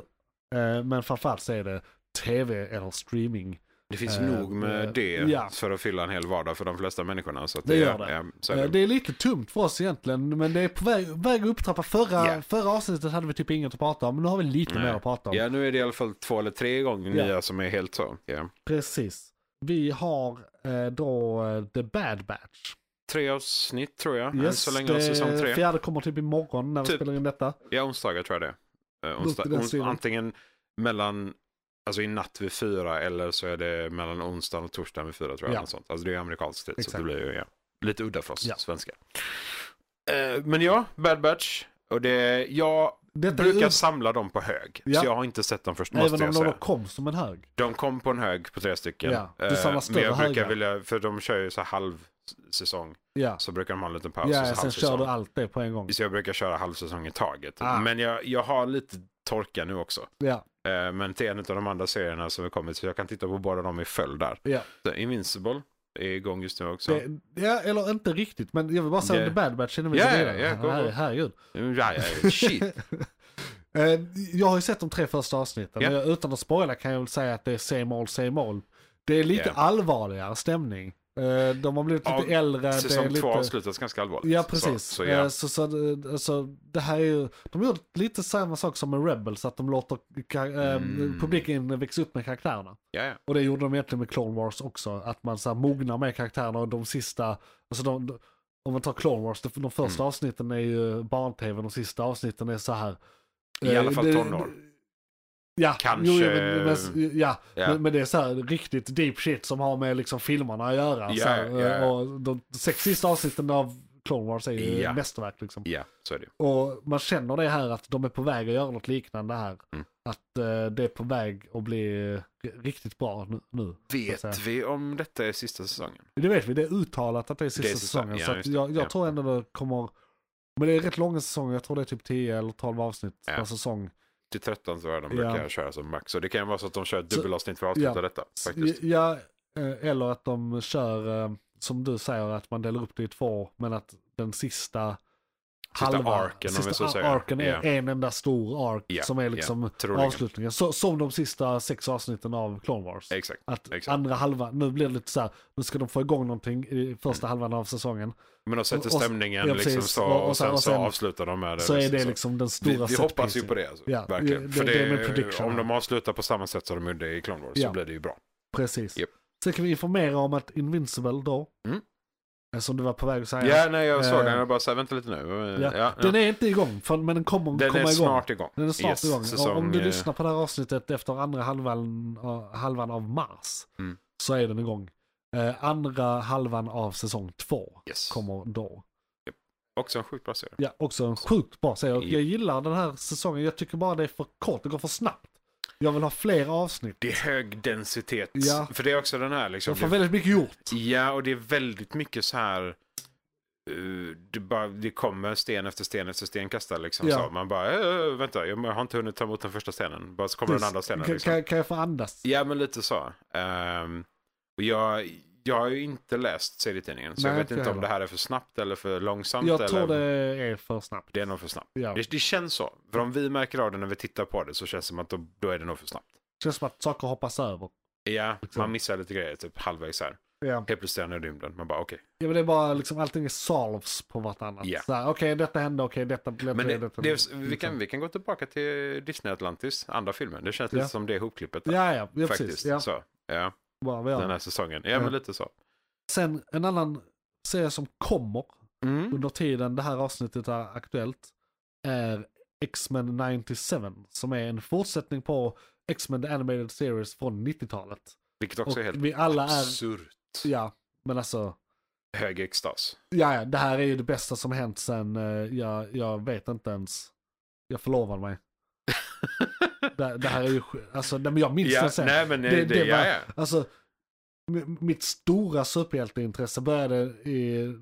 S2: Eh, men framförallt så är det tv eller streaming.
S3: Det finns
S2: Eh,
S3: nog med
S2: eh,
S3: det
S2: ja.
S3: för att fylla en hel vardag för de flesta människorna. Så att
S2: Det gör det.
S3: Ja, så är
S2: Eh,
S3: det.
S2: det är lite tumt för oss egentligen men det är på väg, väg att upptrappa. Förra,
S3: Ja.
S2: förra avsnittet hade vi typ inget att prata om men nu har vi lite
S3: Nej.
S2: mer att prata om.
S3: Ja, nu är det i alla fall två eller tre gånger
S2: Ja.
S3: nya som är helt så. Ja.
S2: Precis. Vi har eh, då eh, The Bad Batch.
S3: Tre avsnitt tror jag, än så länge av
S2: det
S3: säsong tre.
S2: Fjärde kommer typ imorgon när vi
S3: Typ.
S2: spelar in detta.
S3: Ja, onsdagar tror jag det är. Eh,
S2: Något i
S3: onsdag,
S2: den
S3: ons-
S2: stilen.
S3: antingen mellan, alltså i natt vid fyra eller så är det mellan onsdagen och torsdagen vid fyra tror jag.
S2: Ja.
S3: Ja. Sånt. Alltså det är amerikansk tid så
S2: Exakt.
S3: det blir ju ja, lite udda för oss
S2: Ja.
S3: svenskar. Eh, men ja, Bad Batch. Och det, jag
S2: Detta
S3: brukar
S2: är
S3: samla dem på hög.
S2: Ja.
S3: Så jag har inte sett dem först
S2: ut,
S3: måste
S2: även om
S3: jag
S2: de
S3: säga.
S2: då kom som en hög.
S3: De kom på en hög på tre stycken.
S2: Ja, du
S3: Eh,
S2: samlar
S3: Men
S2: större
S3: jag brukar
S2: högar.
S3: vilja, för de kör ju så här halv säsong.
S2: Ja,
S3: Så brukar de ha en liten paus. och
S2: ja
S3: så halv
S2: sen kör
S3: säsong.
S2: du allt det på en gång.
S3: Så jag brukar köra halv säsong i taget.
S2: Ah.
S3: Men jag, jag har lite torka nu också.
S2: Ja,
S3: Eh, Men till en av de andra serierna som har kommit så jag kan titta på båda dem i följd där.
S2: ja.
S3: Så Invincible är igång just nu också.
S2: Det, ja, eller inte riktigt men jag vill bara säga
S3: Det-
S2: The Bad Batch innan vi
S3: Ja,
S2: går
S3: ja,
S2: vidare.
S3: ja, gå, gå.
S2: Herre- Herregud.
S3: Ja, ja, shit.
S2: Eh, Jag har ju sett de tre första avsnitten
S3: Ja.
S2: och jag- utan att spoila kan jag väl säga att det är same all same all. Det är lite
S3: Ja.
S2: allvarligare stämning. Eh, De har blivit lite
S3: Ja,
S2: äldre. det är
S3: Säsong
S2: lite...
S3: två avslutas ganska allvarligt.
S2: Ja, precis.
S3: Så, så
S2: Eh,
S3: ja.
S2: så, så, eh, alltså, det här är ju, de gjorde lite samma sak som med Rebels, att de låter ka- eh,
S3: Mm.
S2: publiken växa upp med karaktärerna.
S3: Ja, ja.
S2: Och det gjorde de egentligen med Clone Wars också, att man så här, mognar med karaktärerna och de sista, alltså de, de- om man tar Clone Wars, de, de första
S3: Mm.
S2: avsnitten är ju barn-tv, de sista avsnitten är så här.
S3: I
S2: eh,
S3: alla fall
S2: det-
S3: tonår.
S2: Ja,
S3: Kanske-
S2: jo, men, men, ja,
S3: Ja.
S2: Men, men det är så här riktigt deep shit som har med liksom filmerna att göra.
S3: Ja,
S2: så här,
S3: ja, ja.
S2: Och de sex sista avsnitten av Clone Wars är ju
S3: Ja.
S2: mästerverk liksom.
S3: Ja, så är det.
S2: Och man känner det här att de är på väg att göra något liknande här.
S3: Mm.
S2: Att eh, det är på väg att bli eh, riktigt bra nu. nu så att säga.
S3: Vet vi om detta är sista säsongen?
S2: Det vet vi, det är uttalat att det är sista,
S3: Det är sista,
S2: säsongen.
S3: ja,
S2: så att
S3: just det,
S2: jag, jag
S3: ja.
S2: tror ändå det kommer... Men det är rätt långa säsonger, jag tror det är typ 10 eller 12 avsnitt
S3: Ja.
S2: per säsong.
S3: Till 13 tror jag de brukar
S2: Ja.
S3: köra som max. Så det kan ju vara så att de kör ett dubbelavsnitt för att avsluta
S2: ja.
S3: detta. Faktiskt.
S2: Ja, eh, eller att de kör, eh, som du säger, att man delar upp det i två, men att den sista,
S3: Sista arken, om
S2: sista
S3: vi så
S2: ar-
S3: säger.
S2: arken är
S3: Ja.
S2: en enda stor ark
S3: Ja,
S2: som är
S3: ja,
S2: liksom
S3: troligen.
S2: avslutningen. Så, som de sista sex avsnitten av Clone Wars.
S3: Exakt.
S2: Att
S3: exakt.
S2: andra halvan, nu blir det lite så här, nu ska de få igång någonting i första
S3: Mm.
S2: halvan av säsongen.
S3: Men de sätter
S2: och- och-
S3: stämningen
S2: ja,
S3: liksom
S2: precis.
S3: så,
S2: Och- och
S3: och,
S2: sen-
S3: sen,
S2: och sen-
S3: så avslutar de med det.
S2: så är det
S3: så.
S2: liksom den
S3: Vi,
S2: stora
S3: vi hoppas ju
S2: setpiecen.
S3: på det. Alltså.
S2: Ja,
S3: Verkligen.
S2: det-
S3: För
S2: det
S3: det,
S2: är min prediction.
S3: om de avslutar på samma sätt som de gjorde i Clone Wars
S2: Ja.
S3: så blir det ju bra.
S2: Precis.
S3: Japp.
S2: Sen kan vi informera om att Invincible då,
S3: Mm.
S2: eh, som du var på väg att säga,
S3: Ja, nej, jag såg
S2: Eh,
S3: den. Jag bara så här, vänta lite nu. Eh,
S2: Ja.
S3: Ja,
S2: den är inte igång, för, men den kommer
S3: den
S2: komma
S3: är
S2: igång.
S3: snart igång.
S2: Den är snart
S3: Yes,
S2: igång.
S3: säsong,
S2: och om du
S3: eh,
S2: lyssnar på det här avsnittet efter andra halvan, eh, halvan av mars
S3: Mm.
S2: så är den igång. Eh, andra halvan av säsong två
S3: eh, Yes.
S2: kommer då.
S3: Också en sjukt bra serie.
S2: Ja, också en sjukt bra serie. Och
S3: Ja.
S2: Jag gillar den här säsongen. Jag tycker bara det är för kort. Det går för snabbt. Jag vill ha fler avsnitt.
S3: Det är hög densitet.
S2: Ja.
S3: För det är också den här liksom.
S2: Jag får
S3: Det,
S2: väldigt mycket gjort.
S3: ja, och det är väldigt mycket så här. eh, det, bara, det kommer sten efter sten efter sten kastad liksom.
S2: Ja.
S3: Så man bara, "Eh, vänta, jag har inte hunnit ta emot den första stenen. Bara så kommer den andra stenen.
S2: kan,
S3: Liksom.
S2: kan, kan jag få andas?
S3: Ja, men lite så. Ehm, och jag, jag har ju inte läst serietidningen, så
S2: Nej,
S3: jag vet
S2: inte
S3: inte om
S2: heller.
S3: det här är för snabbt eller för långsamt.
S2: Jag tror
S3: eller...
S2: det är för snabbt.
S3: det är nog för snabbt.
S2: Ja.
S3: Det, det känns så. För om vi märker av det när vi tittar på det så känns det som att då, då är det nog för snabbt.
S2: känns som att saker hoppas över.
S3: Ja,
S2: Liksom.
S3: man missar lite grejer typ halvvägs här.
S2: Ja.
S3: Helt plötsligt är han i rymden. Man bara okej.
S2: ja, men det är bara liksom allting är solves på vartannat.
S3: Ja.
S2: Yeah. Okej, detta hände, okej, detta blev Liksom.
S3: Men det,
S2: detta
S3: det
S2: blev-
S3: är, vi, kan, vi kan gå tillbaka till Disney Atlantis, andra filmen. Det känns
S2: Ja.
S3: lite som det ihopklippet där,
S2: Ja, ja, ja precis.
S3: faktiskt.
S2: Ja,
S3: Så, ja,
S2: bara, vi gör
S3: den
S2: det.
S3: här säsongen. Ja,
S2: Ja.
S3: men lite så.
S2: Sen en annan serie som kommer
S3: Mm.
S2: under tiden det här avsnittet är aktuellt är X-Men 97 som är en fortsättning på X-Men The Animated Series från 90-talet.
S3: Vilket också är helt
S2: vi alla är,
S3: absurt
S2: ja, men alltså,
S3: hög extas.
S2: ja, ja, det här är ju det bästa som hänt sen, eh, jag, jag vet inte ens, jag förlovade mig. det, det här är ju, sj- alltså, nej, men jag minns
S3: Ja,
S2: det sen.
S3: nej, men det,
S2: Det-
S3: det,
S2: det var-
S3: ja, ja.
S2: Alltså, m- mitt stora superhjälteintresse började i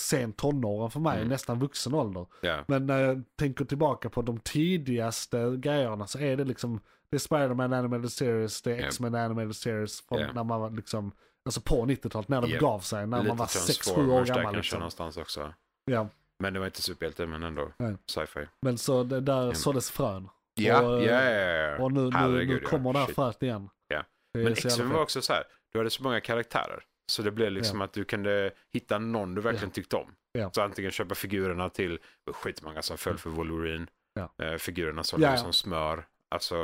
S2: sent tonåren för mig,
S3: Mm.
S2: nästan vuxen ålder.
S3: ja.
S2: Men när jag tänker tillbaka på de tidigaste grejerna så är det liksom, det är Spider-Man Animated Series, det är
S3: Ja.
S2: X-Men Animated Series från
S3: Ja.
S2: när man var liksom, alltså på 90-talet när det
S3: Ja.
S2: begav sig, när man var 6-7 år
S3: Transformers där
S2: gammal.
S3: kanske
S2: Liksom.
S3: någonstans också.
S2: Ja.
S3: Men det var inte superhjälte, men ändå
S2: Nej.
S3: sci-fi.
S2: Men så det, där såddes frön.
S3: Ja,
S2: Och,
S3: ja,
S2: eh,
S3: ja, ja.
S2: Och nu, nu, nu
S3: Herregud, ja.
S2: kommer det här
S3: Shit.
S2: fröet igen.
S3: Ja.
S2: Det är
S3: Men
S2: så jävla
S3: X-Men
S2: fett.
S3: var också så här, du hade så många karaktärer. Så det blev liksom att du kunde hitta någon du verkligen tyckte om.
S2: Ja.
S3: Så antingen köpa figurerna till, det var skitmånga som föll för Wolverine.
S2: Ja.
S3: Eh, figurerna sålde
S2: Ja,
S3: ju
S2: ja.
S3: som smör. Alltså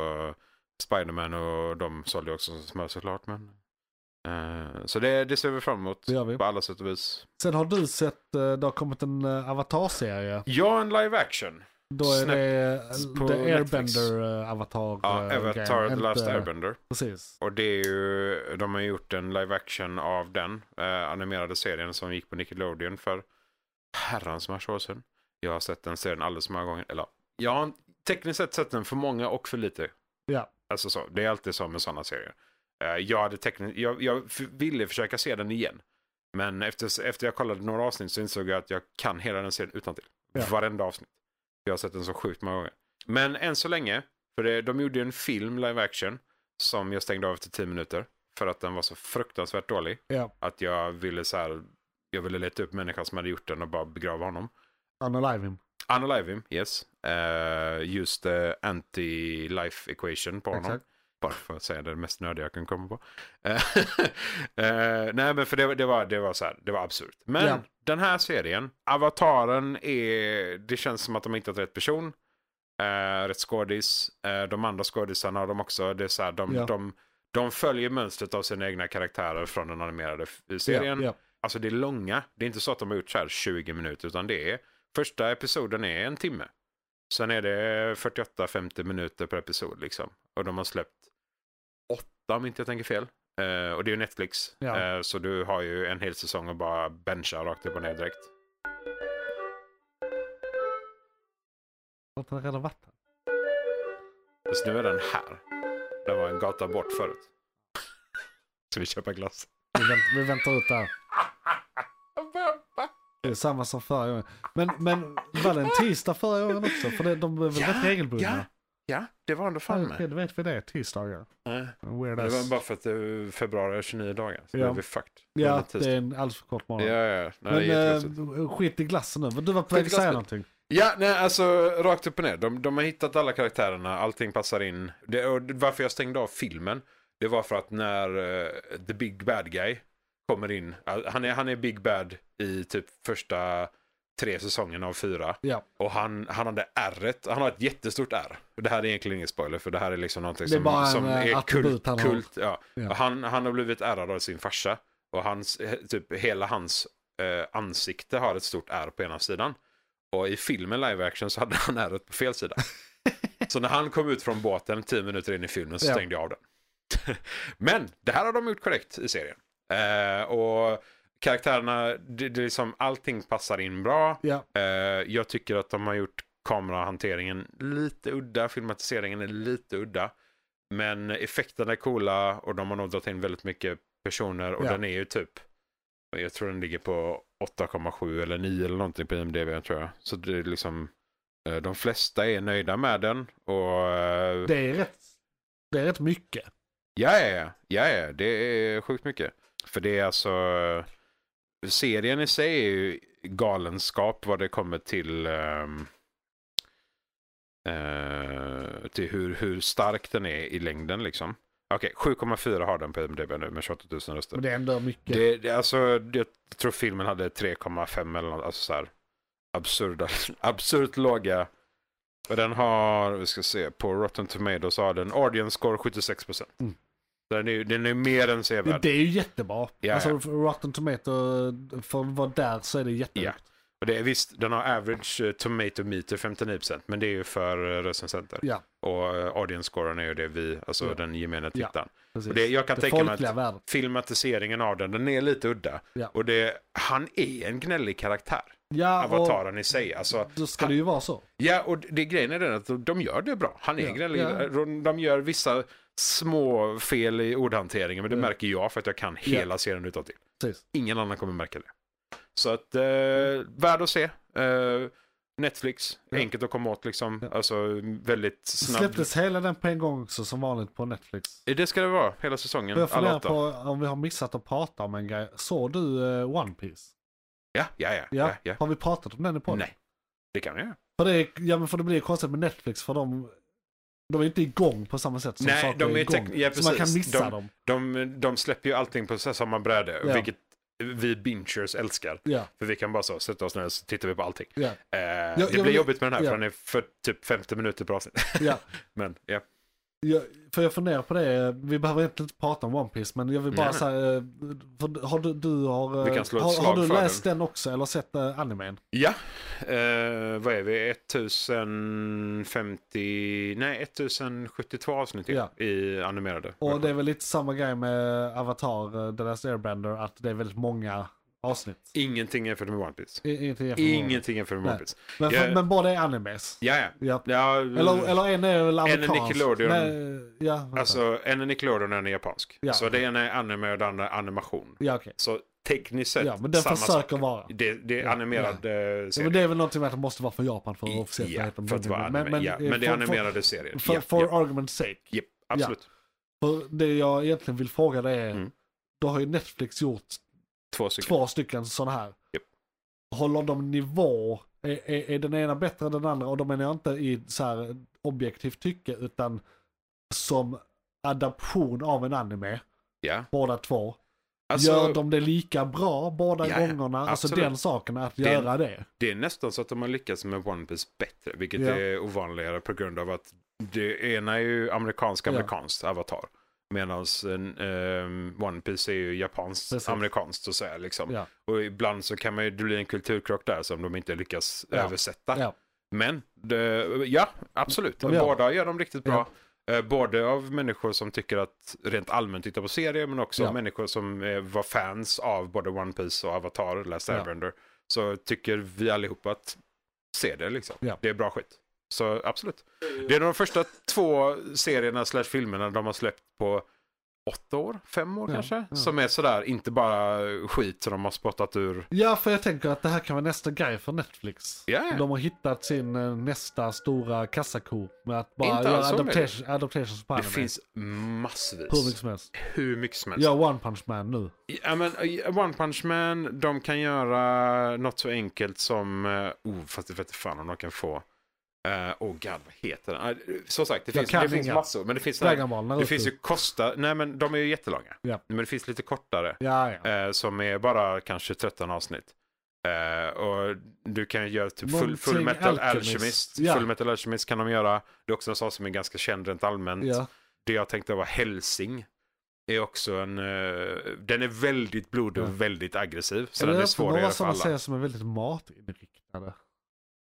S3: Spiderman och de sålde ju också som smör såklart. Men... Eh, så det, det ser vi fram emot
S2: Det gör vi.
S3: på alla sätt och vis.
S2: Sen har du sett, eh, det har kommit en eh, Avatar-serie.
S3: Ja, en live action.
S2: Då är
S3: Snap-
S2: det
S3: på
S2: eh, The eh,
S3: Netflix.
S2: Airbender-avatar.
S3: Ja, Avatar The Last Airbender.
S2: Precis.
S3: Och det är ju, de har gjort en live action av den eh, animerade serien som gick på Nickelodeon för herrans massa år sedan. Jag har sett den serien alldeles för många gånger. Eller jag har tekniskt sett sett den för många och för lite.
S2: Ja.
S3: Alltså så, det är alltid så med sådana serier. Eh, jag, hade tekniskt, jag, jag f- ville försöka se den igen. Men efter, efter jag kollade några avsnitt så insåg jag att jag kan hela den serien utan till.
S2: Ja.
S3: Varenda avsnitt. Jag har sett den så sjukt många gånger. Men än så länge, för det, de gjorde ju en film live action som jag stängde av efter 10 minuter. För att den var så fruktansvärt dålig.
S2: Ja.
S3: Att jag ville så här, jag ville leta upp människan som hade gjort den och bara begrava honom.
S2: Unalive him.
S3: Unalive him, yes. Eh, just eh, anti-life equation på honom.
S2: Exakt.
S3: Bara för att säga det mest nördiga jag kan komma på. Eh, eh, nej men för det, var- det var, det var så här, det var absurt. Men
S2: Ja.
S3: den här serien, avataren är, det känns som att de har hittat rätt person. Eh, rätt skådis. Eh, de andra skådisarna har de också, det är så här, de,
S2: Ja.
S3: de, de följer mönstret av sina egna karaktärer från den animerade f- serien.
S2: Ja, ja.
S3: Alltså det är långa. Det är inte så att de har gjort så här 20 minuter utan det är första episoden är en timme. Sen är det 48-50 minuter per episod liksom. Och de har släppt åtta om inte jag tänker fel. Eh, och det är ju Netflix.
S2: Ja.
S3: Eh, så du har ju en hel säsong att bara bencha rakt upp och ner direkt.
S2: Har inte den redan varit här?
S3: Fast nu är den här. Den var en gata bort förut. Ska vi köpa glass?
S2: Vi, vänt, vi väntar ut där. Det är samma som förra gången. Men, men var det en tisdag förra gången också? För det, de blev väl
S3: Ja,
S2: rätt
S3: Ja,
S2: regelbundna?
S3: ja, det var ändå fan
S2: Okej,
S3: med.
S2: då vet vi det. Tisdagar.
S3: Nej.
S2: Weird
S3: Det var
S2: ass.
S3: bara för att det är februari är 29 dagar. Så
S2: Ja.
S3: ja. är vi fucked.
S2: Ja,
S3: Under
S2: det
S3: tisdag.
S2: är en alldeles för kort
S3: Ja,
S2: månad.
S3: ja, ja. Nej, det är
S2: men
S3: jättekonstigt.
S2: eh, skit i glassen nu. Men Du var på väg att
S3: Skit i
S2: säga
S3: glassen.
S2: någonting.
S3: Ja, nej, alltså rakt upp och ner. De, de har hittat alla karaktärerna, allting passar in. Det, och varför jag stängde av filmen, det var för att när eh, the big bad guy kommer in, eh, han är, han är big bad i typ första tre säsongerna av fyra.
S2: Ja.
S3: Och han, han hade r han har ett jättestort R. Och Det här är egentligen ingen spoiler, för det här är liksom någonting
S2: Det är
S3: som,
S2: bara en,
S3: som
S2: eh,
S3: är
S2: attribut
S3: kult.
S2: han
S3: Han,
S2: har.
S3: kult ja.
S2: Ja.
S3: Han, han har blivit ärrad av sin farsa. Och hans, he- typ hela hans eh, ansikte har ett stort R på ena sidan. Och i filmen live action så hade han ärret på fel sida. så när han kom ut från båten tio minuter in i filmen så
S2: Ja.
S3: stängde jag av den. Men det här har de gjort korrekt i serien. Eh, och karaktärerna, det, det är liksom, allting passar in bra.
S2: Ja,
S3: Eh, jag tycker att de har gjort kamerahanteringen lite udda, filmatiseringen är lite udda. Men effekterna är coola och de har nog dragit in väldigt mycket personer och
S2: Ja.
S3: den är ju typ, jag tror den ligger på 8,7 eller 9 eller någonting på IMDB tror jag. Så det är liksom, eh, de flesta är nöjda med den och eh,
S2: det är rätt, det är rätt mycket.
S3: Ja, ja, ja, ja, ja, det är sjukt mycket. För det är alltså, serien i sig är ju galenskap vad det kommer till ehm, eh, till hur, hur stark den är i längden liksom. Okej, 7,4 har den på IMDB nu med 28 000 röster.
S2: Men det är ändå mycket.
S3: Det, det, alltså, jag tror filmen hade 3,5 eller något. Alltså så här, absurda, absurt låga. Och den har, vi ska se, på Rotten Tomatoes har den audience score 76%.
S2: Mm.
S3: Den är, ju- den är mer än
S2: Det,
S3: sevärd.
S2: det är ju jättebra.
S3: Ja,
S2: alltså
S3: ja.
S2: Rotten Tomato, för att vara där så är det jättehögt.
S3: Och det är visst, den har average eh, tomato meter 59% men det är ju för eh, recensenter.
S2: Ja.
S3: Och eh, audience scoren är ju det vi, alltså
S2: Ja.
S3: den gemene
S2: Ja.
S3: tittaren.
S2: Precis.
S3: Och det, jag kan
S2: det
S3: tänka mig
S2: folkliga
S3: att
S2: värdet.
S3: filmatiseringen av den, den är lite udda.
S2: Ja.
S3: Och det, han är en gnällig karaktär.
S2: Ja, och
S3: avataren i sig. Alltså,
S2: då ska det ju vara så.
S3: ja, och det grejen är den att de- de gör det bra. Han är
S2: Ja,
S3: gnällig.
S2: ja.
S3: De- De gör vissa små fel i ordhanteringen, men det
S2: Ja.
S3: märker jag för att jag kan hela serien utantill.
S2: Precis.
S3: Ingen annan kommer märka det. Så att, eh, värd att se. Eh, Netflix,
S2: Mm. Ja.
S3: enkelt att komma åt liksom.
S2: Ja.
S3: Alltså väldigt
S2: Snabb...
S3: snabbt.
S2: Släpptes hela den på en gång också som vanligt på Netflix.
S3: Det ska det vara, hela säsongen.
S2: Jag
S3: Alla
S2: funderar på
S3: åtta.
S2: om vi har missat att prata om en grej. Såg du eh, One Piece?
S3: Ja, ja, ja.
S2: Ja.
S3: ja. ja,
S2: Har vi pratat om den i podden?
S3: Nej, det kan jag göra.
S2: För det, är- ja, men för det blir konstigt med Netflix för de, de är inte igång på samma sätt som
S3: Nej,
S2: saker
S3: de är
S2: igång.
S3: tek- ja,
S2: så man kan
S3: precis.
S2: missa
S3: De-
S2: dem.
S3: De, de släpper ju allting på så här samma bräde,
S2: Ja.
S3: vilket vi bingers älskar.
S2: Ja,
S3: För vi kan bara så sätta oss ner och så tittar vi på allting.
S2: ja,
S3: Eh, det
S2: jag
S3: blir
S2: vill-
S3: jobbigt med den här
S2: ja.
S3: för den är för typ 50 minuter per avsnitt.
S2: ja.
S3: Men ja,
S2: Jag, för jag funderar på det, vi behöver egentligen inte prata om One Piece men jag vill bara
S3: Nej, nej.
S2: säga, eh, för har du, du har, eh,
S3: Vi kan slå ett
S2: har, har
S3: slag
S2: du
S3: för
S2: läst den. också eller sett eh, animen?
S3: ja. Eh, vad är vi? 1050, nej 1072 avsnitt till
S2: Ja.
S3: i animerade.
S2: Och det är väl lite samma grej med Avatar, eh, The Last Airbender, att det är väldigt många avsnitt.
S3: Ingenting jämfört med One Piece.
S2: I- Ingenting jämfört med-
S3: Ingenting jämfört med
S2: Nej.
S3: One Piece.
S2: Men, för,
S3: Jag-
S2: men båda är animes.
S3: Ja, ja.
S2: Ja.
S3: ja
S2: Eller, eller en är väl amerikansk.
S3: Mm. Nickelodeon.
S2: Nej, ja, vänta.
S3: alltså, en är Nickelodeon och en är japansk.
S2: Ja.
S3: Så det ena är anime och det andra är animation.
S2: ja okej.
S3: Så tekniskt sett
S2: Ja, men den
S3: samma
S2: försöker
S3: sak.
S2: vara.
S3: Det, det är
S2: Ja,
S3: animerad eh,
S2: Ja,
S3: serie.
S2: men det är väl någonting med att det måste vara från Japan för att officiellt
S3: Ja,
S2: heta
S3: för att vara anime. Men, men, ja.
S2: eh,
S3: men det är
S2: for-
S3: animerade serier.
S2: For, for,
S3: ja,
S2: for
S3: ja,
S2: argument's sake.
S3: ja, absolut.
S2: För det jag egentligen vill fråga dig är,
S3: Mm.
S2: då har ju Netflix gjort
S3: Två stycken.
S2: två stycken sådana här.
S3: Japp.
S2: Håller de nivå? Är, är, är den ena bättre än den andra? Och då menar jag inte i så här objektivt tycke utan som adaption av en anime,
S3: Ja.
S2: båda två.
S3: Alltså,
S2: Gör de det lika bra båda
S3: Ja, ja,
S2: gångerna? Alltså
S3: absolut.
S2: den saken, att
S3: Det är-
S2: göra det.
S3: Det är nästan så att de har lyckats med One Piece bättre, vilket
S2: Ja.
S3: är ovanligare på grund av att det ena är ju amerikansk
S2: Ja.
S3: amerikanskt avatar. Medan One Piece är ju japanskt
S2: Precis.
S3: amerikanskt så att säga. Liksom.
S2: Ja.
S3: Och ibland så kan man ju, det blir en kulturkrock där som de inte lyckas
S2: Ja.
S3: översätta.
S2: Ja.
S3: Men det, ja, absolut.
S2: De gör
S3: Båda gör de riktigt bra. Eh, Både av människor som tycker att rent allmänt tittar på serier men också
S2: Ja.
S3: människor som eh, var fans av både One Piece och Avatar, Last
S2: Ja.
S3: Airbender. Så tycker vi allihopa att se det liksom.
S2: Ja.
S3: Det är bra skit. Så absolut. Det är de första två serierna slash filmerna de har släppt på åtta år, fem år
S2: Ja,
S3: kanske.
S2: ja.
S3: Som är sådär, inte bara skit som de har spottat ur.
S2: Ja, för jag tänker att det här kan vara nästa grej för Netflix.
S3: Ja, ja.
S2: De har hittat sin eh, nästa stora kassako med att bara
S3: Inte
S2: göra
S3: alls omöjligt.
S2: adaptation, adaptations på
S3: Det
S2: anime.
S3: finns
S2: Hur mycket
S3: massvis.
S2: som helst.
S3: Hur mycket som helst.
S2: Gör One Punch Man nu.
S3: Ja, men eh, One Punch Man, de kan göra något så enkelt som... eh, Oh, fast det vet inte fan om de kan få... eh, oh god, vad heter den? Eh, Som sagt, det
S2: Jag
S3: finns,
S2: kan
S3: det finns
S2: inga.
S3: massor. Men det finns, såna här-
S2: Dragon Ball,
S3: det
S2: Naruto.
S3: finns ju kosta... Nej, men de är ju jättelånga.
S2: Ja.
S3: Men det finns lite kortare.
S2: Ja, ja.
S3: eh, som är bara kanske 13 avsnitt. Eh, och du kan ju göra typ full,
S2: Någonting
S3: full metal
S2: Alchemist.
S3: alchemist.
S2: Ja.
S3: Full metal alchemist kan de göra. Det är också en sak som är ganska känd rent allmänt.
S2: ja.
S3: Det jag tänkte var Helsing. Är också en, eh, den är väldigt blodig
S2: Ja.
S3: och väldigt aggressiv. Så
S2: Eller
S3: den är
S2: jag
S3: svår
S2: tror
S3: att göra för
S2: sådana
S3: alla.
S2: serier som är väldigt matinriktade.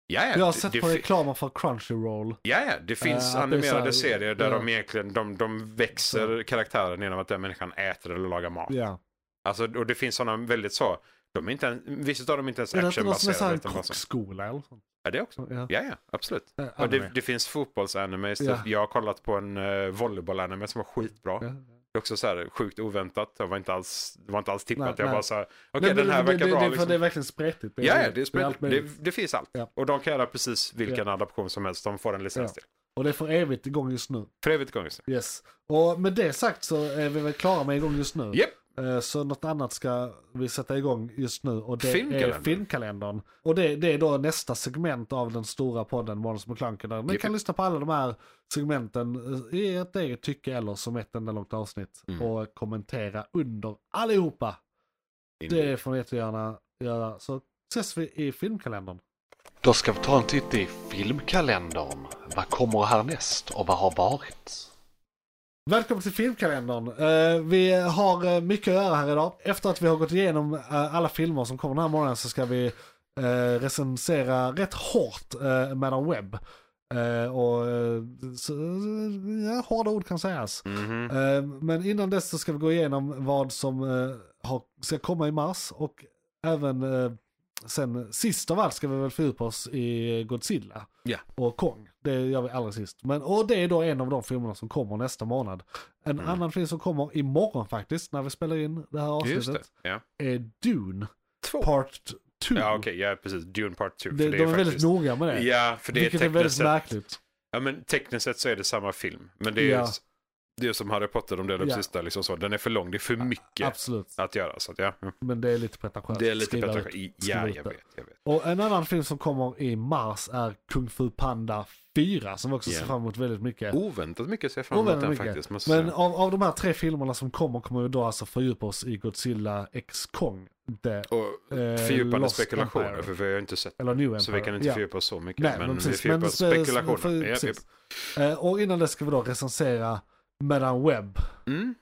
S3: Ja, ja,
S2: Jag har
S3: det-
S2: sett
S3: det
S2: på
S3: fi-
S2: reklamer för Crunchyroll.
S3: Ja, ja, det finns
S2: Eh, att det är så här-
S3: animerade serier där
S2: ja.
S3: de egentligen de, de växer karaktären genom att den människan äter eller lagar mat.
S2: Ja.
S3: Alltså, och det finns sådana väldigt så. De är inte ens, vissa av dem är inte ens
S2: Är det inte någon som är så
S3: actionbaserade.
S2: här en
S3: utan bara så-
S2: kockskola eller sånt?
S3: Ja, det också.
S2: Ja.
S3: Ja, liksom. ja, absolut.
S2: Eh,
S3: Och det,
S2: anime.
S3: det finns fotbollsanime. så
S2: Ja.
S3: Jag har kollat på en uh, volleybollanime som var skitbra.
S2: Ja.
S3: Det är också så här sjukt oväntat. Jag var inte alls, det var inte alls tippat.
S2: Nej,
S3: jag
S2: nej.
S3: bara så här, okej
S2: Nej, men
S3: den här
S2: det,
S3: verkar
S2: det,
S3: bra.
S2: Det, för
S3: liksom.
S2: det är verkligen spretigt. Det är-
S3: ja, ja, det, är spel,
S2: allt
S3: det,
S2: möjligt.
S3: det finns allt.
S2: Ja.
S3: Och de kan göra precis vilken
S2: Ja.
S3: adaption som helst. De får en licens
S2: Ja.
S3: till.
S2: Och det är för evigt igång just nu.
S3: För evigt gång just nu.
S2: Yes. Och med det sagt så är vi väl klara med igång just nu.
S3: Japp,
S2: Eh, Så något annat ska vi sätta igång just nu och det är
S3: Filmkalendern.
S2: filmkalendern. Och det, det är då nästa segment av den stora podden Måns McClunky. Där ni
S3: Jippie.
S2: kan lyssna på alla de här segmenten eh, i ett eget tycke eller som ett enda långt avsnitt.
S3: Mm.
S2: Och kommentera under allihopa. Det får ni jättegärna göra. Så ses vi i filmkalendern.
S9: Då ska vi ta en titt i filmkalendern. Vad kommer härnäst och vad har varit?
S2: Välkommen till filmkalendern. Eh, vi har eh, mycket att göra här idag. Efter att vi har gått igenom eh, alla filmer som kommer den här månaden så ska vi eh, recensera rätt hårt uh, Madam Webb. Eh, och, eh, så, eh, ja, hårda ord kan sägas.
S3: Mhm.
S2: Eh, men innan dess så ska vi gå igenom vad som eh, har, ska komma i mars och även eh, sen sist av allt ska vi väl fördjupa oss i Godzilla
S3: Ja.
S2: och Kong. Det gör vi allra sist. Men, och det är då en av de filmerna som kommer nästa månad. En
S3: Mm.
S2: annan film som kommer imorgon faktiskt när vi spelar in det här
S3: Just
S2: avsnittet
S3: det. Ja,
S2: är Dune
S3: Två.
S2: Part 2.
S3: ja okej. ja, precis. Dune Part 2.
S2: Mm. de, de är väldigt noga med det.
S3: Ja, för det är
S2: vilket är
S3: tekniskt
S2: väldigt
S3: sett.
S2: märkligt.
S3: Ja, men tekniskt sett så är det samma film. Men det är ju
S2: Ja.
S3: det är som Harry Potter, de delade upp
S2: Ja.
S3: sista. Liksom så. Den är för lång, det är för mycket
S2: Absolut,
S3: att göra. Så att, ja. mm.
S2: men det är lite pretentiöst.
S3: Det är lite
S2: Skriva
S3: pedagogiskt.
S2: ut.
S3: I-
S2: skriva
S3: Ja,
S2: ut
S3: jag
S2: det.
S3: vet. Jag vet.
S2: Och en annan film som kommer i mars är Kung Fu Panda 4 som vi också
S3: Ja.
S2: ser fram emot väldigt mycket.
S3: Oväntat mycket ser jag fram emot
S2: Oväntat
S3: den
S2: mycket.
S3: faktiskt. Måste
S2: Men
S3: säga.
S2: av, av de här tre filmerna som kommer kommer vi då alltså fördjupa oss i Godzilla X Kong. The,
S3: Och
S2: eh,
S3: fördjupande
S2: Lost
S3: spekulationer,
S2: Empire.
S3: för vi har ju inte sett
S2: Eller New Empire.
S3: Så vi kan inte
S2: Ja.
S3: fördjupa oss så mycket.
S2: Nej,
S3: men
S2: men
S3: vi
S2: precis.
S3: fördjupar
S2: Men eh,
S3: oss
S2: spe-
S3: spekulationer.
S2: för-
S3: Ja, typ.
S2: precis. Eh, Och innan det ska vi då recensera Madame Webb.
S3: ja. Mm.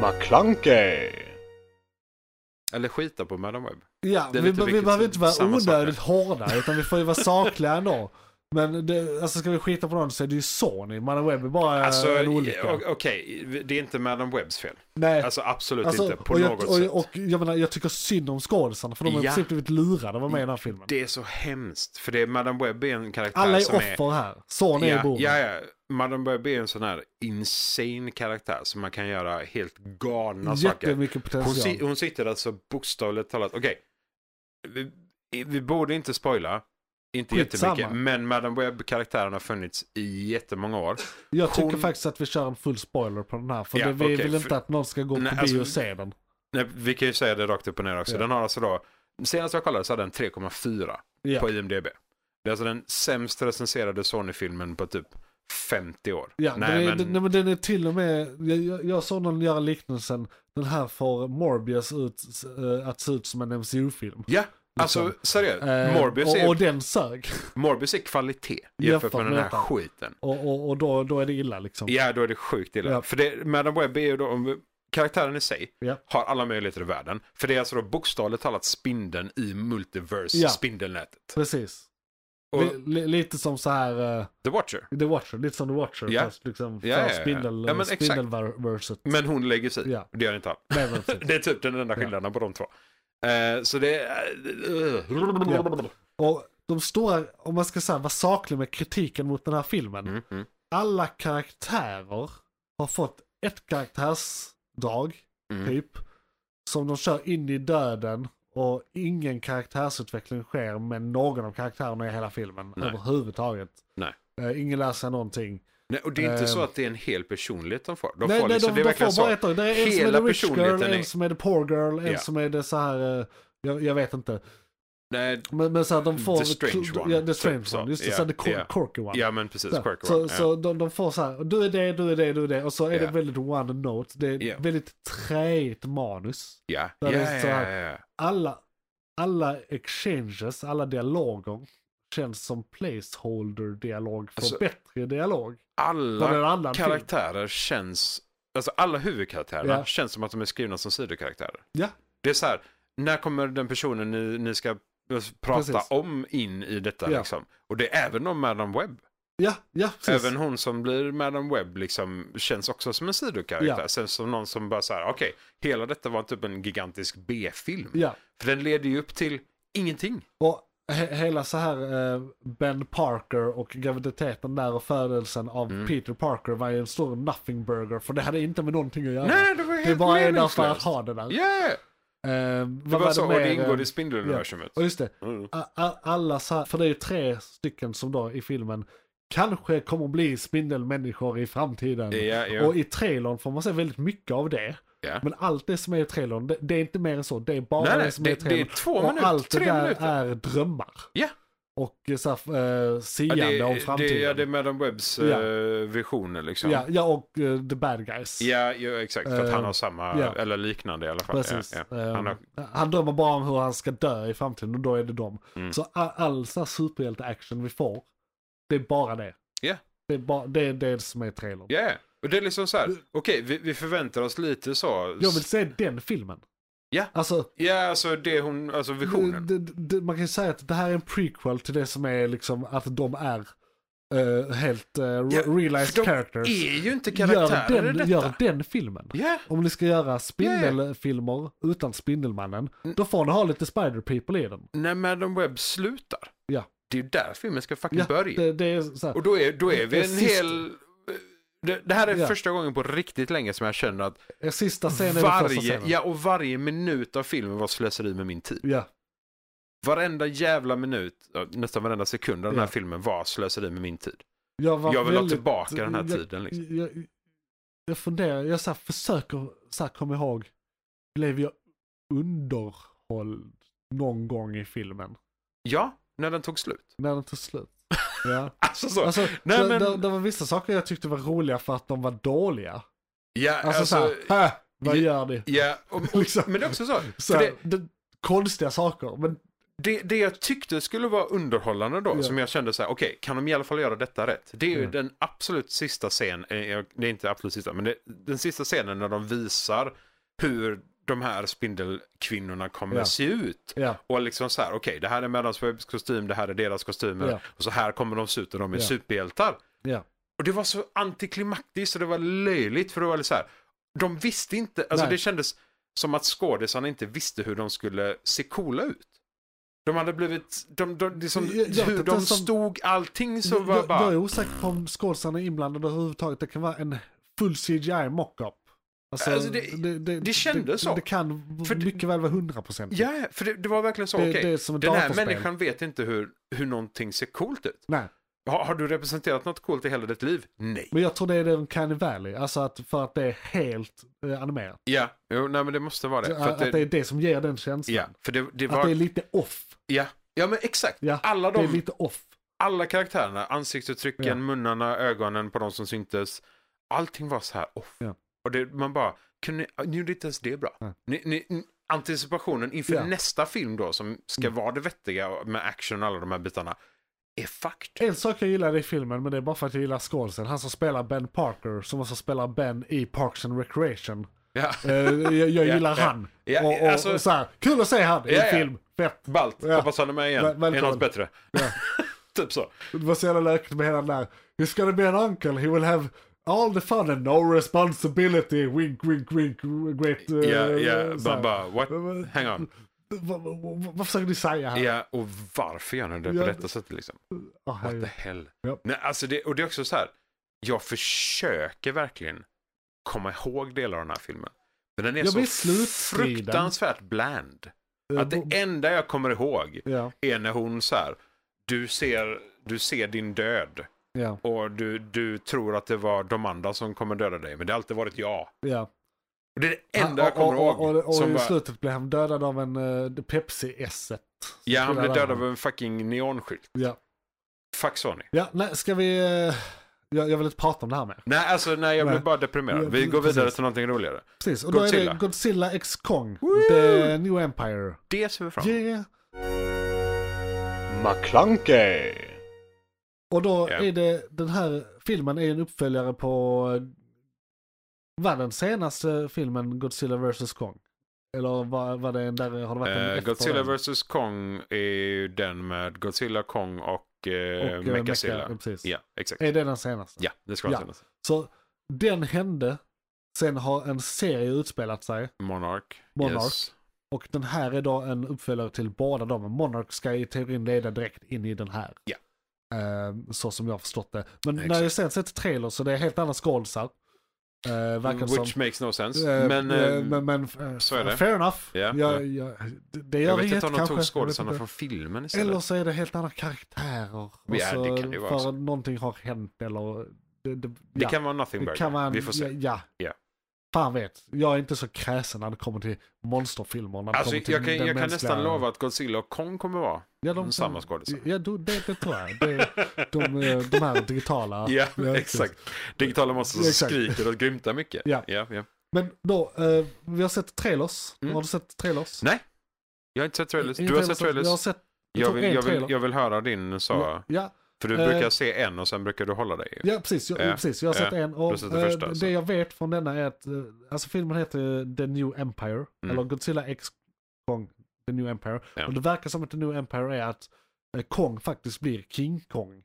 S9: McClunkey!
S3: Eller skita på Madam Web.
S2: Ja,
S3: Det är
S2: vi,
S3: lite
S2: be- vi
S3: vilket-
S2: behöver inte vara
S3: samma sak
S2: onödigt hårda utan vi får ju vara sakliga ändå. Men det, alltså ska vi skita på någon så är det ju Sony. Madame Web är bara
S3: Alltså,
S2: Äh, en
S3: i-
S2: olycka.
S3: o- okej, det är inte Madam Webbs fel.
S2: Nej.
S3: Alltså absolut
S2: Alltså,
S3: inte på
S2: och jag,
S3: något
S2: och,
S3: sätt.
S2: och, jag menar, jag tycker synd om skådisarna för de har i
S3: Ja.
S2: princip blivit lurade att vara med i den här filmen.
S3: Det är så hemskt, för det är Madam Webb är en karaktär
S2: Alla är
S3: som är...
S2: offer här. Son är i
S3: Ja,
S2: boven.
S3: ja, ja. Madam Webb är en sån här insane karaktär som man kan göra helt galna saker.
S2: Jättemycket
S3: Hon, si
S2: potential.
S3: hon sitter alltså bokstavligt talat, okej. Vi, vi borde inte spoila, inte
S2: Skitsamma.
S3: jättemycket, men Madam Webb-karaktären har funnits i jättemmånga år.
S2: Jag tycker
S3: hon-
S2: faktiskt att vi kör en full spoiler på den här. För
S3: Ja,
S2: det, vi
S3: okej,
S2: vill
S3: för-
S2: inte att någon ska gå
S3: Nej,
S2: på
S3: alltså-
S2: bio och se den.
S3: Nej, vi kan ju säga det rakt upp och ner också.
S2: Ja.
S3: Den har alltså då, senast jag kollade så hade den 3,4
S2: Ja.
S3: på IMDB. Det är alltså den sämst recenserade Sony-filmen på typ 50 år.
S2: Ja,
S3: Nej,
S2: den, är,
S3: men,
S2: den, nej, men den är till och med, jag, jag, jag såg någon göra liknelsen, den här får Morbius ut, eh, att se ut som en MCU-film.
S3: ja alltså seriöst.
S2: Eh,
S3: Morbius,
S2: och,
S3: är,
S2: och den sög.
S3: Morbius är kvalitet
S2: Jämfört
S3: jämfört med den
S2: med
S3: här
S2: detta.
S3: skiten.
S2: Och, och, och då, då är det illa liksom.
S3: Ja, då är det sjukt illa.
S2: Ja.
S3: För det, Madam Webb är ju då, om, karaktären i sig
S2: Ja.
S3: har alla möjligheter i världen. För det är alltså då bokstavligt talat spindeln i multiverse,
S2: Ja.
S3: spindelnätet.
S2: Precis.
S3: Och
S2: Li- li, lite som så här... eh,
S3: The Watcher.
S2: The Watcher, lite som The Watcher
S3: Ja.
S2: fast liksom
S3: Ja, ja,
S2: för
S3: ja.
S2: spindel,
S3: Ja, men exakt.
S2: spindelverset.
S3: Men hon lägger sig i.
S2: Ja.
S3: Det gör inte han.
S2: Nej, men precis.
S3: Det är typ den enda
S2: Ja.
S3: skillnaden på de två. Eh, så det är... eh,
S2: Ja. Och de stora, om man ska säga, vara saklig med kritiken mot den här filmen.
S3: Mm, mm.
S2: Alla karaktärer har fått ett karaktärsdrag,
S3: Mm.
S2: typ, som de kör in i döden och ingen karaktärsutveckling sker med någon av karaktärerna i hela filmen
S3: Nej.
S2: överhuvudtaget.
S3: Nej.
S2: Eh, Ingen lär sig någonting.
S3: Nej, och det är inte
S2: Ehm.
S3: så att det är en hel personlighet de får. De
S2: nej,
S3: får
S2: nej,
S3: liksom,
S2: de,
S3: det är
S2: de
S3: verkligen
S2: får bara ett år. Det är en som är
S3: Hela
S2: the rich girl,
S3: personligheten
S2: en
S3: är-
S2: som är the poor girl, en
S3: Ja.
S2: som är det så här, eh, jag, jag vet inte.
S3: Nej,
S2: Men, men så här, de får...
S3: The strange one,
S2: Ja, the
S3: typ
S2: strange
S3: så.
S2: one. Just det,
S3: Ja,
S2: så här, the cor-
S3: ja.
S2: quirky one.
S3: ja men precis.
S2: Så,
S3: Quirk
S2: så,
S3: One, ja.
S2: så de, de får så här, du är det, du är det, du är det. Och så är det
S3: Ja.
S2: väldigt one note. Det är
S3: Ja.
S2: väldigt träigt manus.
S3: Ja,
S2: där
S3: ja,
S2: det är så
S3: ja, ja,
S2: här-
S3: ja.
S2: Alla, alla exchanges, alla dialoger känns som placeholder-dialog för
S3: Alltså,
S2: bättre dialog. Vad är en
S3: Alla
S2: annan film?
S3: karaktärer känns... Alltså alla huvudkaraktärerna
S2: Ja.
S3: känns som att de är skrivna som sidokaraktärer.
S2: Ja.
S3: Det är så här, när kommer den personen ni, ni ska prata
S2: Precis.
S3: om in i detta
S2: Ja.
S3: liksom? Och det är även om Madam Webb.
S2: Ja, ja, precis.
S3: Även hon som blir Madam Webb liksom känns också som en sidokaraktär.
S2: Ja.
S3: Sen som någon som bara så här, okej, hela detta var typ en gigantisk B-film.
S2: Ja.
S3: För den leder ju upp till ingenting.
S2: Och he- hela så här eh, Ben Parker och graviditeten där och födelsen av
S3: Mm.
S2: Peter Parker var ju en stor nothing burger för det hade inte med någonting att göra.
S3: Nej, det var helt
S2: det bara är där
S3: meningslöst.
S2: för att ha det där.
S3: Ja,
S2: Eh,
S3: det var
S2: vad var
S3: så,
S2: det
S3: och det
S2: mer,
S3: ingår
S2: eh,
S3: i Spindeluniversumet.
S2: Och just det,
S3: Mm.
S2: a- a- alla så här, för det är ju tre stycken som då i filmen kanske kommer bli spindelmänniskor i framtiden.
S3: Ja, ja.
S2: Och i trailern får man se väldigt mycket av det.
S3: Ja.
S2: Men allt det som är i trailern, det, det är inte mer än så. Det är bara
S3: Nej, nej,
S2: det som är i
S3: det, det är
S2: trailern.
S3: två
S2: och
S3: minuter,
S2: allt det
S3: tre
S2: där
S3: minuter.
S2: är drömmar.
S3: Ja.
S2: Och eh, så här, eh,
S3: Ja,
S2: siande
S3: det,
S2: om
S3: det,
S2: framtiden.
S3: ja, det är Madame Webbs
S2: Ja.
S3: eh, visioner liksom.
S2: ja, ja, och eh, the bad guys.
S3: Ja, ja, exakt. För att
S2: Eh,
S3: han har samma,
S2: ja.
S3: eller liknande i alla fall.
S2: Precis.
S3: Ja, ja.
S2: Eh,
S3: Han
S2: Han,
S3: har,
S2: drömmer bara om hur han ska dö i framtiden och då är det dem.
S3: Mm.
S2: Så all, all sån här superhjälte-action vi får, det är bara det.
S3: Ja.
S2: Det är, bara, det, är det som är trailern.
S3: ja, ja. Och det är liksom så här, okej, vi, vi förväntar oss lite så.
S2: Mm. Jag vill se den filmen.
S3: Ja.
S2: Alltså,
S3: Ja, alltså det hon, alltså visionen.
S2: Mm, Det, det, det, man kan ju säga att det här är en prequel till det som är liksom att de är eh, helt eh, re-
S3: Ja,
S2: realized
S3: för de
S2: characters.
S3: är ju inte
S2: Gör
S3: karaktärer i
S2: den,
S3: detta.
S2: gör den filmen.
S3: Ja,
S2: Om ni ska göra spindelfilmer utan Spindelmannen,
S3: Mm.
S2: då får ni ha lite Spider-People i den.
S3: när Madame Webb slutar.
S2: Ja.
S3: Det är ju där filmen ska fucking
S2: Ja,
S3: börja.
S2: det, det är så här.
S3: Och då är, då är vi
S2: Det
S3: en
S2: är sist-
S3: hel... Det, det här är
S2: Ja.
S3: första gången på riktigt länge som jag känner att
S2: Er Eh, sista scen är den första
S3: varje,
S2: scenen.
S3: ja, och varje minut av filmen var slöseri med min tid.
S2: Ja,
S3: Varenda jävla minut, ja, nästan varenda sekund av den här
S2: Ja.
S3: filmen var slöseri med min tid.
S2: jag, var
S3: Jag vill ha
S2: väldigt-
S3: tillbaka den här
S2: jag-
S3: tiden. Liksom.
S2: Jag, jag funderar, jag så här, försöker så här, komma ihåg, blev jag underhålld någon gång i filmen?
S3: Ja, när den tog slut.
S2: När den tog slut. Ja.
S3: Alltså så.
S2: Alltså,
S3: Nej,
S2: så,
S3: men-
S2: det, det var vissa saker jag tyckte var roliga för att de var dåliga.
S3: Ja,
S2: Alltså,
S3: alltså,
S2: så här, "Hä, vad
S3: ja,
S2: gör ni?
S3: ja, och, och,
S2: Liksom.
S3: men det är också så.
S2: Så
S3: för
S2: här,
S3: det,
S2: det, konstiga saker, men
S3: det, det jag tyckte skulle vara underhållande då,
S2: Ja.
S3: som jag kände så här, okej, kan de i alla fall göra detta rätt? Det är ju
S2: Ja.
S3: den absolut sista scenen, eh, jag- det är inte absolut sista, men det, den sista scenen när de visar hur de här spindelkvinnorna kommer
S2: Ja.
S3: se ut.
S2: ja.
S3: Och liksom så här, okej, det här är Mellansvebs kostym, det här är deras kostymer.
S2: Ja.
S3: Och så här kommer de se ut och de är
S2: Ja.
S3: superhjältar.
S2: Ja.
S3: Och det var så antiklimaktiskt och det var löjligt för det var lite så här, de visste inte, alltså
S2: Nej.
S3: det kändes som att skådisarna inte visste hur de skulle se coola ut. De hade blivit, de, de, liksom,
S2: Jag- jag vet
S3: hur
S2: inte
S3: de
S2: ens om-
S3: stod, allting så var
S2: jag,
S3: bara...
S2: jag är osäker på om skådisarna är inblandade överhuvudtaget. Det kan vara en full CGI mockup. Alltså,
S3: Alltså, det- det kändes
S2: det,
S3: så.
S2: Det kan
S3: För det-
S2: mycket väl vara 100%.
S3: Ja, ja, för det, det var verkligen så,
S2: Det-
S3: okej,
S2: det är som ett
S3: den här
S2: datorspel.
S3: människan vet inte hur, hur någonting ser coolt ut.
S2: Nej,
S3: Har, har du representerat något coolt i hela ditt liv? Nej.
S2: men jag tror det är den Canny Valley. Alltså att, för att det är helt eh, animerat.
S3: Ja, jo, nej men det måste vara det.
S2: att, att det är det som ger den känslan.
S3: Ja, för det, det
S2: Att det är
S3: var...
S2: lite off.
S3: Ja, ja men exakt.
S2: Ja,
S3: alla,
S2: Det
S3: de,
S2: är lite off.
S3: alla karaktärerna, ansiktsuttrycken,
S2: Ja.
S3: munnarna, ögonen på de som syntes. Allting var så här off.
S2: Ja.
S3: Och det, man bara, kunde, ni- ni gjorde inte ens det bra.
S2: Nej.
S3: Ni, ni, ni- anticipationen inför
S2: Ja. Mm.
S3: nästa film då, som ska vara det vettiga med action och alla de här bitarna, är fucked.
S2: En sak jag gillar i filmen, men det är bara för att jag gillar skådisen. Han som spelar Ben Parker, som också spelar Ben i Parks and Recreation.
S3: Ja.
S2: Eh, jag, jag
S3: Ja,
S2: gillar
S3: ja.
S2: han.
S3: Ja,
S2: och, och,
S3: alltså-
S2: och så här, kul att se han i
S3: Ja, ja.
S2: en film. Fett.
S3: Ballt,
S2: Ja.
S3: hoppas han är med igen.
S2: Väl-
S3: är något
S2: välkommen.
S3: bättre?
S2: Ja.
S3: typ så.
S2: Det var så jävla lökigt med hela den där. He's gonna be an uncle, he will have all the fun and no responsibility. Wink, wink, wink, great... eh,
S3: Ja, ja,
S2: så här.
S3: man bara, what?
S2: Men-
S3: Hang on.
S2: Vad, vad, vad- vad försöker ni säga här?
S3: Ja, och varför gör ni det på
S2: Ja.
S3: detta sättet liksom?
S2: Ah,
S3: What the
S2: herregud.
S3: hell?
S2: Ja.
S3: Nej, alltså det, och det är också så här. Jag försöker verkligen komma ihåg delar av den här filmen. Men den är
S2: Jag
S3: så
S2: vill slutstriden.
S3: fruktansvärt bland. Att
S2: Eh, bo-
S3: det enda jag kommer ihåg
S2: Ja,
S3: är när hon så här. Du ser, du ser din död.
S2: ja,
S3: Och du, du tror att det var de andra som kommer döda dig. Men det har alltid varit jag.
S2: ja.
S3: Och det är det enda jag
S2: Och-
S3: kommer ihåg.
S2: och, och, och, och
S3: som
S2: i
S3: bara-
S2: slutet blev han dödad av en eh, Pepsi-esset.
S3: ja, han blev
S2: Spelar
S3: dödad
S2: han.
S3: av en fucking neonskylt.
S2: Ja,
S3: Fuck Sony.
S2: ja nej, ska vi... eh, jag, jag vill inte prata om det här mer.
S3: Nej, alltså nej, jag
S2: Nej.
S3: blev bara deprimerad.
S2: Ja,
S3: Vi går
S2: precis.
S3: vidare till någonting roligare.
S2: Precis, och då är
S3: Godzilla.
S2: det Godzilla X Kong.
S3: Woo!
S2: The New Empire.
S3: Det ser vi fram emot.
S2: Yeah.
S10: McClunkey!
S2: Och då
S3: Ja.
S2: är det, den här filmen är en uppföljare på, eh, var den senaste filmen Godzilla vs Kong? Eller var, var det en där, har det varit en
S3: Eh,
S2: efter
S3: Godzilla
S2: den?
S3: vs Kong är ju den med Godzilla, Kong och, eh,
S2: eh,
S3: Mechazilla.
S2: Mecha, ja, precis.
S3: Ja, exakt.
S2: Är det den senaste?
S3: Ja, det ska vara
S2: Ja.
S3: senast.
S2: Så den hände, sen har en serie utspelat sig
S3: Monarch.
S2: Monarch.
S3: Yes.
S2: och den här är då en uppföljare till båda dem. Monarch ska i teorin leda direkt in i den här.
S3: Ja.
S2: Eh, Så som jag har förstått det. Men när
S3: Exakt.
S2: jag sen sett trailer så det är helt andra skådisar. Eh, verkar det som.
S3: Mm, Which makes no sense.
S2: Eh,
S3: men,
S2: eh,
S3: eh,
S2: men, men eh,
S3: så är det.
S2: fair enough.
S3: Ja,
S2: jag, jag, det- det gör
S3: jag
S2: vi
S3: vet
S2: rätt
S3: inte om de
S2: kanske. Jag
S3: tog
S2: vet
S3: skådisarna
S2: inte.
S3: från filmen istället.
S2: Eller så är det helt andra karaktärer. Och
S3: Ja,
S2: så
S3: det kan det ju vara
S2: För
S3: också.
S2: att någonting har hänt eller... Det, det,
S3: Det
S2: ja.
S3: kan vara nothing burger.
S2: kan man,
S3: Vi får se.
S2: Ja, ja.
S3: Ja.
S2: Fan vet, jag är inte så kräsen när det kommer till monsterfilmer. När det
S3: Alltså,
S2: kommer till
S3: jag kan,
S2: den
S3: jag kan
S2: mänskliga-
S3: nästan lova att Godzilla och Kong kommer vara.
S2: ja,
S3: samma skådisar.
S2: Ja, då- det, det tror jag. Det, de, eh, de här digitala.
S3: Ja,
S2: precis.
S3: exakt. Digitala monster som
S2: Exakt.
S3: skriker och grymtar mycket.
S2: Ja.
S3: Ja, ja.
S2: Men då, eh, vi har sett trailers.
S3: Mm.
S2: Har du sett trailers?
S3: Nej, Jag har inte sett trailers.
S2: Ingen
S3: Du har sett trailers.
S2: Jag har sett, jag
S3: Jag
S2: tror
S3: vill,
S2: en
S3: jag, vill,
S2: trailer.
S3: jag vill höra din, sa jag.
S2: ja,
S3: För du
S2: Eh.
S3: brukar se en och sen brukar du hålla dig.
S2: ja, precis. Jag,
S3: Ja,
S2: precis. jag har
S3: ja.
S2: sett en.
S3: Du
S2: Och,
S3: har sett den
S2: eh,
S3: första,
S2: det
S3: alltså.
S2: jag vet från denna är att, eh, alltså filmen heter eh, The New Empire.
S3: Mm.
S2: Eller Godzilla X Kong, The New Empire.
S3: Ja.
S2: Och det verkar som att The New Empire är att eh, Kong faktiskt blir King Kong.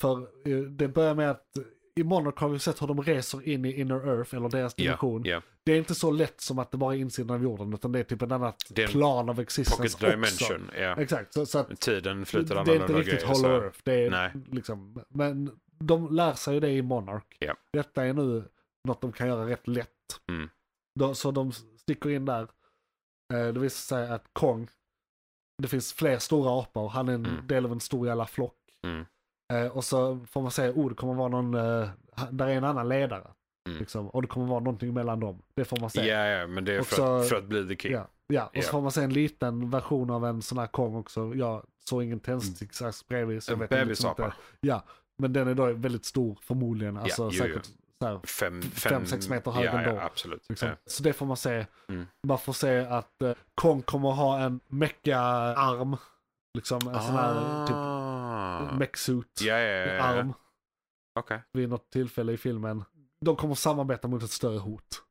S2: För eh, det börjar med att eh, i Monarch har vi sett hur de reser in i Inner Earth, eller deras dimension.
S3: ja.
S2: Det är inte så lätt som att det bara är insidan av jorden, utan det är typ en annan
S3: Det är en
S2: plan av existens
S3: Pocket
S2: också.
S3: dimension. Ja.
S2: Exakt, så, så att
S3: Tiden
S2: det
S3: flyter
S2: det är
S3: annorlunda
S2: inte
S3: och
S2: riktigt
S3: grejer.
S2: Hollow
S3: Så.
S2: Earth. Det är
S3: Nej.
S2: Liksom, men de lär sig ju det i Monarch.
S3: Ja.
S2: Detta är nu något de kan göra rätt lätt.
S3: Mm.
S2: De, så de sticker in där. Eh, Det visar sig att Kong, det finns fler stora apor. Han är en
S3: Mm.
S2: del av en stor jävla flock.
S3: Mm.
S2: Eh, Och så får man säga, oh det kommer vara någon, eh, ha- där är en annan ledare.
S3: Mm.
S2: Liksom, och det kommer vara någonting mellan dem. Det får man
S3: Ja,
S2: säga.
S3: ja, men det är
S2: Och
S3: för,
S2: så-
S3: att, för att bli the king.
S2: Ja, ja. och
S3: Ja.
S2: så får man se en liten version av en sån här Kong också. Jag såg ingen tändsticksask bredvid. Så jag
S3: En
S2: vet liksom
S3: bebisapa.
S2: inte. Ja, men den är då väldigt stor förmodligen. Alltså
S3: jo, jo.
S2: säkert så här.
S3: Fem,
S2: Fem, sex meter hög
S3: ja,
S2: ändå.
S3: Ja, absolut.
S2: Liksom.
S3: Ja.
S2: Så det får man se.
S3: Mm.
S2: Man får se att eh, Kong kommer ha en mecka-arm. Liksom en sån här typ
S3: Ah.
S2: mech-suit.
S3: Ja, ja, ja, ja.
S2: Arm
S3: ja. Okej,
S2: vid något tillfälle i filmen. De kommer samarbeta mot ett större hot.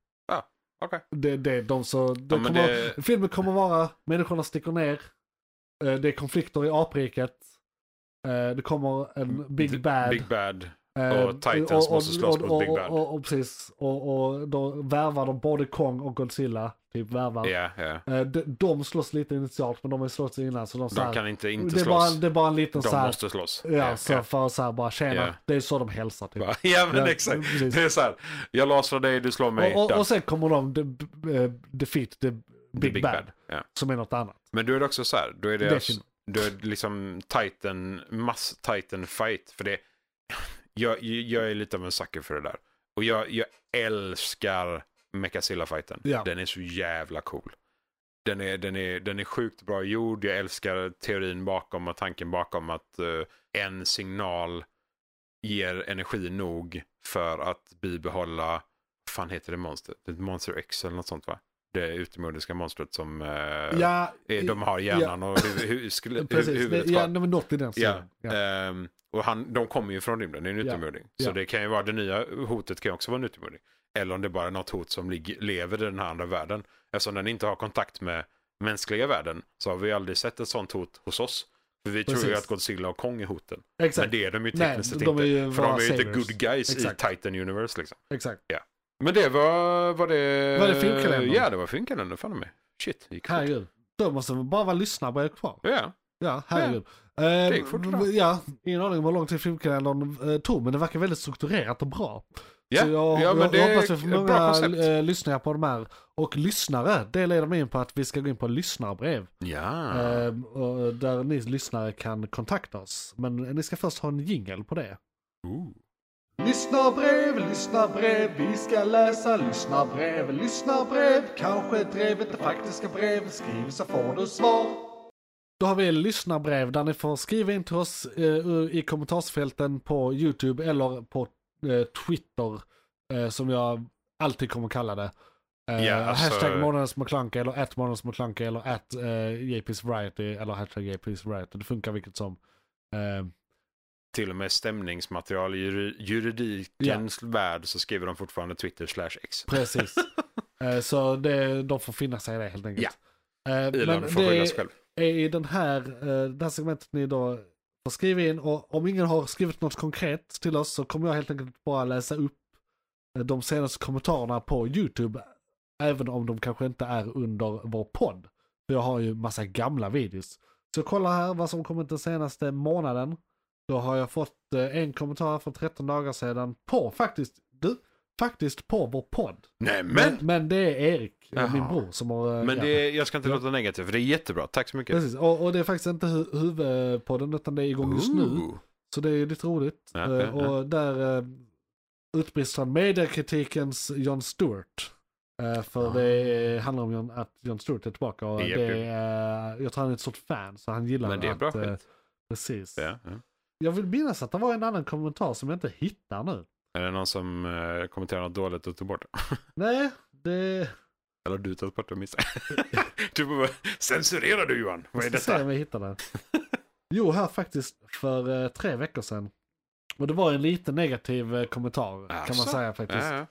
S3: okej.
S2: Det, det, de så, de
S3: Ja, men
S2: kommer,
S3: det-
S2: Filmen kommer vara, människorna sticker ner, eh, det är konflikter i apriket, eh, det kommer en Big
S3: The-
S2: Bad.
S3: Big Bad.
S2: eh,
S3: och Titans måste slåss mot
S2: och,
S3: Big Bad.
S2: Och, och, och, precis, och, och då värvar de både Kong och Godzilla, typ värvar.
S3: Ja, ja.
S2: Eh, de, de slåss lite initialt men de har ju slått innan så de, så här,
S3: De kan inte inte
S2: det, är bara,
S3: slåss.
S2: det är bara en liten så
S3: De
S2: här,
S3: måste slåss.
S2: ja, så för att så här bara tjena,
S3: Ja.
S2: det är så de hälsar typ.
S3: Va? Ja men
S2: Ja,
S3: exakt.
S2: precis.
S3: Det är så här. Jag lasrar dig, du slår mig.
S2: Och, och,
S3: done.
S2: och sen kommer de de- eh, defeat the
S3: The
S2: Big, bad,
S3: Ja.
S2: som är något annat.
S3: Men då är det också så här. Då är det, alltså-
S2: Det är film.
S3: då är det liksom titan, mass titan fight. För det, jag, jag är lite av en sucker för det där. Och jag, jag älskar mechazilla fighten
S2: Ja.
S3: Den är så jävla cool. Den är, den, är, den är sjukt bra gjord. Jag älskar teorin bakom och tanken bakom att eh, en signal ger energi nog för att bibehålla, vad fan heter det monstret? Det är ett Monster X eller något sånt va? Det utomjordiska monstret som eh,
S2: ja,
S3: Eh, De har hjärnan och hu- hu- skulle- hu-
S2: Precis,
S3: huvudet
S2: det, ja,
S3: kvar.
S2: nej, men något i den
S3: Ja.
S2: stilen. Ja.
S3: Ehm, och han, de kommer ju från rymden, det är en
S2: Ja.
S3: utomjording. Så
S2: Ja.
S3: det kan ju vara, det nya hotet kan ju också vara en utomjording. Eller om det bara är något hot som ligger, lever i den här andra världen. Eftersom den inte har kontakt med mänskliga världen så har vi aldrig sett ett sånt hot hos oss. För vi tror ju
S2: Precis.
S3: att Godzilla och Kong är hoten.
S2: Exakt,
S3: Men det är de ju
S2: Nej,
S3: tekniskt sett
S2: de
S3: inte.
S2: är ju
S3: för de
S2: bara
S3: är ju inte
S2: saviors.
S3: good guys
S2: Exakt.
S3: i Titan Universe liksom.
S2: exakt.
S3: Men det var, var det...
S2: Var det filmkalendern?
S3: Ja, det var filmkalendern, fan mig. Shit, gick fort.
S2: Herregud. Då måste vi bara vara lyssnare kvar.
S3: Ja,
S2: Ja, herregud.
S3: det gick fort idag.
S2: Eh, ja, ingen aning om hur lång tid filmkalendern eh, tog, men det verkar väldigt strukturerat och bra.
S3: ja.
S2: Så jag,
S3: ja men
S2: jag
S3: det är
S2: hoppas vi får
S3: ett bra koncept.
S2: många eh, lyssningar på de här. Och lyssnare, det leder mig in på att vi ska gå in på lyssnarbrev.
S3: Ja.
S2: Eh, och där ni lyssnare kan kontakta oss. Men ni ska först ha en jingle på det. Lyssna brev, lyssna brev, vi ska läsa lyssna brev, lyssna brev, kanske drevet det faktiska brev, skriv så får du svar. Då har vi lyssnarbrev där ni får skriva in till oss eh, i kommentarsfälten på YouTube eller på eh, Twitter, eh, som jag alltid kommer kalla det. Eh,
S3: Ja, alltså-
S2: Hashtag månadens McKlunky eller att månadens McKlunky eller att eh, JP's Variety eller hashtag JP's Variety. Det funkar vilket som. Eh,
S3: till och med stämningsmaterial i juri- juridikens värld så skriver de fortfarande Twitter slash X.
S2: Precis. Eh, Så det, de får finna sig i det helt enkelt. Eh, Men
S3: Elon får skylla
S2: det
S3: sig själv.
S2: är i den här, eh, det här segmentet ni då får skriva in och om ingen har skrivit något konkret till oss så kommer jag helt enkelt bara läsa upp eh, de senaste kommentarerna på YouTube. Även om de kanske inte är under vår podd. För jag har ju massa gamla videos. Så kolla här vad som kommit den senaste månaden. Då har jag fått eh, en kommentar här för 13 dagar sedan på faktiskt, du, faktiskt på vår podd.
S3: Nej men!
S2: Men, men det är Erik, eh, min
S3: Jaha.
S2: bror, som har... eh,
S3: Men
S2: ja.
S3: det är, jag ska inte låta negativ för det är jättebra. Tack så mycket.
S2: Precis, och, och det är faktiskt inte hu- huvudpodden utan det är igång just nu.
S3: Ooh.
S2: Så det är lite roligt.
S3: Ja,
S2: Eh,
S3: ja, ja.
S2: och där eh, utbrister han mediekritikens John Stewart. Eh, för
S3: Ah.
S2: det handlar om John, att John Stewart är tillbaka och
S3: Japp,
S2: det, är, eh, jag tror han är ett stort fan så han gillar
S3: Men det är bra
S2: att, eh,
S3: skit.
S2: Precis.
S3: Ja, ja.
S2: Jag vill minnas att det var en annan kommentar som jag inte hittar nu.
S3: Är det någon som eh, kommenterar något dåligt och tog bort det?
S2: Nej, det...
S3: Eller har du tagit bort det och missat? du bara, censurerar du Johan? Vad är
S2: Jag ska se
S3: detta?
S2: om jag hittar den. Jo, här faktiskt för eh, tre veckor sedan. Och det var en lite negativ eh, kommentar kan man
S3: Asså?
S2: säga faktiskt.
S3: Ja, ja.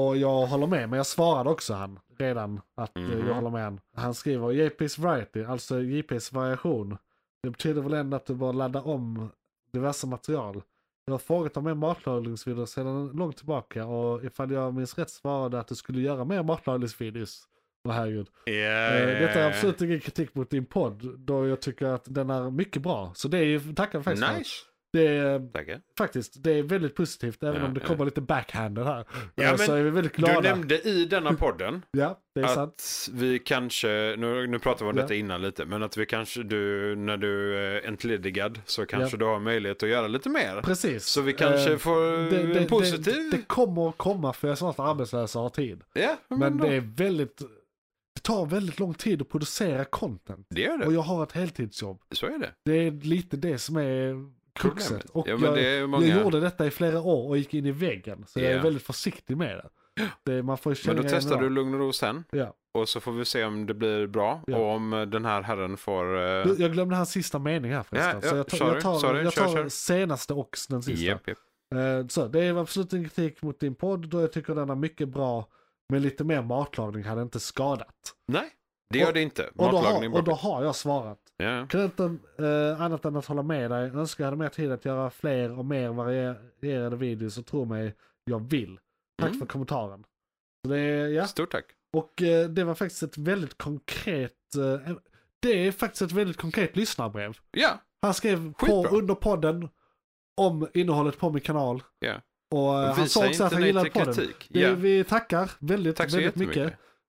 S2: Och jag håller med, men jag svarade också han redan att eh,
S3: Mhm.
S2: jag håller med han. Han skriver JP's variety, alltså JP's variation. Det betyder väl ändå att du bara laddar om diverse material. Jag har frågat om mer matlagningsvideor sedan långt tillbaka och ifall jag minns rätt svarade att du skulle göra mer matlagningsvideos. Åh herregud.
S3: Ja,
S2: Eh, Detta är
S3: ja,
S2: absolut ingen kritik mot din podd, då jag tycker att den är mycket bra. Så det är ju, tackar
S3: ja.
S2: faktiskt för.
S3: Nice.
S2: Det är
S3: Tackar.
S2: faktiskt, det är väldigt positivt, även
S3: Ja,
S2: om det
S3: ja.
S2: kommer lite backhander här.
S3: Ja,
S2: Eh,
S3: men
S2: så är vi väldigt glada.
S3: Du nämnde i denna podden
S2: Ja, det är sant.
S3: att vi kanske, nu, nu pratar vi om
S2: Ja.
S3: detta innan lite, men att vi kanske, du, när du är entledigad så kanske du har möjlighet att göra lite mer.
S2: Precis.
S3: Så vi kanske
S2: Eh,
S3: får en positiv...
S2: Det, det kommer att komma för jag är snart arbetslös och har tid.
S3: ja,
S2: Men
S3: då-
S2: det är väldigt, det tar väldigt lång tid att producera content.
S3: det gör det.
S2: Och jag har ett heltidsjobb.
S3: Så är det.
S2: Det är lite det som är kruxet.
S3: Problemet.
S2: Och
S3: Ja, men
S2: jag,
S3: det är många-
S2: jag gjorde detta i flera år och gick in i väggen. Så jag
S3: Ja.
S2: är väldigt försiktig med det. det man får ju känna
S3: Men då
S2: igen
S3: testar
S2: det.
S3: du lugn och ro sen.
S2: Ja.
S3: Och så får vi se om det blir bra.
S2: Ja.
S3: Och om eh, den här herren får... eh,
S2: Du, Jag glömde hans sista mening här förresten.
S3: Ja,
S2: så
S3: ja,
S2: jag tar,
S3: sorry,
S2: jag tar,
S3: sorry,
S2: jag
S3: kör,
S2: tar
S3: kör.
S2: senaste och den sista.
S3: japp, japp.
S2: Eh, Så, det är absolut ingen kritik mot din podd då jag tycker den är mycket bra. Men lite mer matlagning hade inte skadat.
S3: Nej, det gör
S2: Och-
S3: det inte.
S2: Och då,
S3: Matlagning
S2: har, och då
S3: bara.
S2: har jag svarat.
S3: Ja, ja.
S2: Kan inte eh, annat än att hålla med dig. Önskar jag hade mer tid att göra fler och mer varierade videos och tro mig, jag vill. Tack
S3: Mm.
S2: för kommentaren. Så det, är- ja.
S3: Stort tack.
S2: Och eh, det var faktiskt ett väldigt konkret, eh, det är faktiskt ett väldigt konkret lyssnarbrev.
S3: Ja,
S2: Han skrev på,
S3: Skitbra.
S2: under podden om innehållet på min kanal.
S3: Ja.
S2: Och eh, han sa
S3: visa
S2: också att
S3: inte
S2: han
S3: nej
S2: gillade
S3: till
S2: podden.
S3: kritik.
S2: Det,
S3: Ja,
S2: Vi tackar väldigt,
S3: tack så
S2: väldigt
S3: jättemycket.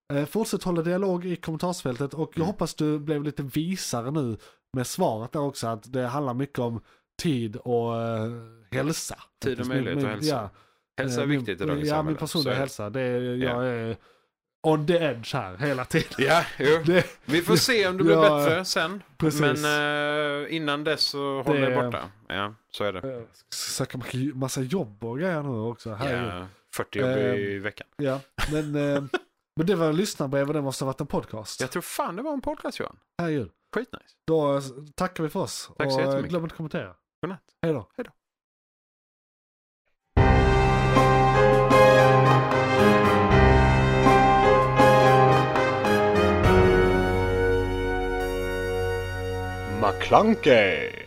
S2: mycket. Eh, fortsätt hålla dialog i kommentarsfältet och jag
S3: Mm.
S2: hoppas du blev lite visare nu med svaret där också att det handlar mycket om tid och eh, hälsa.
S3: Tid och
S2: Min-
S3: möjlighet
S2: min-
S3: att hälsa.
S2: Ja,
S3: Hälsa är
S2: eh, min-
S3: viktigt i dagens
S2: Ja,
S3: samhälle.
S2: min personliga
S3: Så-
S2: hälsa. Det är, jag är on the edge här hela tiden.
S3: Ja, jo.
S2: Det,
S3: Vi får se om det blir
S2: Ja,
S3: bättre sen.
S2: precis.
S3: Men eh, innan dess så håller
S2: Det-
S3: jag borta. Ja, så är det.
S2: Jag ska söka massa jobb och grejer nu också. Herregud.
S3: Ja, 40 jobb i
S2: Eh,
S3: veckan.
S2: Ja, men, eh, men det var en lyssnarbrev och det måste ha varit en podcast.
S3: Jag tror fan det var en podcast Johan.
S2: Herregud.
S3: Skitnice.
S2: Då eh, tackar vi för oss.
S3: Tack så
S2: och eh,
S3: jättemycket.
S2: glöm inte att kommentera.
S3: Godnatt.
S2: Hej då.
S11: McClunkey!